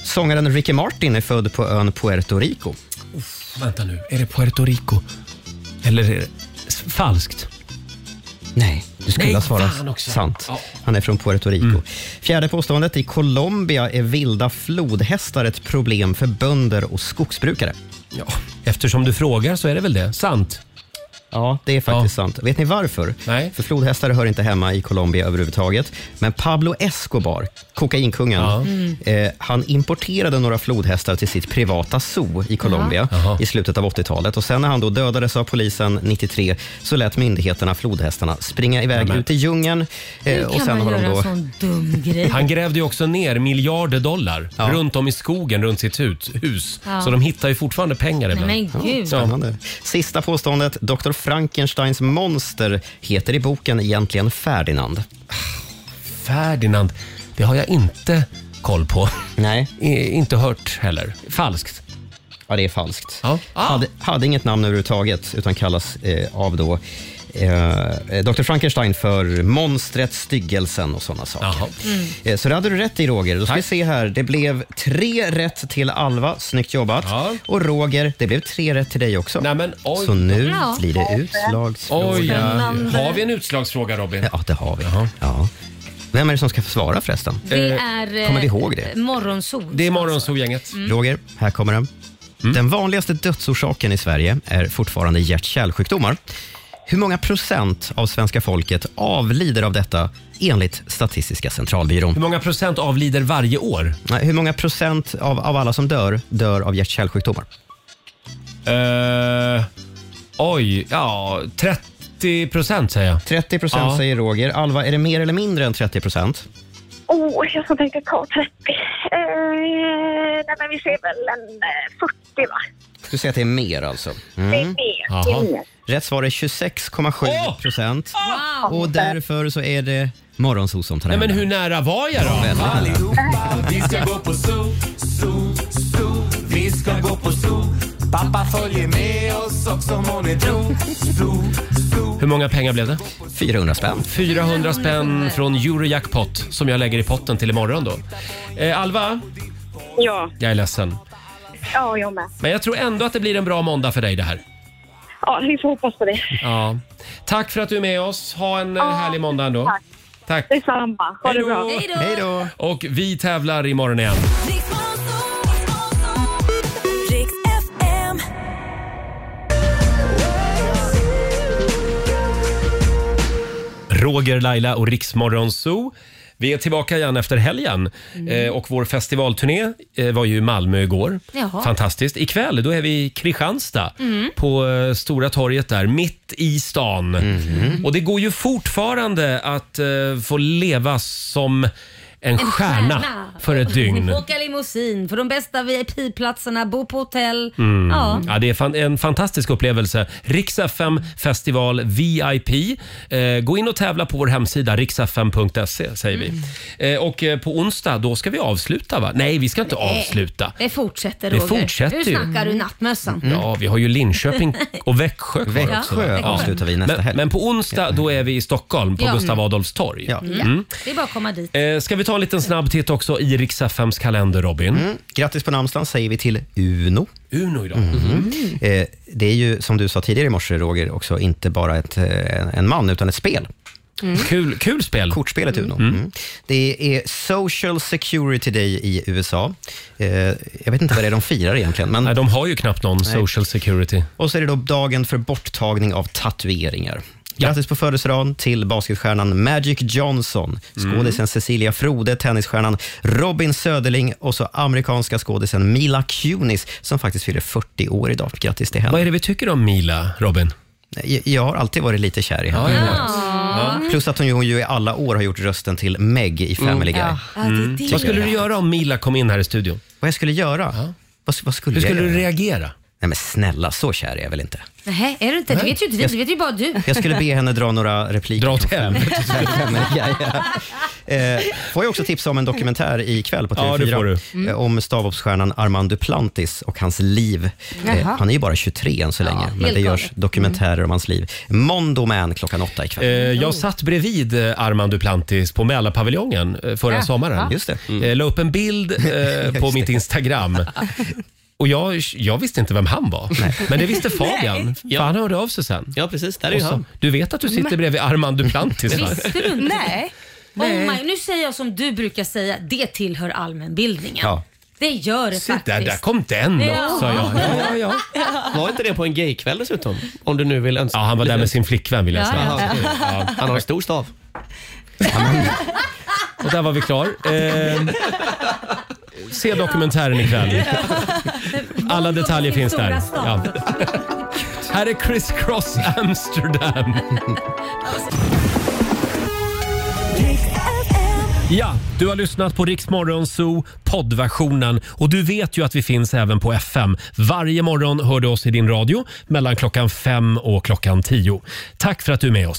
Speaker 3: sångaren Ricky Martin är född på ön Puerto Rico.
Speaker 1: Vänta nu, är det Puerto Rico? Eller är det s- falskt?
Speaker 3: Nej, du skulle
Speaker 1: Nej,
Speaker 3: ha svarat
Speaker 1: fan också.
Speaker 3: sant.
Speaker 1: Ja. Mm.
Speaker 3: Han är från Puerto Rico. Fjärde påståendet. I Colombia är vilda flodhästar ett problem för bönder och skogsbrukare.
Speaker 1: Ja, eftersom du frågar så är det väl det. Sant?
Speaker 3: Ja, det är faktiskt sant. Vet ni varför? Nej. För flodhästar hör inte hemma i Colombia överhuvudtaget. Men Pablo Escobar, kokainkungen,
Speaker 13: Mm.
Speaker 3: eh, han importerade några flodhästar till sitt privata zoo i Colombia i slutet av 80-talet. Och sen när han då dödades av polisen 93 så lät myndigheterna flodhästarna springa iväg
Speaker 1: Nämen.
Speaker 3: ut i djungeln. eh,
Speaker 2: Hur kan man göra en sån dum grej?
Speaker 1: Han grävde ju också ner miljarder dollar runt om i skogen runt sitt hus. hus.
Speaker 2: Ja.
Speaker 1: Så de hittar ju fortfarande pengar
Speaker 2: Nej,
Speaker 1: ibland.
Speaker 2: men gud.
Speaker 3: Spännande. Sista påståendet. Dr. Frankensteins monster heter i boken egentligen Ferdinand.
Speaker 1: Ferdinand, det har jag inte koll på.
Speaker 3: Nej.
Speaker 1: inte hört heller. Falskt.
Speaker 3: Ja, det är falskt.
Speaker 1: Ah.
Speaker 3: Hade, hade inget namn överhuvudtaget utan kallas eh, av då eh, Dr. Frankenstein för monstret, styggelsen och sådana saker.
Speaker 13: Mm.
Speaker 3: Eh, Så det hade du rätt i Roger. Då ska vi se här. Det blev tre rätt till Alva. Snyggt jobbat. Och Roger, det blev tre rätt till dig också.
Speaker 1: oj.
Speaker 3: Så nu
Speaker 1: Ja.
Speaker 3: blir det utslagsfråga.
Speaker 1: Oj, har vi en utslagsfråga Robin?
Speaker 3: Ja, det har vi. Ja. Vem är det som ska svara förresten?
Speaker 2: Det är eh,
Speaker 3: Kommer vi ihåg det?
Speaker 2: morgonsol.
Speaker 1: Det är Morgonzoo-gänget.
Speaker 2: Mm.
Speaker 3: Roger, här kommer den. Den vanligaste dödsorsaken i Sverige är fortfarande hjärt-kärlsjukdomar. Hur många procent av svenska folket avlider av detta enligt Statistiska centralbyrån? Hur
Speaker 1: många procent avlider varje år?
Speaker 3: Nej, hur många procent av, av alla som dör, dör av hjärt-kärlsjukdomar?
Speaker 1: Eh, oj, ja 30 procent säger jag.
Speaker 3: 30 procent
Speaker 1: Ja.
Speaker 3: säger Roger. Alva, är det mer eller mindre än 30 procent?
Speaker 12: Oh, jag ska tänka kvar 30. Eh, nej, men vi ser väl en eh, 40, va?
Speaker 3: Du säger att det är mer alltså?
Speaker 12: Det
Speaker 1: Mm.
Speaker 12: är mer. Det är mer.
Speaker 3: Rätt svar är 26,7 procent.
Speaker 12: Wow.
Speaker 3: Och därför så är det Morgonzoo som tar
Speaker 1: Nej
Speaker 3: hem
Speaker 1: men
Speaker 3: den.
Speaker 1: hur nära var jag då?
Speaker 3: Väldigt nära.
Speaker 4: Vi ska gå på zoo, zoo, zoo. Vi ska gå på zoo. Pappa följer med oss också må ni tro. Zoo.
Speaker 1: Hur många pengar blev det?
Speaker 3: 400 spänn.
Speaker 1: 400 spänn från Eurojackpot som jag lägger i potten till imorgon då. Eh, Alva,
Speaker 12: Ja,
Speaker 1: jag är ledsen.
Speaker 12: ja, jag med.
Speaker 1: Men jag tror ändå att det blir en bra måndag för dig det här.
Speaker 12: Ja, vi får hoppas på det.
Speaker 1: Ja. Tack för att du är med oss. Ha en eh, härlig måndag ändå.
Speaker 12: tack.
Speaker 1: Tack.
Speaker 12: Detsamma. Ha det bra.
Speaker 1: Hej då! Och vi tävlar imorgon igen.
Speaker 7: Riks FM.
Speaker 1: Roger, Laila och Riksmorgon Zoo. Vi är tillbaka igen efter helgen
Speaker 2: Mm.
Speaker 1: eh, och vår festivalturné eh, var ju i Malmö igår.
Speaker 2: Jaha.
Speaker 1: Fantastiskt. Ikväll då är vi i Kristianstad
Speaker 2: Mm.
Speaker 1: på eh, Stora torget där, mitt i stan. Och det går ju fortfarande att eh, få leva som en, stjärna, för ett dygn.
Speaker 2: Åka limousin för de bästa VIP-platserna, bo på hotell.
Speaker 1: Mm.
Speaker 2: Ja.
Speaker 1: Ja. det är fan, en fantastisk upplevelse. Rix FM festival VIP. Eh, gå in och tävla på vår hemsida riksfm.se säger vi. Eh, och eh, på onsdag då ska vi avsluta va? Nej, vi ska inte
Speaker 2: Nej.
Speaker 1: avsluta.
Speaker 2: Det fortsätter
Speaker 1: Det
Speaker 2: Roger.
Speaker 1: fortsätter
Speaker 2: Nu
Speaker 1: ju.
Speaker 2: snackar du nattmössan.
Speaker 1: Ja, vi har ju Linköping och Växjö kvar
Speaker 2: Växjö
Speaker 1: också.
Speaker 2: Ja, avslutar
Speaker 1: vi nästa men, helg. Men på onsdag då är vi i Stockholm på
Speaker 2: Ja.
Speaker 1: Gustav Adolfs torg.
Speaker 2: Ja.
Speaker 1: Mm.
Speaker 2: Det är bara att komma dit.
Speaker 1: Eh, ska vi ta en liten snabb titt också i Rix FMs kalender, Robin?
Speaker 3: Mm. Grattis på namnsdagen säger vi till Uno.
Speaker 1: Uno idag.
Speaker 3: Eh, det är ju, som du sa tidigare i morse, Roger, också inte bara ett, eh, en man, utan ett spel.
Speaker 1: Mm. Kul, kul spel.
Speaker 3: Kortspelet Uno. Mm. Det är Social Security Day i USA. Eh, jag vet inte vad det är de firar egentligen. Men...
Speaker 1: Nej, de har ju knappt någon Social Security.
Speaker 3: Och så är det då dagen för borttagning av tatueringar. Grattis på födelsedagen till basketstjärnan Magic Johnson,
Speaker 1: Mm.
Speaker 3: skådisen Cecilia Frode, tennisstjärnan Robin Söderling och så amerikanska skådisen Mila Kunis som faktiskt fyller 40 år idag. Grattis till henne. Vad
Speaker 1: är det vi tycker om Mila, Robin?
Speaker 3: Jag, jag har alltid varit lite kär i henne.
Speaker 1: Ja, ja,
Speaker 2: ja.
Speaker 1: Ja.
Speaker 3: Plus att hon ju i alla år har gjort rösten till Meg i
Speaker 1: Mm.
Speaker 3: Family Guy.
Speaker 1: Ja. Ja, det är Mm. det. Vad skulle du göra om Mila kom in här i studion?
Speaker 3: Vad jag skulle göra? Vad, vad skulle
Speaker 1: Hur
Speaker 3: jag
Speaker 1: skulle
Speaker 3: göra?
Speaker 1: du reagera?
Speaker 3: Nej men snälla, så kär är jag väl inte?
Speaker 2: Nej, är du inte? Det vet ju inte vi,
Speaker 3: Jag-
Speaker 2: det vet ju bara du.
Speaker 3: Jag skulle be henne dra några repliker. Dra åt
Speaker 1: helvete.
Speaker 3: ja, ja. Eh, Får jag också tipsa om en dokumentär ikväll på TV4
Speaker 1: Ja, det får du.
Speaker 3: eh, om stavhoppsstjärnan Armand Duplantis och hans liv.
Speaker 2: Jaha.
Speaker 3: Eh, Han är ju bara 23 än så länge, men
Speaker 1: helt
Speaker 3: det görs
Speaker 1: galet. Mm.
Speaker 3: dokumentärer om hans liv. Mondo Man klockan åtta
Speaker 1: Eh,
Speaker 3: ikväll.
Speaker 1: jag satt bredvid eh, Armand Duplantis på Mälarpaviljongen eh, förra
Speaker 3: Ja,
Speaker 1: sommaren.
Speaker 3: ja. Just det.
Speaker 1: Eh, la upp en bild eh, på mitt Instagram. Och jag, jag visste inte vem han var. Men det visste Fabian, för han hörde av sig sen.
Speaker 8: Ja, precis. Där
Speaker 1: Och så- Du vet att du sitter
Speaker 2: Men-
Speaker 1: bredvid Armand Duplantis? va?
Speaker 2: Visste du inte Nej.
Speaker 1: Nej.
Speaker 2: Oh my, nu säger jag som du brukar säga, det tillhör allmänbildningen.
Speaker 1: Ja.
Speaker 2: Det gör det
Speaker 8: Se där,
Speaker 2: faktiskt.
Speaker 8: där kom den
Speaker 2: Ja.
Speaker 8: också, ja. Ja,
Speaker 1: ja,
Speaker 8: Var inte det på en gaykväll dessutom? Om du nu vill önska. Ja,
Speaker 1: han var där med sin flickvän vill
Speaker 2: jag säga. Ja, ja.
Speaker 8: Han har en stor stav.
Speaker 1: Och där var vi klar. Eh, se dokumentären ikväll. Alla detaljer finns där. Ja. Här är Chris Cross Amsterdam. Ja, du har lyssnat på Rix Morgon Zoo poddversionen och du vet ju att vi finns även på FM. Varje morgon hör du oss i din radio mellan klockan fem och klockan tio. Tack för att du är med oss.